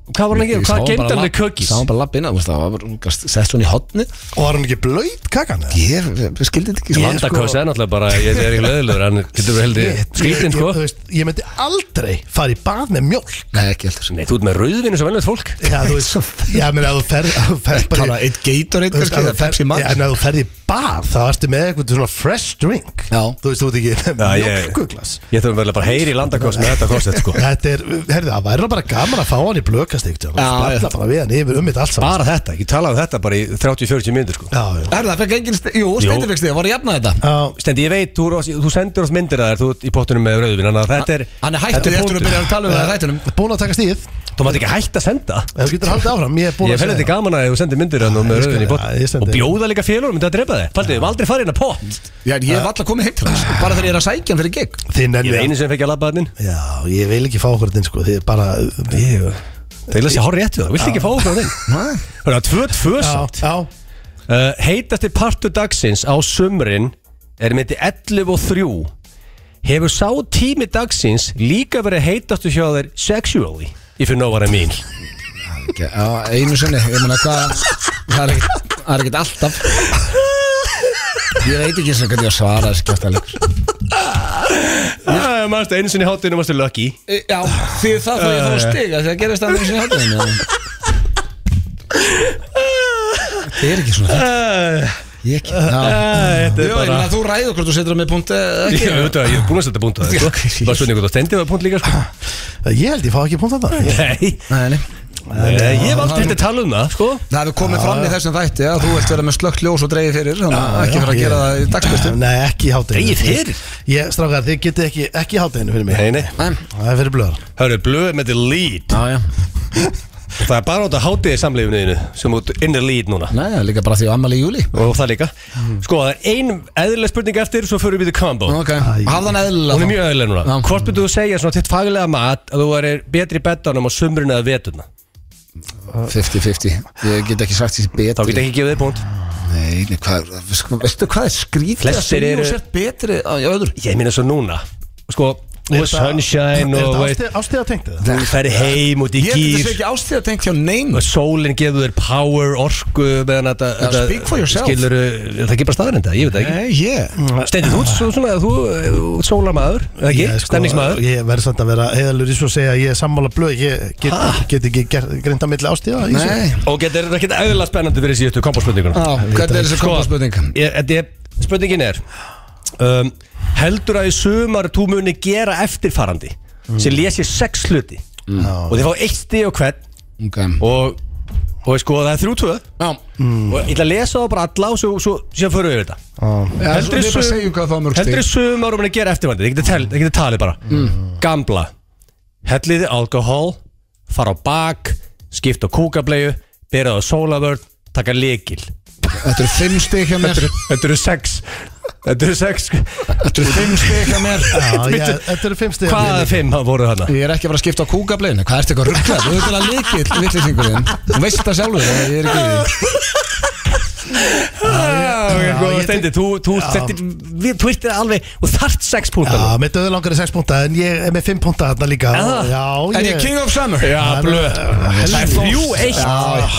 Speaker 2: hvað var hann að gera, hvað geimt hann með kökis?
Speaker 1: Sá hann bara lapp inn að, það var bara, hún gast- sett svona í hotni
Speaker 3: Og var hann ekki blöyt kakan eða?
Speaker 1: Ég, ég skildi þetta ekki svona.
Speaker 2: Landakosa er náttúrulega bara, ég er ekki löðilegur, hann getur verið heldur
Speaker 3: Ég-
Speaker 2: skrítinn,
Speaker 3: ég-
Speaker 2: sko
Speaker 3: þú veist, Ég myndi aldrei fara í bað með mjólk
Speaker 1: Nei, ekki heldur
Speaker 2: Nei, þú ert með rauðvinu sem velnöð fólk
Speaker 3: Já, þú veist, já, menn að þú ferð að þú ferð bara í-
Speaker 1: Bara eitt geitur
Speaker 3: þú
Speaker 1: eitt
Speaker 3: veist,
Speaker 1: kannski, það
Speaker 3: að þú ferð-
Speaker 1: Pepsi Max
Speaker 3: Já, en að þú ferð í bar, þá ertu með eitthvað svona fresh drink
Speaker 1: Já.
Speaker 3: Þú veist, þú ert ekki
Speaker 2: Já,
Speaker 3: með
Speaker 2: ég-
Speaker 3: mjölkuglas
Speaker 2: Ég þurfum vel að bara heyri landakos með þetta kostet, sko
Speaker 3: Þetta er, herðu, það væri nú bara gaman að fá hann í blökast eitthvað
Speaker 1: Já,
Speaker 3: Já,
Speaker 1: já.
Speaker 3: já bara við hann yfir um mitt allt saman
Speaker 2: Bara þetta, ég talaði um þetta bara í 30-40 minnir, sko
Speaker 3: Já, já
Speaker 1: Er það, fekk engin, st- jú, steindi fekk steindi, var ég jafnað þetta
Speaker 3: Já,
Speaker 2: Stendi, ég veit, þú, er oft- þú sendur oss myndir að þér, þú ert í pottunum með rauðvin Þannig að þetta er,
Speaker 1: Hann er hættur
Speaker 2: Þetta er
Speaker 1: eftir að byrja að tala um það í þættunum
Speaker 3: búin að taka stíð
Speaker 2: þú mátt ekki hægt að senda
Speaker 3: Ef þú getur haldið áfram, ég er búin
Speaker 2: Ég
Speaker 3: að
Speaker 2: fæl þetta
Speaker 3: það.
Speaker 2: gaman að þú sendir myndir hann og með
Speaker 3: ég
Speaker 2: rauðvin í
Speaker 3: skal- já, ég
Speaker 2: pott
Speaker 3: sendi.
Speaker 2: Og bjóða líka félagur, myndi að drepa þig Paldið, við höfum aldrei farið inn að pott
Speaker 1: Já, en ég hef alltaf komið heim til hans Bara þegar ég er að sækja hann fyrir gig
Speaker 3: Þið
Speaker 2: Ég
Speaker 3: nennið
Speaker 2: er einu sem fekk að labba hann inn
Speaker 3: Já, ég vil ekki fá okkur þetta inn, sko Þið er bara
Speaker 2: Ég- Það er að sé hár rétt við það, vilt ekki fá okkur á þinn Það er að tvö tvö samt
Speaker 3: já
Speaker 2: uh, Heitasti partur dagsins á sumrin er myndi 11 og 3 Hefur sá tími dagsins líka verið heitastu hjá þér sexually If you know what I mean
Speaker 1: Já, einu sinni, ég meina hvað Það er ekkert, það er ekkert alltaf Ég veit ekki eins og hvernig ég á að svara þessu kjáttaleg
Speaker 2: Það er marstu einu sinni hátinu, marstu lucky
Speaker 1: E, Já, því það þá ég þá stiga Þegar gerist það einu sinni hátíðin Það er ekki svona Ég ekki Já,
Speaker 2: Þetta
Speaker 1: Jú, ég meina þú ræður hvort þú setur á mig punkt eða
Speaker 2: Ég
Speaker 1: ekki
Speaker 2: veit að ég er búin að setja búnt að það sko. Bara spurning hvort að stendi var búnt líka sko.
Speaker 1: Ah.
Speaker 3: Ég held ég fá ekki búin þetta
Speaker 2: Nei,
Speaker 1: Nei, nei.
Speaker 2: nei, ég hef aldrei hægt að tala um það sko.
Speaker 1: Það hefur komið fram í þessum þætti að þú ert verið með slögt ljós og dreigið fyrir þannig að ekki fyrir að gera það í dagsbyrstu
Speaker 3: Nei, ekki í hátteginu
Speaker 2: Dregið fyrir?
Speaker 3: Ég, strákar, þið getið ekki, ekki í hátteginu fyrir mig
Speaker 2: Nei, nei,
Speaker 3: Það er fyrir blöðar
Speaker 2: hörru, blöð með the lead
Speaker 1: Já, já
Speaker 2: Það er bara átt að hátiði samlífniðinu sem út in the lead núna
Speaker 1: Nei, það er líka bara því að ammali í júli
Speaker 2: Og það líka Sko, það er ein eðlileg spurning eftir, svo förum við í combo
Speaker 1: Mm. Ok, hafðan eðlilega
Speaker 2: Hún er
Speaker 1: þá.
Speaker 2: mjög eðlileg núna
Speaker 1: Já.
Speaker 2: Hvort myndu þú segja svona þitt faglega mat að þú værir betri í beddanum á sumrun eða veturna?
Speaker 1: 50-50 Ég get ekki sagt þessi
Speaker 2: Þá
Speaker 1: betri
Speaker 2: get ekki gefið þér punkt
Speaker 1: Nei, nei, hvað sko, Veistu hvað er skrítið að
Speaker 2: Flestir
Speaker 1: segja
Speaker 2: eru-
Speaker 1: og sért betri á í öðru
Speaker 2: Ég meina svo núna Sko, þú er sunshine og
Speaker 3: Er
Speaker 2: veit
Speaker 3: þetta ástíða tengt eða?
Speaker 2: Þú ferð heim út í
Speaker 1: Ég held að
Speaker 2: gýr
Speaker 1: þessu ekki ástíða tengt hjá neinu
Speaker 2: og sólinn gefur þér power, orku meðan þetta,
Speaker 1: Já, speak for yourself.
Speaker 2: skilur það ekki bara staðarinn þetta, ég veit það ekki
Speaker 1: Nei, ég
Speaker 2: Steindi, þú ert svo- svona, þú þú ert sólarmaður, eða ekki,
Speaker 3: Ég, sko,
Speaker 2: stemningsmaður
Speaker 3: Ég verð samt að vera heiðalur í svo að segja að ég er sammála blöð Ég get, get ekki grinda milli ástíða í þessu.
Speaker 1: Nei
Speaker 2: og þetta er ekkert eðlilega spennandi fyrir síðustu kombospurningunum
Speaker 1: Á, Hvernig er þessi
Speaker 2: Sko.
Speaker 1: kompa
Speaker 2: Ég- þetta er- spurningin er um, heldur að í sumar þú muni gera eftirfarandi
Speaker 1: Mm.
Speaker 2: sem lési sex hluti og þið fá eitt stíð og hvern
Speaker 1: Ok
Speaker 2: og, og sko það er þrjú tvö
Speaker 1: Já Mm.
Speaker 2: og ég ætla að lesa það bara alla og svo, svo, svo förum við yfir þetta
Speaker 1: Já, svo
Speaker 2: Heldur
Speaker 1: Við bara
Speaker 2: sum-
Speaker 1: segjum um hvað það var mörg
Speaker 2: Heldur
Speaker 1: stig
Speaker 2: í sumar og maður gera eftirvændi Það getur tel- þið getið talið bara Gambla Helliði alkohól Fara á bak Skipta á kúkablegu Byrjaði á sólavörn Taka líkil
Speaker 1: Þetta eru fimm stig hjá mér
Speaker 2: Þetta eru sex Þetta eru sex
Speaker 1: Þetta eru fimm stig hjá mér
Speaker 3: Já, ég- Þetta eru fimm stiga
Speaker 2: Hvaða fimm hafa voru þarna?
Speaker 1: Ég er ekki að fara að skipta á kúkableinu Hvað ertu eitthvað rugglað? Þú ert alveg líkill, vittlýsingurinn Þú veist það sjálfur, ég er ekki í því.
Speaker 3: já,
Speaker 2: Góða
Speaker 3: ég
Speaker 2: Ah, steindi, þú, þú,
Speaker 3: Já.
Speaker 2: þetta, við, þú ert alveg og þart 6
Speaker 3: Já,
Speaker 2: púntar
Speaker 3: með döðu langari 6 punta En ég er með 5 punta þarna líka
Speaker 2: Er það?
Speaker 3: Já,
Speaker 1: En ég king of summer
Speaker 2: Já, blöð Það er þrjú
Speaker 3: e-
Speaker 2: eitt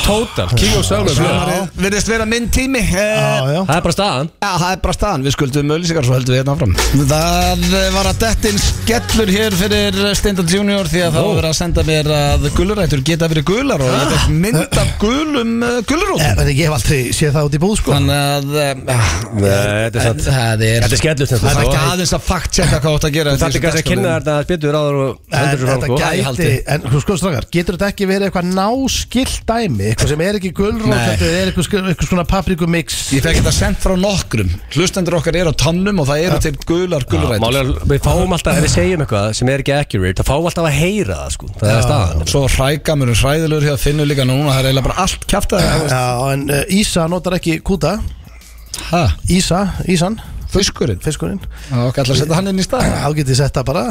Speaker 2: Total, King of Summer blöð
Speaker 1: Sumarið Virðist vera minn tími Eh,
Speaker 3: Já, já
Speaker 2: Það er bara staðan
Speaker 1: Já, það er bara staðan, við skuldum öllisingar svo heldum við hérna áfram Það var að dettin skellur hér fyrir Steindal Junior því að það var verið að senda mér að gulurætur geta verið gular og ég fekk mynd af gulum uh,
Speaker 3: Eh,
Speaker 1: gulurótum
Speaker 3: en Ég hef aldrei séð það út í búð sko
Speaker 1: Þannig að uh,
Speaker 2: þetta er satt.
Speaker 1: Það er,
Speaker 2: Þetta er skellur
Speaker 1: það er ekki
Speaker 2: Þetta
Speaker 1: aðeins að fakt checka hvað þú átt að gera
Speaker 2: er kannski að kynna þetta spytur áður og
Speaker 3: En
Speaker 2: hendur svo fram
Speaker 3: þetta
Speaker 2: sko.
Speaker 3: gæti, en þú sko strákar, getur þetta ekki verið eitthvað náskylt dæmi, eitthvað sem er ekki gulrót,
Speaker 1: Nei.
Speaker 3: þetta er eitthvað, sk- eitthvað svona paprikumix
Speaker 1: Ég fekk þetta sendt frá nokkrum Hlustendur okkar eru á tannum og það eru til gular
Speaker 2: Já,
Speaker 1: gulurætur
Speaker 2: málega, Við fáum alltaf, ef við segjum eitthvað sem er ekki accurate þá fáum við alltaf að heyra það sko
Speaker 1: Ah.
Speaker 2: Það er staðan
Speaker 1: Svo hrækamurinn hræðilegur hér finnur líka núna Það er eiginlega bara allt kjaftaði
Speaker 3: Já, en uh, Ísa notar ekki kúta
Speaker 1: Hæ,
Speaker 3: Ísa, Ísan,
Speaker 1: fiskurinn
Speaker 3: fiskurinn
Speaker 1: Það var ekki alltaf að setja hann inn í stað
Speaker 3: Þá getið sett það bara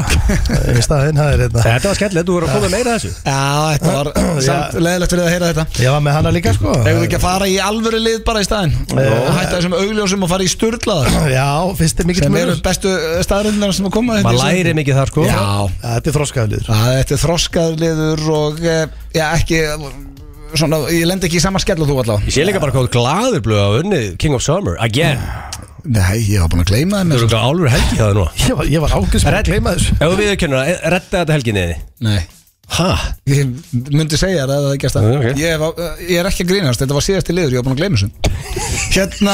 Speaker 3: í staðinn, það er hérna
Speaker 2: Þetta var skellur, þú voru að koma meira að þessu
Speaker 1: Já, þetta var samt leðilegt fyrir að heyra þetta
Speaker 3: Ég var með hana líka sko
Speaker 1: Eða við ekki að fara í alvöru lið bara í staðinn og hætta þessum augljósum og fara í sturglaðar
Speaker 3: Já, fyrst er mikill
Speaker 1: sem eru
Speaker 3: munur
Speaker 1: bestu staðrindunar sem að koma hérna
Speaker 2: Maður læri mikið þar sko
Speaker 1: Já,
Speaker 3: Já, Þetta er þroskaðliður
Speaker 1: það þetta er þroskaður liður og eh, já, ekki svona, ég lend ekki í sama skell og þú allavega
Speaker 2: Ég sé líka bara hvað þú ert glaður blöð að hafa unnið King of Summer, again
Speaker 1: Nei, ég var búin að gleyma
Speaker 2: Þú eru
Speaker 1: þeim sko.
Speaker 2: ekki álfur helgi það nú
Speaker 3: Ég var, ég var ágæst með að gleyma þessu
Speaker 2: Ef við kynna, eh, redda þetta helginni
Speaker 1: Nei,
Speaker 2: Hæ?
Speaker 1: ég myndi segja þér að það ekki að stað
Speaker 2: Nei, ok.
Speaker 1: ég, var- ég er ekki að grínast, þetta var síðasti liður, ég var búin að gleyma þessum Hérna,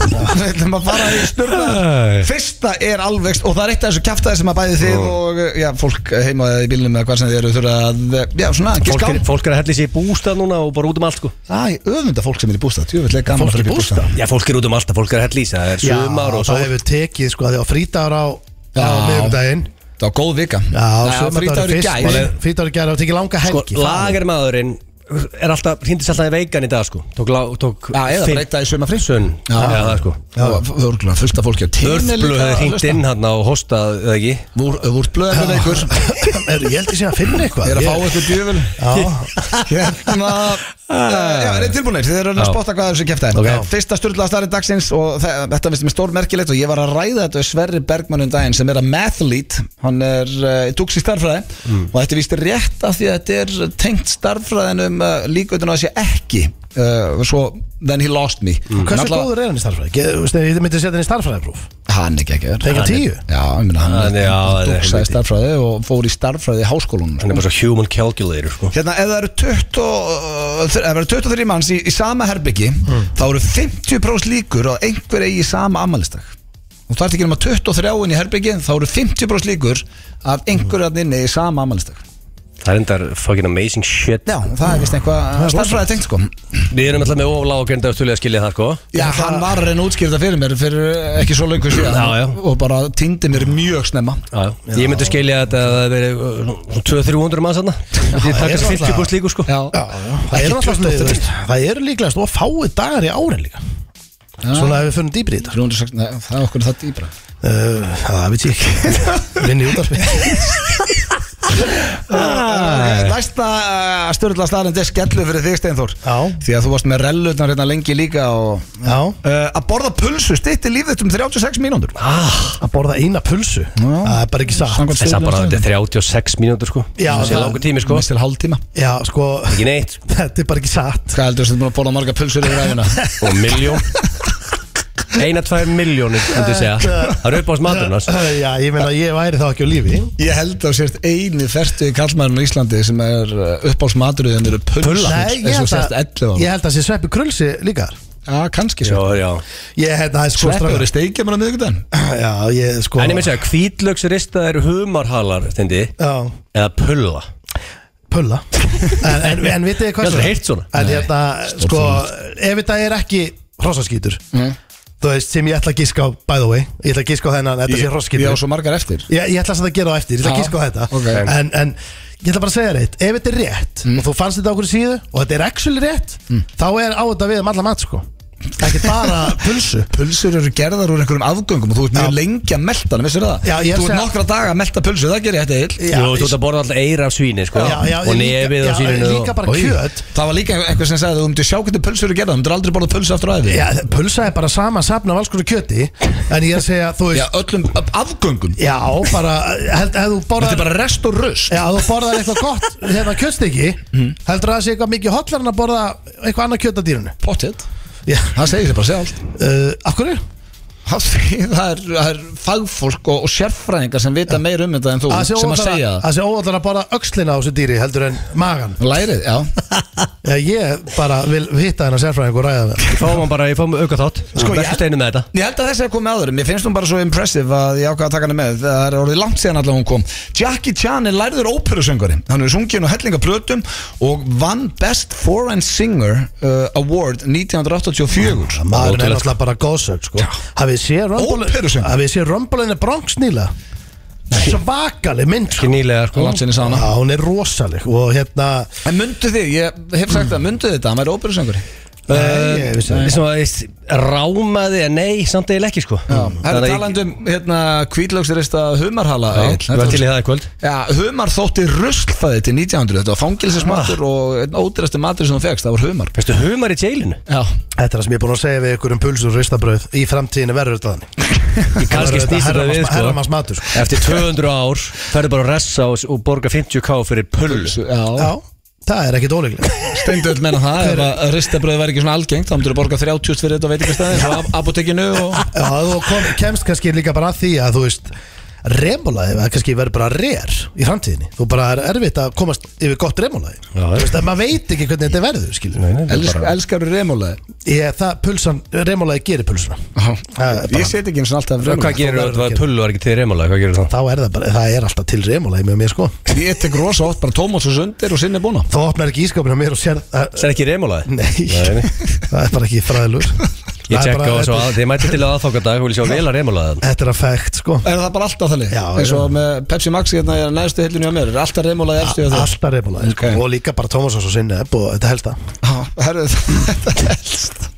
Speaker 1: við ætlum að fara í sturglaðar Fyrsta er alveg, og það er eitt af þessu kjaftaði sem að bæði þið og eh, já, fólk heima í bílnum eða hvað sem þið eru þurfa að, eh, já, svona,
Speaker 2: Fólk
Speaker 1: giska á.
Speaker 2: er, fólk er að hella sér í bústað núna og bara út um allt sko
Speaker 1: Æ, öfunda fólk sem er í bústað, tjófitt leik gaman
Speaker 3: Fólk í bústað?
Speaker 2: Já, fólk er út um allt að fólk er að hella í sig Það er sumar og svo
Speaker 3: það hefur tekið sko, því á frítagur á, á
Speaker 1: Já.
Speaker 3: miðugdaginn
Speaker 1: Það var góð vika.
Speaker 3: Já,
Speaker 1: Nei, á frídagur í gær.
Speaker 3: fyrst Frítagur í gær og tekið langa
Speaker 2: sko,
Speaker 3: helgi
Speaker 2: Lagermaðurinn er alltaf, hindist alltaf í veikan í dag sko Tók, lá, tók
Speaker 1: Já, eða
Speaker 2: fimm-
Speaker 1: breyta í söma frí.
Speaker 2: Sunn, já,
Speaker 1: Já.
Speaker 2: það er sko
Speaker 1: Það voru glæðan fullt af fólki að Mm.
Speaker 2: Örflöð hefði hringt inn hann á hostað, eða ekki
Speaker 1: Vúrblöð hefði veikur.
Speaker 3: Er, Ég held ég sé að finna
Speaker 1: Ég
Speaker 3: eitthvað
Speaker 1: er að fá
Speaker 3: Ég-
Speaker 1: eitthvað djöfun.
Speaker 3: Já,
Speaker 1: Hérna, eh, já, er þið tilbúinir? Þið eru að
Speaker 2: Ah. Já.
Speaker 1: spotta hvað er þessu kjæftæðin
Speaker 2: Ok.
Speaker 1: Fyrsta styrla starri dagsins og þe- þetta finnst mér stór merkilegt og ég var að ræða þetta við Sverri Bergmann um daginn sem er að mathlete hann er uh, tóks í starfræði
Speaker 2: Mm.
Speaker 1: og þetta er víst rétt af því að þetta er tengt starfræðinum uh, líkautun á þessi ekki uh, svo then he lost me mm.
Speaker 3: Hversu góður er hann í starffræði? Ge- Þú veist, ég myndi setja hann í starffræðipróf
Speaker 1: Hann er ekki ekki
Speaker 3: Fengi tíu?
Speaker 1: Já, ég meina
Speaker 2: Hann
Speaker 1: hann
Speaker 2: er- já, hann er
Speaker 1: tóksaði
Speaker 2: helviti.
Speaker 1: starfræði og fór í starfræði í háskólanum sko.
Speaker 2: Hann er bara svo human calculator sko
Speaker 1: Hérna, ef það eru 20, uh, þr- ef það eru 23 manns í, í sama herbyggi þá eru 50% líkur að einhver eigi sama ammælistag og það er ekki nema 23 inn í herbyggi þá eru 50% líkur að einhver að inni eigi sama ammælistag
Speaker 2: Það er endar fucking amazing shit
Speaker 1: Já, það er vist eitthvað starfræði tengt sko
Speaker 2: Við erum alltaf með oflágenda afturlega að skilja það sko
Speaker 1: Já, hann var að reyna að útskýra það fyrir mér fyrir eh, ekki svo lengur síðan
Speaker 2: Já, já.
Speaker 1: og bara týndi mér mjög snemma
Speaker 2: Já, já. Ég myndi skilja þetta að það veri uh, svona 200-300 manns aðna Ég
Speaker 3: það er
Speaker 2: takkast 50
Speaker 3: náttúrulega-
Speaker 2: búst líku sko
Speaker 1: Já,
Speaker 3: Það
Speaker 1: Ekki
Speaker 3: eru alltaf
Speaker 1: 23.
Speaker 3: stóttir Það eru líklega stóð að fáið dagar í árin líka Svona hefur við funnum dýbri í þetta
Speaker 1: 306, nei, það er okkur það dýbra
Speaker 3: Uh, Það veit ég ekki Minni útarpi
Speaker 1: Ah, Næsta störðla staðarinn er skellu fyrir þig Steinþór
Speaker 3: Já.
Speaker 1: Því að þú varst með rellutnar hérna lengi líka og
Speaker 3: Já,
Speaker 1: Uh, að borða pulsu stýtti líf þitt um 36 mínúndur
Speaker 3: að borða eina pulsu Það er bara ekki satt
Speaker 1: Ah, Samkvæmt
Speaker 2: Þess að Ah, bara
Speaker 1: stöðlum
Speaker 2: þetta er 36 mínútur sko
Speaker 3: Já,
Speaker 2: Það er
Speaker 3: það-
Speaker 2: langur
Speaker 1: stöðum.
Speaker 2: tími sko
Speaker 1: Mest til hálftíma
Speaker 3: Já, sko,
Speaker 2: Ekki neitt
Speaker 3: þetta er bara ekki satt
Speaker 1: Hvað heldur þú sem þú búin að borða marga pulsur yfir æfina?
Speaker 2: Og miljón Eina, tvær miljónir myndi ég segja Það er upp á smaturinn hans
Speaker 3: Uh, Já, ég meina ég væri þá ekki á lífi
Speaker 1: Ég held að sérst eini ferstu í kallmæðinu í Íslandi sem er upp á smatriðin eru pulsur
Speaker 3: Nei, ég
Speaker 1: eins og
Speaker 3: held
Speaker 1: sérst
Speaker 3: að
Speaker 1: 11 ára
Speaker 3: Ég held að sé sveppi krulsi líka
Speaker 1: Já, kannski sko.
Speaker 2: Já,
Speaker 1: svo
Speaker 2: já
Speaker 3: Ég held að það er sko
Speaker 1: Sveppi eru steikja mér á miðvikudaginn
Speaker 3: strákar- Já, ég sko
Speaker 2: En ég myndi segja, hvítlöksristað eru humarhalar Stendi
Speaker 3: Já,
Speaker 2: Eða pulla
Speaker 3: pulla En, en, en vitið þið
Speaker 2: Ég
Speaker 3: hvað
Speaker 2: aldrei heyrt svona.
Speaker 3: En hérna, sko, ef þetta er ekki hrossaskítur Þú veist, sem ég ætla að gíska á, by the way Ég ætla að gíska á þennan, þetta sé
Speaker 1: Ég á
Speaker 3: hrossaskítur
Speaker 1: svo margar eftir
Speaker 3: Ég, ég ætla samt að gera á eftir, ég ætla að
Speaker 1: Já,
Speaker 3: gíska á þetta
Speaker 1: ok.
Speaker 3: en, en ég ætla bara að segja þér eitt Ef þetta
Speaker 2: Mm.
Speaker 3: er rétt og þú fannst þetta á okkur síðu og þetta er actually rétt þá er á þetta við um alla mat sko ekki bara pulsu
Speaker 1: Pulsur eru gerðar úr einhverjum afgöngum og þú ert mjög
Speaker 3: Já.
Speaker 1: lengi að melta hann, vissir það?
Speaker 3: Já, ég er
Speaker 1: þú ert
Speaker 3: segja-
Speaker 1: nokkra daga að melta pulsu, það gerir þetta eil
Speaker 3: Já,
Speaker 2: Jú, þú ert
Speaker 3: ég-
Speaker 2: að borða alltaf eir af svíni, sko
Speaker 3: Já, já,
Speaker 2: Og
Speaker 3: líka-
Speaker 2: nefið
Speaker 3: já,
Speaker 2: af svíninu
Speaker 3: líka bara
Speaker 2: og- Oj.
Speaker 3: kjöt
Speaker 1: Það var líka einhver sem sagði að þú myndir sjá hvernig pulsur eru gerðar, þú myndir aldrei borða pulsu aftur á æfi
Speaker 3: Já, pulsa er bara sama safn af alls konar kjöti En ég er að segja, þú
Speaker 1: Já,
Speaker 3: veist
Speaker 1: öllum af- afgöngum
Speaker 3: Já, bara, held, hef þú
Speaker 1: Þetta er
Speaker 3: borðar
Speaker 1: bara rest og röst
Speaker 3: Já, ef þú borðar eitthvað gott, hérna kjötstiki
Speaker 2: Mm.
Speaker 3: Heldur það að það sé eitthvað mikið hotlar en að borða eitthvað annað kjöt að dýrinu
Speaker 1: Pottitt,
Speaker 3: Já,
Speaker 1: það segir sér bara sjálf
Speaker 3: uh, af hverju?
Speaker 1: Það það er, það er fagfólk og, og sérfræðingar sem vita meir um þetta en þú
Speaker 3: Það sé
Speaker 1: sem að
Speaker 3: óvallara-
Speaker 1: segja það
Speaker 3: það sé óvallar að borða öxlina á þessu dýri heldur en magan
Speaker 1: Lærið, já
Speaker 3: Já, ég bara vil hitta hennar sérfræðing og ræða það
Speaker 2: Fáum hann bara, ég fáum auka þátt
Speaker 1: Sko, ég-
Speaker 2: Vertu steinu með þetta
Speaker 1: Ég held að þessi er komið aður, mér finnst hún bara svo impressive að ég ákvaða að taka hana með, það er orðið langt síðan allavega hún kom Jackie Chan er lærður óperusöngari, hann er sungin og hellinga brötum og vann Best Foreign Singer uh, Award 1984
Speaker 3: Maðurinn er
Speaker 2: Ótrúlegt.
Speaker 3: náttúrulega bara góðsögn sko. Hafið séð Rumble-
Speaker 1: Óperusöng.
Speaker 3: hafið séð Rumble in the Bronx nýla Svakaleg mynd
Speaker 2: Ekki
Speaker 3: sko.
Speaker 2: nýlega,
Speaker 1: Það
Speaker 2: sko
Speaker 1: er langt síðan ég sá hana
Speaker 3: Já, hún er rosaleg og hérna
Speaker 1: En myndu þið, ég hef sagt það, myndu þetta, hann væri óperusöngari
Speaker 2: Eh,
Speaker 3: Nei, ég vissi það.
Speaker 2: Ég svona, ég rámaði en nei, samt eða ekki, sko
Speaker 1: Það er
Speaker 2: Þannig að ég-
Speaker 1: talandi um hérna kvítlöksrista humarhala
Speaker 2: Já,
Speaker 1: Egill.
Speaker 2: Við erum til í það í kvöld
Speaker 1: Já, humar þótti ruslfæði til 1900 Þetta var
Speaker 2: Ah.
Speaker 1: fangilsismatur og einn ódýrasti matur sem þú fegst, það var humar
Speaker 2: Veistu, humar í jailinu
Speaker 1: Já,
Speaker 3: Þetta er það sem ég er búin að segja við ykkur um pulsur og ristabröð Í framtíðinu verður þetta þannig
Speaker 2: Ég kannski
Speaker 3: verður
Speaker 2: snýst þetta
Speaker 3: herramanns-
Speaker 2: við, sko
Speaker 3: herramannsmatur, sko.
Speaker 2: Eftir 200 ár ferðu bara að ressa og, og borga 50k fyrir pulsu
Speaker 1: já.
Speaker 3: Já, það er ekkit óleglega
Speaker 1: Steindöld menna það, ef að ristabröð væri ekki svona algengt þá myndur þú borga 30 fyrir þetta og veit ekki stæði og apotekinu og
Speaker 3: Já, þú kom, kemst kannski líka bara að því að þú veist Remulaði, það kannski verður bara rare í framtíðinni Þú bara er erfitt að komast yfir gott remulaði
Speaker 2: Já,
Speaker 3: Þú veist, en maður veit ekki hvernig þetta verður, skilur
Speaker 2: Nei, nei, þetta er
Speaker 1: Elsk,
Speaker 2: bara-
Speaker 1: elskaru remólaði
Speaker 3: Ég, það, pulsan, remulaði gerir pulsuna Það er bara-
Speaker 1: Ég set ekki eins og alltaf
Speaker 2: Hvað
Speaker 1: remólaði
Speaker 2: gerir þú? Það pullu var ekki til remála, hvað gerir það?
Speaker 3: Þá er það bara, það er alltaf til remulaði með mér, sko
Speaker 1: Ég tek rosa oft bara tómats og sundir og sinni búna
Speaker 3: Þú opnar ekki ískapinu á mér og sér eh,
Speaker 2: Það er ekki remálaði?
Speaker 3: Nei,
Speaker 2: nei.
Speaker 3: það er bara ekki fræðilur
Speaker 2: Ég tjekka á þessu að þið mætti til aðfangadag og vil sjá vel að remálaði
Speaker 3: Þetta er að fægt, sko
Speaker 1: Er það bara alltaf þannig?
Speaker 3: Já,
Speaker 1: eins og
Speaker 3: já.
Speaker 1: með Pepsi Max hérna er næðstu hillinu hjá mér er alltaf remólaði efstu hjá þér
Speaker 3: Alltaf reyfbólaði sko.
Speaker 1: Ok.
Speaker 3: Og líka bara Tómasás og sinni og þetta helst það
Speaker 1: Já, herru, þetta er helst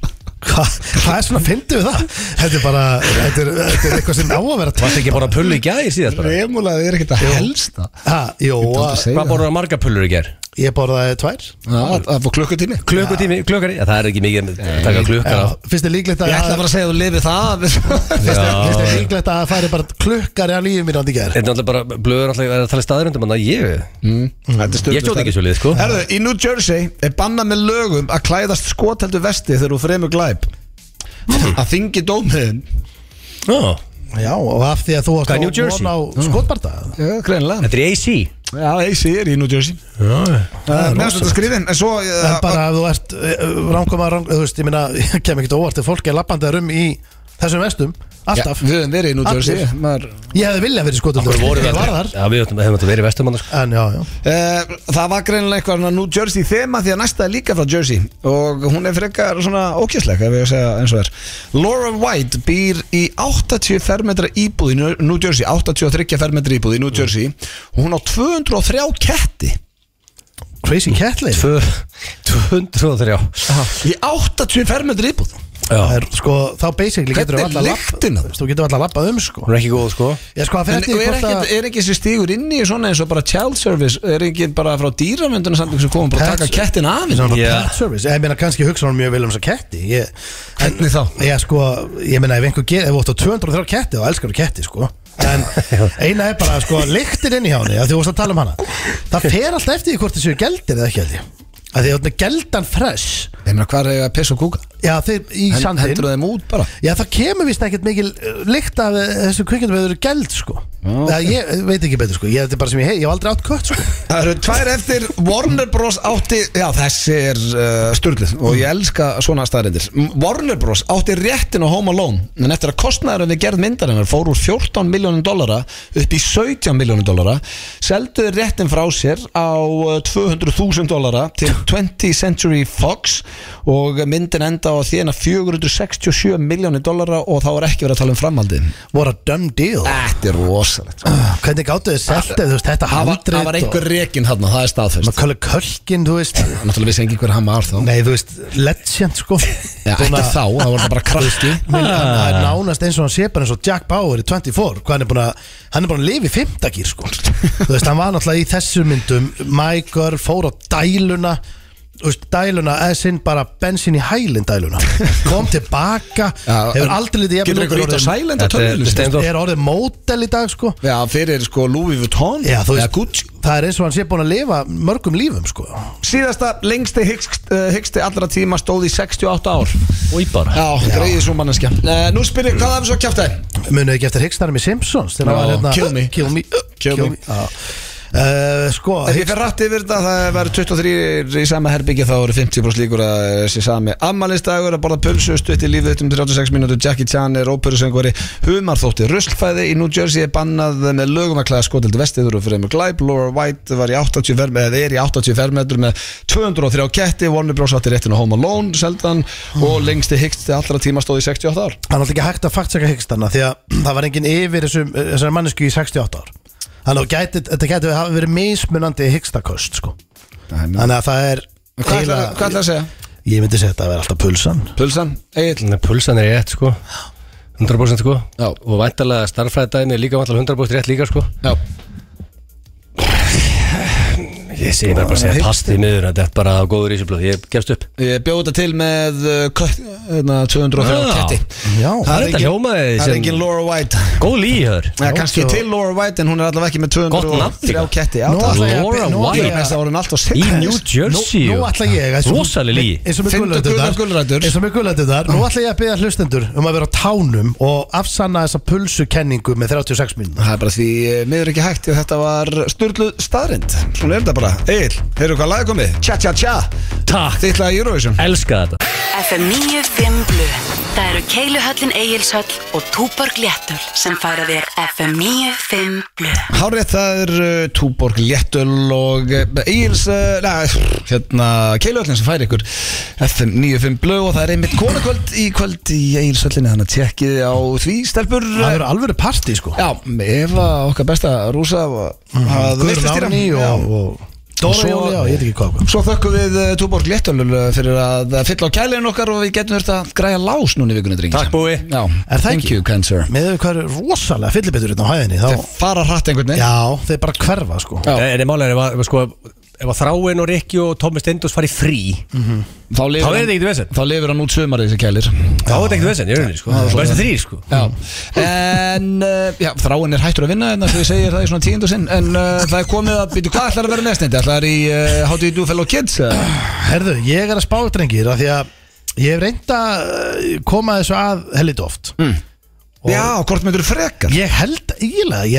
Speaker 3: Hva, Hvað er svona fyndið við það? Þetta er bara, þetta er, þetta er eitthvað sem á að vera
Speaker 2: Varst ekki að borða pullu í gæði síðast bara?
Speaker 1: Remólaði er ekkert að helsta
Speaker 3: Ha, Jó,
Speaker 1: aldrei segja.
Speaker 2: Hvað borðaðu marga pullur í gær?
Speaker 3: ég borðaði tvær
Speaker 1: Já, það fór klukkutími
Speaker 2: Klukkutími, klukkari? Já, það er ekki mikið að taka klukkar
Speaker 3: Já,
Speaker 2: af
Speaker 3: Finnst þið líklegt
Speaker 1: Ég
Speaker 3: að
Speaker 1: ætla bara að segja að þú lifið það
Speaker 3: Finnst þér-
Speaker 2: Já.
Speaker 3: finnst þér líklegt að það færi bara klukkari að lífið mér ándi ger
Speaker 2: Þetta er náttúrulega bara, blöður alltaf er að tala staðurundum Þannig að ég,
Speaker 1: Þetta
Speaker 2: ég stjórn ekki svo lið, sko
Speaker 1: Herðu, í New Jersey er bannað með lögum að klæðast skoteldu vesti þegar þú fremur glæp að þingi dómiðin
Speaker 2: Ó,
Speaker 3: Já, og af því að þú ást
Speaker 2: Hvað, New
Speaker 3: að
Speaker 2: Jersey?
Speaker 3: vona á skotbarta
Speaker 1: Já, greinlega
Speaker 2: Þetta er í AC
Speaker 1: Já, AC er í New Jersey
Speaker 3: er
Speaker 1: Mér finnst þetta skrifin En svo
Speaker 3: En
Speaker 1: eh,
Speaker 3: bara ef þú ert ránkoma rang, þú veist, ég minna, ég kem ekkert á óvart ef fólk er lappandar um í þessum vestum
Speaker 1: Já,
Speaker 3: alltaf,
Speaker 1: eh, Við höfum verið í New Jersey
Speaker 3: Allir.
Speaker 1: maður,
Speaker 3: ég hefði viljað verið skotildur
Speaker 2: Hvor voru
Speaker 3: ég
Speaker 2: við
Speaker 3: var þar
Speaker 2: Já, við höfum þetta verið vestumann
Speaker 3: En já, já
Speaker 1: eh, Það var greinlega eitthvað svona New Jersey þema því að næsta er líka frá Jersey og hún er frekar svona ókjæsleg ef ég á að segja eins og er Laura White býr í 80 fermetra íbúð í New- New Jersey 83 fermetra íbúð í New Jersey og hún á 203 ketti
Speaker 3: Crazy Cat Lady
Speaker 2: 203
Speaker 1: Í 80 fermetri íbúð
Speaker 3: Það
Speaker 2: Já,
Speaker 3: er, sko, þá basically getur
Speaker 1: Hvernig
Speaker 3: við
Speaker 1: lyktin af
Speaker 3: alltaf þú getur alltaf lappað um sko
Speaker 2: hún er ekki góð, sko
Speaker 3: ég sko að
Speaker 1: En og
Speaker 3: fyrir því
Speaker 1: er
Speaker 3: hvort
Speaker 1: ekki,
Speaker 3: að
Speaker 1: er ekki þessi stígur inni í svona eins og bara child service Er ekki bara frá dýravenduna samt sem komum bara að taka
Speaker 3: Pets-
Speaker 1: kettin af
Speaker 3: Svona
Speaker 1: henni?
Speaker 3: bara
Speaker 2: Já.
Speaker 3: pet service, ég meina kannski hugsa hún mjög vel um þessa ketti ég,
Speaker 1: Hvernig þá?
Speaker 3: ég sko, ég meina ef einhver ger, ef þú átt á 203 ketti þá elskar þú ketti sko en eina er bara sko lyktin inn í hjá henni af því þú varst að tala um hana það fer alltaf eftir því hvort þessu geldir eða ekki held ég af því þú ert með geldan fresh
Speaker 1: Ég meina hvað er að pissa og kúka?
Speaker 3: já þeir í
Speaker 1: Hen-
Speaker 3: sandin
Speaker 1: Hendur þeim út bara
Speaker 3: Já, það kemur vist ekkert mikil lykt af eh, þessu kvikindum eða þau eru gæld, sko. Okay. Ég eh, veit ekki betur, sko. Ég, þetta er bara sem ég hei, ég hef aldrei átt kött, sko.
Speaker 1: Það eru tvær eftir Warner Bros átti Já þessi er uh, styrlið og ég elska svona staðrindir Warner Bros átti réttin á Home Alone en eftir að kostnæðurinn við gerð myndarinnar fór úr 14 miljónum dollara upp í 17 miljónum uh, dollara selduði réttin frá sér á eh, 200.000 dollara til 20th Century Fox og myndin enda á að þína 467 miljónir dollara og þá er ekki verið að tala um framhaldið
Speaker 3: What a dumb deal
Speaker 1: Þetta er rosalegt
Speaker 3: Hvernig gáttu þið selt eða þú veist þetta
Speaker 1: Það var,
Speaker 3: handrit
Speaker 1: það var einhver rekin hann, það er staðfest
Speaker 3: Maður kallar kölkin, þú veist
Speaker 1: Náttúrulega vissi engin hver hann var þá
Speaker 3: Nei, þú veist, legend sko
Speaker 1: Já, ekki þá, það Ah. var það bara krakki
Speaker 3: Minn, hann, það er nánast eins og hann sé bara eins og Jack Bauer í 24 hvað hann er búin að hann er búin að lifa í fimmdagýr sko þú veist hann var náttúrulega í þessu myndum My Girl fór á dæluna þú veist dæluna eða sinn bara bensin í hælinn dæluna kom tilbaka
Speaker 1: Já, en-
Speaker 3: hefur aldrei litið jafn
Speaker 1: Getur
Speaker 3: út,
Speaker 1: einhver
Speaker 3: er
Speaker 1: ít á
Speaker 3: orðið-
Speaker 1: sælenda
Speaker 2: Þetta er-
Speaker 1: tölvulist
Speaker 2: Steindór.
Speaker 3: er orðið mótel í dag sko
Speaker 1: Já, fyrir sko Louis Vuitton
Speaker 3: Já, þú
Speaker 1: eða
Speaker 3: veist,
Speaker 1: Gucci
Speaker 3: það er eins og hann sé búin að lifa mörgum lífum sko
Speaker 1: Síðasta lengsti hyggst, uh, hyggsti allra tíma stóð í 68 ár
Speaker 2: Í bara
Speaker 1: Já, greiði svo manneskja uh, Nú spyr ég, hvað hafði svo kjátt það?
Speaker 3: Munið ekki eftir higgstarum í Simpsons þegar
Speaker 1: Já,
Speaker 3: hann var hérna
Speaker 1: Kill Me.
Speaker 3: Kill me,
Speaker 1: Kill Me.
Speaker 3: Já. Eh, Sko
Speaker 1: Ef ég fer rætt yfir þetta, það verður 23 í sama herbyggja þá eru 50 brúst líkur að eh, sé sami ammaliðsdagur að borða pulsu, stutt í lífið um 36 mínútur, Jackie Chan er óperusengvari humarþótti ruslfæði í New Jersey er bannað með lögum að klæða skotildi vestiður og fyrir með glæb, Laura White var í 80 verm, eða er í 80 fermetrum með 203 ketti, Warner Bros. átti réttin á Home Alone seldan og lengsti higgsti allra tíma stóð í 68 ár
Speaker 3: Það er náttúrulega ekki hægt að faktsaka hyggstanna því að það var enginn yfir þessum, þessari mannesku í 68 ár Þannig að gæti, þetta gæti hafa verið mismunandi hyggstakust sko. Þannig að það er
Speaker 1: Hvað ætlar hvað ætlarðu að segja?
Speaker 3: Ég myndi segja að þetta að vera alltaf pulsan
Speaker 1: Pulsan, Egil
Speaker 2: Pulsan er rétt sko 100% sko
Speaker 1: Já.
Speaker 2: Og væntalega starffræðdæðin er líka væntalega 100% rétt líka sko
Speaker 1: Já,
Speaker 2: Ég segi bara bara að segja past í miður Þetta er bara góður ísjöflöð Ég gefst upp
Speaker 1: ég bjóði þetta til með uh, kött, hérna, 203
Speaker 2: Já.
Speaker 1: ketti
Speaker 2: Það er
Speaker 3: Já,
Speaker 1: er
Speaker 2: þetta
Speaker 1: engin-
Speaker 2: hljómaði
Speaker 1: Það er engin
Speaker 2: sem
Speaker 1: Laura White
Speaker 2: góð líhör
Speaker 1: Já, kannski
Speaker 3: svo-
Speaker 1: til Laura White en hún er allavega ekki með
Speaker 2: Gott nafn
Speaker 1: 203
Speaker 2: líka.
Speaker 1: ketti Já,
Speaker 3: Nú
Speaker 1: það
Speaker 3: ætla ég að-
Speaker 2: Laura
Speaker 3: nú ætla
Speaker 2: White.
Speaker 3: ég að-
Speaker 1: er orðin allt og
Speaker 2: Í
Speaker 1: sitt
Speaker 2: New Jersey
Speaker 3: Nú, nú ætla ég eins og-
Speaker 2: Rosaleg lígi
Speaker 3: eins og með
Speaker 1: Finndu gular
Speaker 3: gulræturnar
Speaker 1: gulrætur.
Speaker 3: eins og með gulræturnar nú ætla ég að beða hlustendur um að vera á tánum og afsanna þessa pulsukenningu með 36 minn
Speaker 1: Það er bara því eh, miður ekki hægt því að þetta var styrlu staðrind Svona er þetta bara Egil, heyrðu hvað lag er komið? Tja tja tja
Speaker 2: Takk
Speaker 1: Þitt lag í Eurovision
Speaker 2: Elska þetta
Speaker 9: FM 95 Blu Það eru Keiluhöllin Egilshöll og Túborg Léttul sem færa þér FM 95 Blu
Speaker 1: Hárið það er uh, Túborg Léttul og uh, Egil's uh, na, hérna, Keilöllin sem færi ykkur FM 95 Blö og það er einmitt konakvöld í kvöld í Egilshöllinni þannig að tjekkið á því stelpur
Speaker 3: það verður alveg partí sko
Speaker 1: Já, ef að okkar besta rúsa að
Speaker 3: Guður
Speaker 1: veistastýra
Speaker 3: Árný og,
Speaker 1: Já.
Speaker 3: og Dóra
Speaker 1: Svo-
Speaker 3: Jóli og ég veit ekki hvað
Speaker 1: Svo þökkum við uh, Túborg Léttölul uh, fyrir að uh, fylla á kælinu okkar og við getum þurft að græja lás núna í vikunni drengi
Speaker 2: Takk, Búi.
Speaker 1: Já,
Speaker 3: Er það
Speaker 1: thank
Speaker 3: ekki?
Speaker 1: you, kind sir
Speaker 3: með þau hvað er rosalega fyllibittur hérna á hæðinni þá,
Speaker 1: Þeir fara hratt einhvern veginn
Speaker 3: já, þeir bara hverfa sko
Speaker 1: Já.
Speaker 2: Eh, En ég málega er ef að- ef að sko Ef að Þráin og Rikki og Tómi Steindós fari í frí
Speaker 1: Þá
Speaker 2: Þá
Speaker 1: lifir
Speaker 2: er þetta
Speaker 1: hann-
Speaker 2: ekkert vesinn
Speaker 1: þá lifir hann út sömarið þessi kælir
Speaker 2: Þá er þetta ekkert vesinn, ég rauninni sko Það er þrý sko
Speaker 1: Já, en uh, já, þráin er hættur að vinna en þess að ég segir það í svona tíundu sinn en uh, það er komið að, býtu, hvað ætlar að vera næstnindi? Ætlar í uh, How do you do fellow kids? eh? eða?
Speaker 3: herðu, ég er að spá drengir af því að ég hef reynda koma þessu að hellit oft Og-
Speaker 1: Mm. Já, hvort myndur frekar?
Speaker 3: ég held eiginlega að ég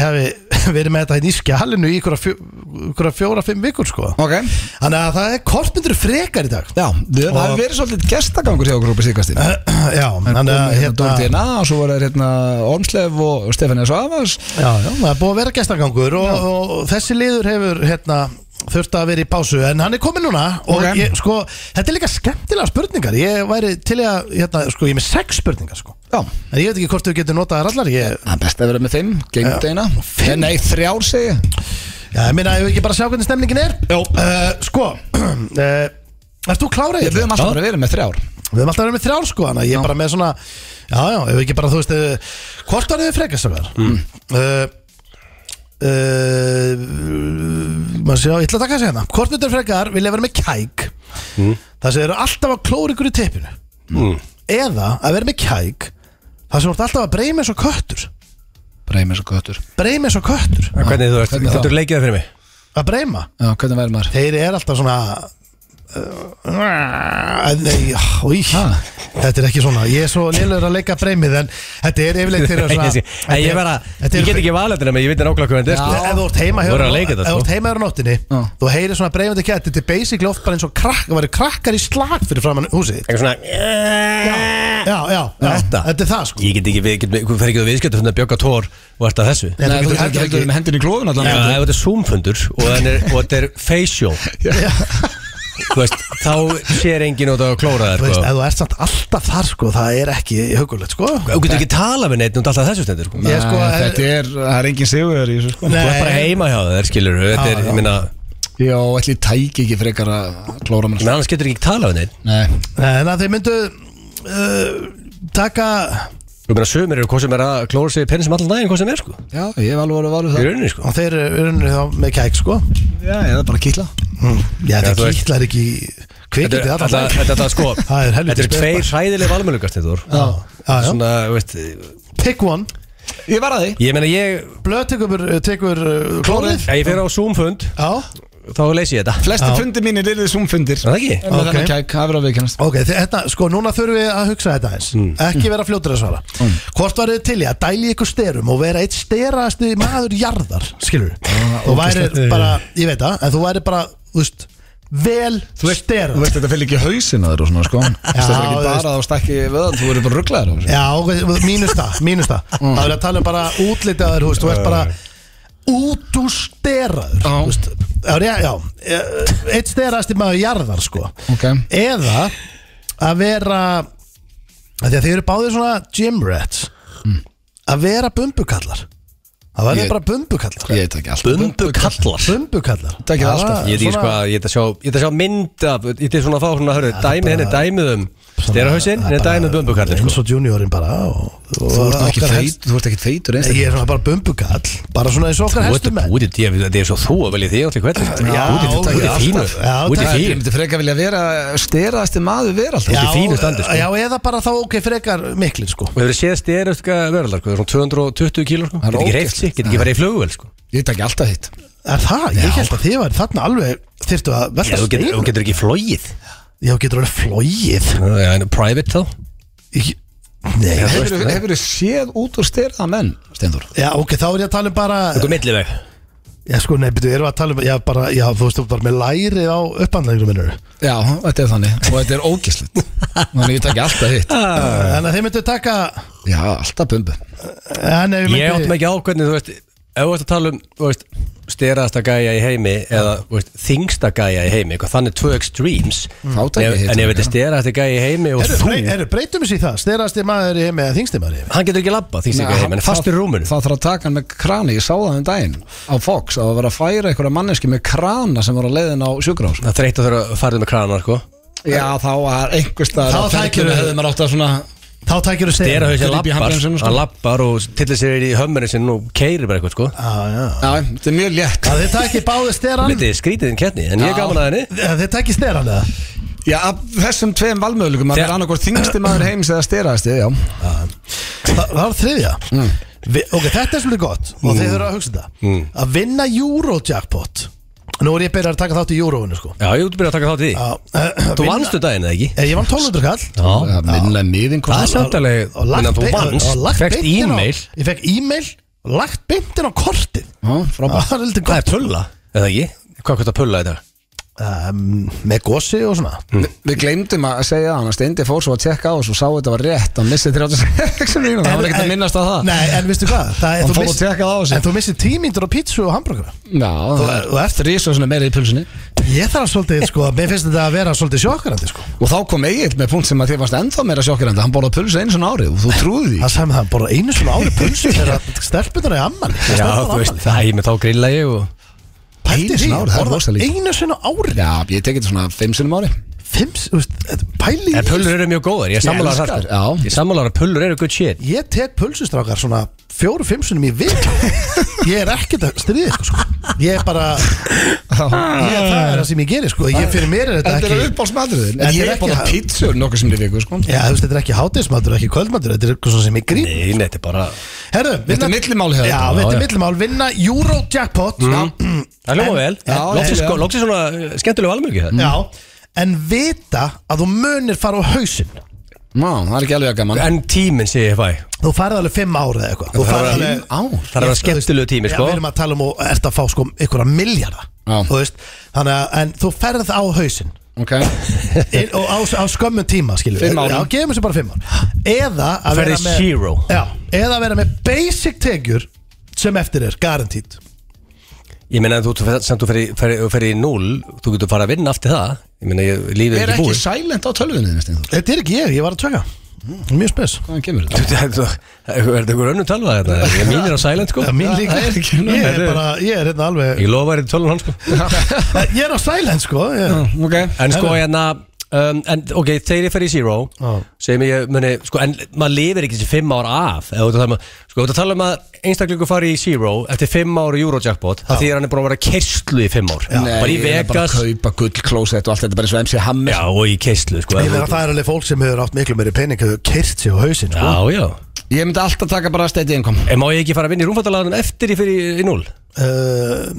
Speaker 3: hef verið með þetta hérna í skjálinu í ykkur fjóra, fjóra, fimm vikur sko
Speaker 1: Ok,
Speaker 3: þannig að það er kortmyndur frekar í dag
Speaker 1: já, það
Speaker 3: Og-
Speaker 1: hefur verið svolítið gestagangur hjá okkur úr síkastin
Speaker 3: já,
Speaker 1: Hann
Speaker 3: þannig
Speaker 1: er
Speaker 3: að
Speaker 1: Eh, hérna Dóri
Speaker 3: hérna,
Speaker 1: DNA og svo voru þeir hérna Ormslev og Stefania Svavas
Speaker 3: já, já, það er búið að vera gestagangur og, og, þessi liður hefur hérna, þurft að vera í pásu en hann er kominn núna og
Speaker 1: Ok.
Speaker 3: ég, sko, þetta er líka skemmtilega spurningar ég væri til í að, hérna, sko, ég er með sex spurningar sko.
Speaker 1: Já
Speaker 3: en ég veit ekki hvort þú getur notað þær allar ég,
Speaker 1: Það er best að vera með fimm, geimt eina Fimm? Nei, þrjár segi ég.
Speaker 3: já, ég meina, ég vil ekki bara sjá hvernig stemningin er
Speaker 1: Já.
Speaker 3: uh, sko uh, Ert þú klárað? í
Speaker 1: Við
Speaker 3: þetta?
Speaker 1: höfum alltaf bara verið með þrjár
Speaker 3: Við höfum alltaf verið með þrjár sko Þannig að ég er bara með svona Já, já, ef ekki bara, þú veist eh, Hvort var þið frekast að vera? Mm. Uh, uh, eh, Maður sé á, ég ætla að taka þessi hérna Hvort myndir frekar vilja vera með kæk Það sem eru alltaf að klóra ykkur í teppinu
Speaker 2: Mm.
Speaker 3: Eða að vera með kæk Það sem þú ert alltaf að breyma eins og köttur
Speaker 1: Breymir svo göttur
Speaker 3: Breyma eins og köttur
Speaker 2: En Hvernig þú ert,
Speaker 1: Hvernig þá?
Speaker 2: getur þú leikið það fyrir mig
Speaker 3: Að breyma
Speaker 1: Já, hvernig verður maður?
Speaker 3: Þeir eru alltaf svona uh, Nei, ói Þetta er ekki svona, ég er svo lélur að leika breymið En þetta er yfirleitt þeir eru svona
Speaker 2: Ég sé- En ég verða,
Speaker 3: Þetta
Speaker 2: ég
Speaker 3: er-
Speaker 2: get ekki valið þetta nema Ég veit það nákvæmlega hvernig þetta er
Speaker 3: Ef
Speaker 2: sko
Speaker 3: þú ert heima
Speaker 2: Þú verður að leika þetta,
Speaker 3: ef þú ert
Speaker 2: sko.
Speaker 3: heima hjá nóttinni
Speaker 1: Já.
Speaker 3: Þú heyrir svona breymandi kætt Þetta er basically oft bara eins og krakk Það væri krakkar í slag fyrir framann húsið þitt.
Speaker 2: Eitthvað svona
Speaker 3: Já, já, já
Speaker 2: Þetta?
Speaker 3: er það sko
Speaker 2: Ég get ekki, við getum, þú fer ekki að viðskjöta þannig að bjögga tór og ert að þessu
Speaker 3: Nei,
Speaker 1: Nei, þú heldur
Speaker 3: getur heldur
Speaker 1: heldur
Speaker 3: ekki-
Speaker 1: með hendin í klófun
Speaker 2: Já,
Speaker 1: allan
Speaker 2: ef þetta er zoomfundur og þannig- og þetta er facial þú veist, þá sér engin út á að klóra þér
Speaker 3: Þú veist,
Speaker 2: sko.
Speaker 3: ef þú ert samt alltaf þar sko, það er ekki hugulegt sko
Speaker 2: Þú getur ekki tala við neitt út alltaf þessu stendur sko.
Speaker 3: Ég sko,
Speaker 1: Nei,
Speaker 3: er-
Speaker 1: Þetta er, það er engin sigur í þessu sko
Speaker 2: Þú er bara
Speaker 3: Nei,
Speaker 2: heima hjá þér, skilur Þetta er,
Speaker 3: Já, já.
Speaker 2: ég minna,
Speaker 1: Já, ætli ég tæki ekki frekar að klóra mér
Speaker 2: menn annars getur ekki tala við neitt
Speaker 1: Nei
Speaker 3: nei, en að þeir myndu uh, taka
Speaker 2: Þú meina, sömur eru hvað sem er að klóra sig penni sem allan daginn, hvað sem er sko
Speaker 1: Já, ég hef alveg alveg valið
Speaker 2: Í
Speaker 1: það
Speaker 2: rauninni sko
Speaker 3: og þeir eru þá með kæk sko
Speaker 1: Já, ég er bara að kýtla
Speaker 3: Já,
Speaker 2: Já,
Speaker 3: það
Speaker 2: þú veist.
Speaker 3: kýtlar ekki
Speaker 2: Þetta
Speaker 3: kvikindi
Speaker 2: er-
Speaker 3: allan
Speaker 2: þetta-
Speaker 3: daginn.
Speaker 2: þetta- þetta, sko,
Speaker 3: Það er helviti
Speaker 2: Þetta er
Speaker 3: spes,
Speaker 2: tveir
Speaker 3: bara.
Speaker 2: hræðileg valmölugar Steindór.
Speaker 3: já, já.
Speaker 2: Svona, veist
Speaker 3: Pick one,
Speaker 1: Ég var að því
Speaker 2: Ég meina, ég
Speaker 3: blöð tekur, tekur uh, klórið
Speaker 2: Ef ég fer á Zoom-fund,
Speaker 3: Já,
Speaker 2: þá leysi ég þetta
Speaker 1: Flesti
Speaker 3: Já.
Speaker 1: fundir mínir er þið súmfundir
Speaker 2: Er það ekki?
Speaker 1: En með
Speaker 3: Ok.
Speaker 1: þennan kæk, það verður að viðkennast
Speaker 3: ok, þi- þetta, sko núna þurfum við að hugsa þetta eins Ekki vera fljótur að svara Hvort var þið til í að dæli ykkur styrum og vera eitt styrasti maður jarðar Skilur við Þú væri bara, ég veit það, en þú væri bara, þú veist, vel styrum
Speaker 1: Þú veist, þetta fylgir ekki hausin að þér og svona sko Þetta er
Speaker 3: þú
Speaker 1: ekki
Speaker 3: veist.
Speaker 1: bara að þú stakki vöðan, þú verður bara rugglaður á þessu
Speaker 3: Já, mínus það, mínus það
Speaker 1: Mm.
Speaker 3: Það er að tala um bara útlitið á þér, þú veist, þú ert bara út úr steraður
Speaker 1: Já.
Speaker 3: þú veist. Já, ré- já, eh, eitt steraðasti maður jarðar, sko
Speaker 1: Ok.
Speaker 3: Eða að vera að Því að þið eru báðir svona gym rats Að vera bumbukallar Það verður
Speaker 1: Mm. Ég-
Speaker 3: bara bumbukallar
Speaker 1: Ég veit ekki allt
Speaker 2: Bumbu kallar
Speaker 3: Bumbukallar
Speaker 1: Takk ég það alltaf.
Speaker 2: Ég
Speaker 3: var
Speaker 2: veit ekki sko
Speaker 3: svona-
Speaker 2: að, ég ætla að sjá, ég ætla að sjá mynd af, ég ætla svona að fá svona, hörru, dæmi henni, dæmið um sterahausinn, henni dæmið bumbukallin,
Speaker 3: Eins
Speaker 2: sko.
Speaker 3: og juniorin bara og, og
Speaker 1: Þú ert nú ekki
Speaker 3: okkar helst-
Speaker 1: feit- þú ert ekki feitur einstaklega.
Speaker 3: Ég er svona bara bumbukall Bara svona eins og okkar
Speaker 2: Þú
Speaker 3: helstu
Speaker 2: ert
Speaker 3: menn
Speaker 2: búið, ég, það er svo þú að velja þig allir hvernig, sko.
Speaker 3: Já,
Speaker 2: Þú ert- þú ert
Speaker 3: alltaf.
Speaker 2: fínur,
Speaker 3: Já,
Speaker 2: þú ert
Speaker 3: takk.
Speaker 1: Ég
Speaker 2: fínur.
Speaker 1: myndi frekar vilja vera steraðasti maður veraldar
Speaker 2: ert í fínu standi, sko.
Speaker 3: já, eða bara þá ok, frekar miklir sko
Speaker 2: Þú hefur séð steraustka verðalar, sko, svona 220 kíló, sko.
Speaker 1: Það er
Speaker 2: Getur ekki
Speaker 1: ógeðslegt.
Speaker 2: reyft sig, getur ekki farið í flugvel, sko.
Speaker 1: Ég veit ekki alltaf hitt
Speaker 3: Er það? Ég held að þið var þarna alveg þyrftu að
Speaker 2: Já,
Speaker 3: velta
Speaker 2: þú getur, þú
Speaker 3: steinu.
Speaker 2: getur ekki flóið.
Speaker 3: Já, þú getur alveg flóið
Speaker 2: Já, en private þá.
Speaker 3: Ég- Nei,
Speaker 2: Já, þú veist það.
Speaker 1: Hefur þið séð út úr steraða menn, Steindur?
Speaker 3: já, ok, þá er ég að tala um bara
Speaker 2: Þú milliveg.
Speaker 3: Já, sko, nei, byrju, erum við að tala um Já, bara, já, þú veist, þú bara með lærið á upphandlæðinu minnur
Speaker 1: Já, þetta er þannig og þetta er ógislegt Þannig ég takk alltaf hitt
Speaker 3: En að þið myndu taka
Speaker 1: Já, alltaf bumbu
Speaker 3: En ef
Speaker 2: Ég
Speaker 3: við
Speaker 2: áttum
Speaker 3: myndi
Speaker 2: ekki á hvernig, þú veist, ef þú ert að tala um, þú veist, steraðasta gæja í heimi eða þú veist, þingsta gæja í heimi, eitthvað, þannig tvö extremes.
Speaker 1: Þá
Speaker 2: En
Speaker 1: tek ég
Speaker 2: ef
Speaker 1: hitt,
Speaker 2: en ef þetta Mm. er
Speaker 1: já.
Speaker 2: steraðasta gæja í heimi og
Speaker 3: Eru,
Speaker 2: þú,
Speaker 3: brey- eru, breytum við sér það? Sterasti maður í heimi eða þingsti maður í heimi?
Speaker 2: hann getur ekki labba þingsta gæja í heimi, hann er fastur í rúmunu.
Speaker 1: Það þarf að taka hann með krani, ég sá það um daginn á Fox, það var að vera að færa einhverja manneski með krana sem var að leiðin á sjúkrás
Speaker 2: Það þreytt að þurfa að fara með kranar, sko.
Speaker 1: Já, þá var einhver
Speaker 3: Þá
Speaker 1: staðar á
Speaker 3: tækir
Speaker 1: ferlinu
Speaker 3: við-
Speaker 1: hefði maður átt að svona
Speaker 3: Þá tækir þú
Speaker 2: Stera
Speaker 3: steinu
Speaker 2: hausin
Speaker 1: Gríp í
Speaker 2: lappar,
Speaker 1: handbremsuna, sko.
Speaker 2: hann lappar og tillir sér í hömmerinn sinn og keirir bara eitthvað, sko.
Speaker 3: Já, já
Speaker 1: Já, þetta er mjög létt
Speaker 3: Að þið takir báði steran
Speaker 2: Þetta er skrítiðin kettni, en ég er
Speaker 1: Já.
Speaker 2: gaman að henni.
Speaker 3: að Þið takir steran eða?
Speaker 1: Já, af þessum tveim valmöðlugum að
Speaker 2: Þegar-
Speaker 1: vera annarkvort þingsti maður heims eða steraðasti, já
Speaker 3: Þa, það var þriðja Vi, ok, þetta er svolítið gott og þið þurfa að hugsa þetta að vinna Eurojackpot nú er ég byrjað að taka þátt í Euroinu sko.
Speaker 2: Já, ég út að byrja að taka þátt í því.
Speaker 3: að, uh,
Speaker 2: Þú vannstu daginn, eða ekki?
Speaker 3: Eh, ég vann 1200 kall
Speaker 2: Já.
Speaker 1: Minna niðin
Speaker 2: Það er
Speaker 1: hvað
Speaker 2: samtalið,
Speaker 3: og
Speaker 2: þannig að þú
Speaker 3: beint- og
Speaker 2: vannst,
Speaker 3: lagt
Speaker 2: fekst
Speaker 3: beint inn á-
Speaker 2: e-mail.
Speaker 3: ég fekk e-mail og lagt beintin á kortið
Speaker 1: Ah. Frábært
Speaker 3: það er lítið
Speaker 2: Hvað er
Speaker 3: gott
Speaker 2: pulla? Eða ekki? Hvað kostar pulla í dag?
Speaker 3: um, með gósi og svona
Speaker 1: Við gleymdum að segja það, hann að Steindi fór svo að tjekka á þessu og sá þetta var rétt, hann missið 36 mínútur, það var ekkert að minnast á það
Speaker 3: nei, en veistu hvað það,
Speaker 1: Hann
Speaker 3: þú
Speaker 1: fór og
Speaker 3: miss-
Speaker 1: tekkaði á þessu.
Speaker 3: en þú missir tímyndur á pítsu og hambúrgara
Speaker 1: Já,
Speaker 3: Þú-
Speaker 1: það-
Speaker 3: þú ert-
Speaker 1: það er rísa svona meira í pulsinni
Speaker 3: ég þarf að svolítið sko, mér finnst þetta að vera svolítið sjokkarandi sko.
Speaker 1: Og þá kom Egil með punkt sem að þið varst ennþá meira sjokkirandi Hann borðað pulsa einu svona ári og þú trúði því
Speaker 3: það sem það bara einu svona ári pulsu þegar stelpunar er amman
Speaker 2: Já, þú veist, það er með þá grilla ég og
Speaker 3: Pældi
Speaker 1: Einu
Speaker 3: því,
Speaker 1: sinni á ári, það er
Speaker 3: borða
Speaker 1: rosalítið.
Speaker 3: einu sinna ári
Speaker 1: Já, ég tekið þetta svona fimm sinnum ári
Speaker 3: Fimm, þú veist, þetta- pæli í
Speaker 2: En
Speaker 3: því.
Speaker 2: pullur eru mjög góðar, ég sammálar
Speaker 1: elska
Speaker 2: það
Speaker 1: þær, já.
Speaker 2: sko. Ég sammálar að pullur eru good shit
Speaker 3: Ég tek pulsustrákar svona fjóru, fimm sinnum í vik Ég er ekkert að stríða ykkur sko Ég er bara ég, Það er það sem ég gerir sko Ég fyrir mér er þetta
Speaker 1: Þetta er
Speaker 3: ekki
Speaker 1: upp á smadriðin
Speaker 3: Þetta
Speaker 1: En
Speaker 3: er
Speaker 1: ég
Speaker 3: ekki
Speaker 1: er bara
Speaker 3: að-
Speaker 1: pítsur nokkuð sem þið viku sko
Speaker 3: Já, þú veist, þetta er ekki hátíðismatur, ekki kvöldmatur Þetta er eitthvað svona sem ég grín
Speaker 2: Nei, nei, þetta er bara
Speaker 3: Herðu,
Speaker 1: Þetta er millimál hjá
Speaker 3: Já,
Speaker 1: þetta.
Speaker 2: Já,
Speaker 3: þetta er
Speaker 2: já.
Speaker 3: millimál, vinna Eurojackpot Já,
Speaker 2: Mhm. Það hljóma vel,
Speaker 3: Já,
Speaker 2: Loksins
Speaker 3: já.
Speaker 2: sko- loksins svona uh, skemmtileg valmjölgi það
Speaker 3: já En vita að þú munir fara á hausinn
Speaker 1: Má, það er ekki alveg að gaman
Speaker 2: En tíminn sé ég fæ
Speaker 3: Þú farið alveg fimm ára eða eitthvað Þú
Speaker 2: Það
Speaker 3: farið
Speaker 2: var-
Speaker 3: alveg
Speaker 1: Ár
Speaker 2: Það er að skemmtilegu tími
Speaker 3: Já,
Speaker 2: sko
Speaker 3: við erum að tala um og ert að fá sko ykkur að miljarda
Speaker 1: Já.
Speaker 3: Þú veist, þannig að en þú ferð á hausinn
Speaker 1: Ok
Speaker 3: Inn- og á, á skömmun tíma skilur
Speaker 1: Fimm árum.
Speaker 3: Já, gefum þessu bara fimm ár Eða
Speaker 2: Ferði
Speaker 3: að vera með
Speaker 2: zero.
Speaker 3: Já, eða að vera með basic tegjur sem eftir er, guaranteed
Speaker 2: Ég meina að þú samt þú ferði fer, fer í núl Þú getur fara að vinna aftur það Ég meina ég, lífið
Speaker 10: Er
Speaker 2: er
Speaker 10: ekki
Speaker 2: ekki
Speaker 10: silent á tölvunni þinni, Steindór?
Speaker 3: Þetta er ekki ég, ég var að tjöka Mjög spes
Speaker 10: Hvaðan kemur þetta?
Speaker 2: búið Þú- þú- Er þetta einhver önnum talvað þetta? Ég mínir á silent sko
Speaker 3: Það er Mín líka
Speaker 10: það er ekki nóg.
Speaker 3: Ég er bara, ég er hérna alveg
Speaker 2: Ég lofa þetta tölvan hans sko
Speaker 3: Ég er á silent sko ég-
Speaker 10: Ok
Speaker 2: En sko hérna um, en, Ok, þegar ég fer í Zero
Speaker 3: Já.
Speaker 2: sem ég muni, sko, en maður lifir ekki þessi fimm ár af eða, þú ert að tala um- sko, þú ert að tala um að einstaklingu fari í Zero eftir fimm ár í Eurojackpot það þýðir hann er búin að vera keistlu í fimm ár bara í
Speaker 1: ég er bara
Speaker 2: Vegas
Speaker 1: að kaupa gull, klósett og allt þetta bara eins og MC Hammer
Speaker 2: já, og í keistlu sko,
Speaker 3: Ég verð að það er alveg fólk sem hefur átt miklu meiri pening hefur kyrt sig á hausinn sko
Speaker 2: já, já
Speaker 1: Ég myndi alltaf taka bara steady income
Speaker 2: en má ég ekki fara að vinna í rúmfattalagunum eftir ég fyrir í, í null
Speaker 3: Uh,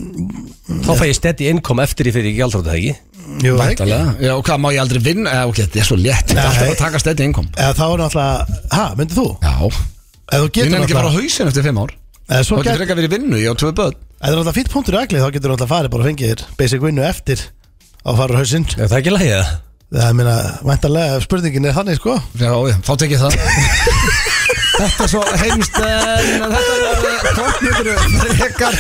Speaker 2: þá fæ ég steady income eftir ég fyrir í gjaldrátt það ekki
Speaker 3: Jú, ekki
Speaker 1: Væntalega. Já, og hvað má ég aldrei vinna? Eh, ok, þetta er svo létt Þetta er alltaf bara að taka steady income
Speaker 3: Eða þá er náttúrulega, ha, myndið þú?
Speaker 1: Já
Speaker 3: Eða þú
Speaker 1: Ég
Speaker 3: getur
Speaker 1: nefnir ekki að fara á
Speaker 3: náttúrulega
Speaker 1: hausin eftir fimm ár
Speaker 3: Eða
Speaker 1: Þú
Speaker 3: svo
Speaker 1: getur
Speaker 3: getur
Speaker 1: frekar verið í vinnu, ég á tvö börn
Speaker 3: Ef það er alltaf fýtt punktur í agli þá getur alltaf farið bara að fengið þér basic vinnu eftir á farur hausinn
Speaker 2: Já, það er ekki lægið það
Speaker 3: Það er meina, væntanlega spurningin er þannig sko
Speaker 1: Já, já, þá tek ég það Þetta er svo heimst en þetta er tóknir frekar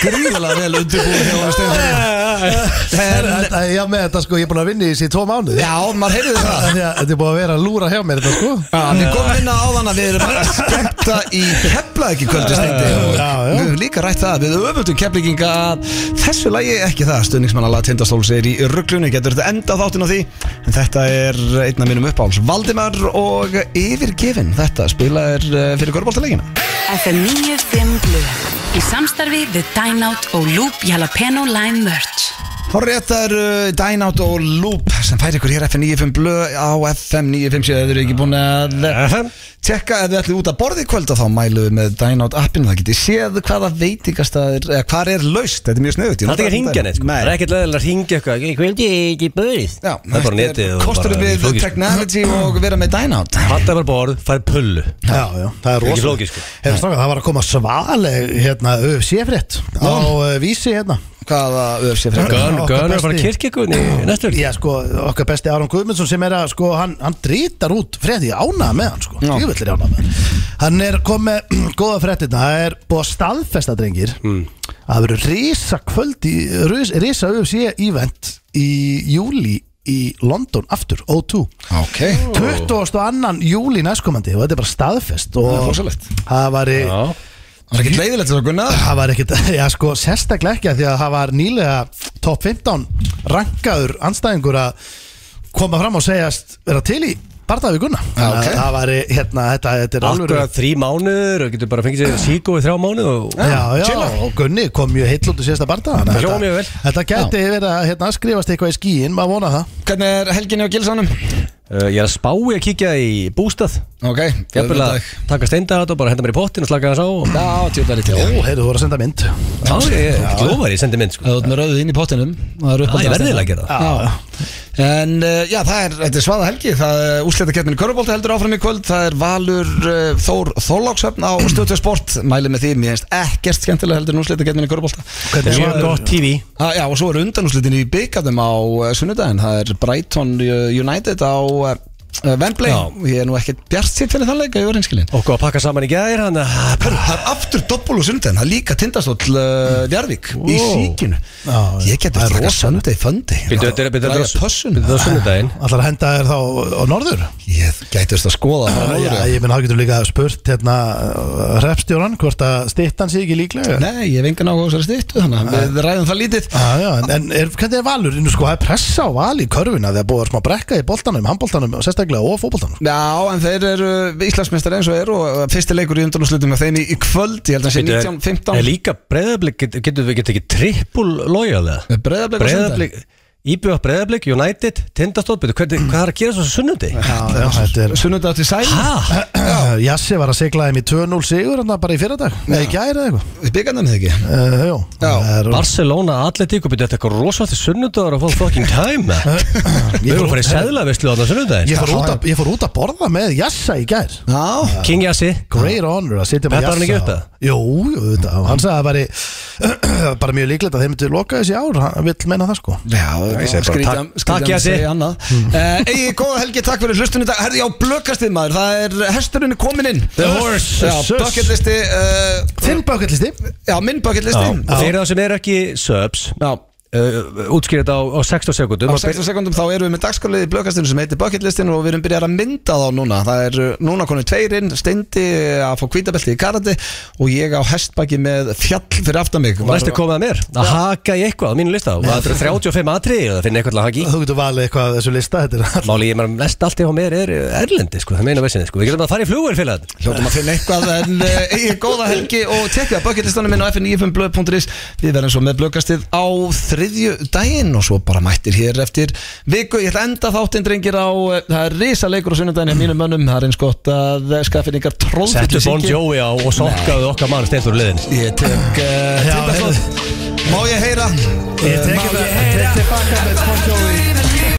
Speaker 1: gríðilega vel undirbúið hjá að
Speaker 3: en,
Speaker 1: stefna
Speaker 3: en, Já, með þetta sko, ég er búin að vinna í þessi í tvo mánuði
Speaker 1: Já, maður heyrði það
Speaker 3: Þannig að Þetta er búin að vera að lúra hjá mér þetta sko
Speaker 1: Já, við komum inn á þann að við erum bara að skemmta í keflaðiki kvöldu steindi og
Speaker 3: Já, já.
Speaker 1: við höfum líka rætt það að við öfumtum keflíkinga að þessu lagi ekki það stuðningsmannala tindastóls er í rugglunni getur þetta enda þáttinn á því en þetta er einn af mínum uppáhalds Valdimar og yfirgefin þetta spila er eh, fyrir körbóltaleikina
Speaker 9: FM 95 Blu Í samstarfi við Dine Out og Loop Jalapeno Lime Merch
Speaker 1: Horrið þetta er uh, Dynout og Loop sem fær ykkur hér FM 95 blö á FM 95 eða þeir eru ekki búin að tjekka ef þið ætlið út að borði kvölda þá mælu við með Dynout appinu það getið séð hvaða veitingastæðir eða hvar er laust, þetta er mjög snöðut
Speaker 2: Það er ekki að ringja neitt sko Það er ekkert leðilega að ringja eitthvað Ég vildi ekki börið
Speaker 1: Já,
Speaker 2: Það er bara netið og
Speaker 1: Kostur
Speaker 2: bara
Speaker 1: við
Speaker 2: flókið, sko.
Speaker 1: technology og vera með Dynout
Speaker 2: Pantaði bara borð, fær pullu
Speaker 3: Já, já, það er
Speaker 2: Ekki
Speaker 3: rosa
Speaker 2: flókið, sko.
Speaker 3: Það var að koma svaleg hérna, séfrétt á uh, vísi hérna
Speaker 1: Hvaða öfsi frekar
Speaker 2: Gunn,
Speaker 3: Okkar
Speaker 2: Gunn er að fara
Speaker 3: besti.
Speaker 2: kirkjegunni næstu öll
Speaker 3: Já, sko, okkar besti Aron Guðmundsson sem er að, sko, hann, hann drítar út frétti ánað með hann, sko, djúvillir ánað með hann Hann er komið með góða fréttina, það er búið að staðfesta, drengir
Speaker 1: Hmm.
Speaker 3: að það verður risa kvöld í, risa UFC event í júli í London aftur, O2
Speaker 1: Ok
Speaker 3: 22. júli næstkomandi og þetta er bara staðfest og
Speaker 1: Það er rosalegt.
Speaker 3: það var í,
Speaker 2: Já,
Speaker 1: Það er ekki leiðilegt sko, þess að gunna
Speaker 3: Það var ekkit, já sko, sérstaklega ekki af því að það var nýlega top 15 rankaður anstæðingur að koma fram og segjast vera til í barðað við Gunna
Speaker 1: Já, ok.
Speaker 3: Það var, hérna, þetta, þetta er alveg
Speaker 2: akkurat þrý mánuður og getur bara fengið sér síkó í þrjá mánuð og
Speaker 3: Já, já,
Speaker 1: chilla.
Speaker 3: og Gunni kom mjög heill út í sérsta barðað
Speaker 2: Það hljóma mjög vel.
Speaker 3: Þetta gæti verið að hérna, skrifast eitthvað í skíin, maður vona það
Speaker 1: Hvernig er helginni á Gilsanum?
Speaker 2: Uh, Ég er að spá í að kíkja í bústað
Speaker 1: Ok
Speaker 2: Jafnvel að taka steindagat og bara henda mér í pottin og slaka þess á og-
Speaker 1: Já, tjóðar í til
Speaker 3: Ó, heyrðu, þú voru að senda mynd Já,
Speaker 2: Já, ég er ekki lofar, ég sendi mynd sko
Speaker 1: Það er með rauðið inn í pottinum Það er
Speaker 2: Já, ég verði eiginlega að gera það
Speaker 3: já,
Speaker 1: En uh, já, það er, þetta er svaða helgi Það er úsleta keppnin í Körubólta heldur áfram í kvöld Það er Valur uh, Þór Þorlákshöfn á Stötu Sport Mæli með því, mér finnst ekkert skemmtilega heldur en úsleta keppnin í Körubólta
Speaker 3: Hvernig
Speaker 2: Mjög
Speaker 3: var-
Speaker 2: gott TV
Speaker 1: ah, Já, og svo er undanúsletin í byggandum á uh, sunnudaginn Það er Brighton uh, United á uh, uh, Wembley
Speaker 2: Já.
Speaker 1: Ég er nú ekkert bjart sitt fyrir þann leik að ég var einskilin
Speaker 2: Okkur að pakka saman í gæðir hann uh,
Speaker 1: Hörru, Ah, það er aftur doppul og sundin Það er líka tindastóll
Speaker 2: Mm.
Speaker 1: uh, Vjarvík Í
Speaker 2: Wow.
Speaker 1: síkinu
Speaker 3: já.
Speaker 1: Ég getur
Speaker 3: Það er
Speaker 1: taka
Speaker 3: rosa.
Speaker 1: sundi föndi
Speaker 2: Býttu, þetta er- býttu, þetta er-
Speaker 1: Draga pössun.
Speaker 2: Það er sunnudaginn
Speaker 3: Ætlar að henda þér þá á norður?
Speaker 1: Ég gætist að skoða
Speaker 2: Ah,
Speaker 1: það
Speaker 3: Já,
Speaker 1: norður.
Speaker 3: ég minn, þá getur líka spurt hérna repstjóran hvort að stittan sé ekki líklega
Speaker 1: Nei, ég hef engan áhuga á þessari stýttu Þannig að við ræðum það lítið
Speaker 3: Já, já, en- en er, hvernig er valur? Nú sko, það er pressa á val í körfuna þegar búið að smá brekka í boltanum, handboltanum og sérstaklega og fótboltanum sko.
Speaker 1: Já, en þeir eru Íslandsmeistar eins og eru og fyrsti leikur í undanúslutum með þeim í, í kvöld, ég held að sé
Speaker 2: Bíddu,
Speaker 1: 19-15
Speaker 2: Er líka breyðablik, getur get, við getum ekki trippul lojal eða?
Speaker 1: Breiðablik og
Speaker 2: Breiðablik, Íbjöf Breiðablik, United, Tindastótt, betur, hvað, hvað er að gera svo sunnundi?
Speaker 3: Já, já, þetta er Eh,
Speaker 1: Sunnudag til sæl
Speaker 2: Hæ?
Speaker 3: Jassi var að segla þeim í 2-0 sigur hann bara í fyrradag, eða í gæri eða eitthvað
Speaker 1: Við byggandum þið ekki
Speaker 3: uh, Jó,
Speaker 1: Já,
Speaker 3: það er-
Speaker 2: Barcelona, Atletico, betur þetta er eitthvað rosalega sunnudagur að fá fucking time eða? Við
Speaker 3: Ég
Speaker 2: erum að
Speaker 3: fór-
Speaker 2: fara í seðlavislu á það
Speaker 3: ég
Speaker 2: sunnundaginn
Speaker 3: fór út að- ég fór út að borða með Jassa í gær
Speaker 1: Já,
Speaker 2: King Yassi
Speaker 3: Great honor að sitja með
Speaker 2: Peppar hann ekki upp
Speaker 3: Jassa
Speaker 2: það?
Speaker 3: Jú, jú, þetta, hann sagði að það væri bara mjög líklegt að þeir myndi loka þessi ár, hann vill meina það sko
Speaker 1: Já,
Speaker 2: ég segi bara
Speaker 1: skrítið
Speaker 2: takk- Hmm.
Speaker 1: skrítið
Speaker 2: takk,
Speaker 1: að
Speaker 2: Jassi.
Speaker 1: segja annað Eh, Egið, góða helgi, takk fyrir hlustun í dag Herði, já, blökastið maður, það er hesturinn er komin inn
Speaker 2: The horse.
Speaker 1: Já,
Speaker 2: Sus.
Speaker 1: bucketlisti eh,
Speaker 3: Þinn báketlisti
Speaker 1: Já, minn bucketlisti
Speaker 2: Og Fyrir það sem er ekki subs
Speaker 1: Já,
Speaker 2: uh, Útskýrið þetta á, á 60 sekundum
Speaker 1: á 60 sekundum þá erum við með dagskálið í blökastinu sem heitir bucketlistin og við erum byrjað að mynda þá núna Það er eh, núna konið tveirinn, steindi að fá kvítabelti í karati og ég á hestbaki með fjall fyrir aftan mig
Speaker 2: Og næstu komið að mér Að haka í eitthvað á mínu lista Og það eru 35 atriði og það finna eitthvað til að haka í
Speaker 3: Þú getur valið eitthvað af þessu lista Þetta er all
Speaker 2: Máli ég meðan mest allt hjá mér er erlendi sko, það meina vissinni sko. Við getum að fara í flugvél fyrir það
Speaker 1: Hljóttum að finna eitthvað en eh, eigið góða helgi og tekja bucketlistanum minn á fn95blöð.is Við verðum svo með blöggastið á þriðju daginn og svo bara mættir hér eftir viku. Ég ætla að enda þáttinn drengir á, eh, það er risa leikur á sunnudaginn hjá mínum mönnum, það er eins gott að skaffin ykkar tróð
Speaker 2: Settu Bon Jovi á og sokkaðu okkar mann steintur úr liðin
Speaker 1: Ég tek uh,
Speaker 3: Já,
Speaker 1: Tindastóð Má ég heyra?
Speaker 3: Ég tek þetta- tek tilbaka með Bon Jovi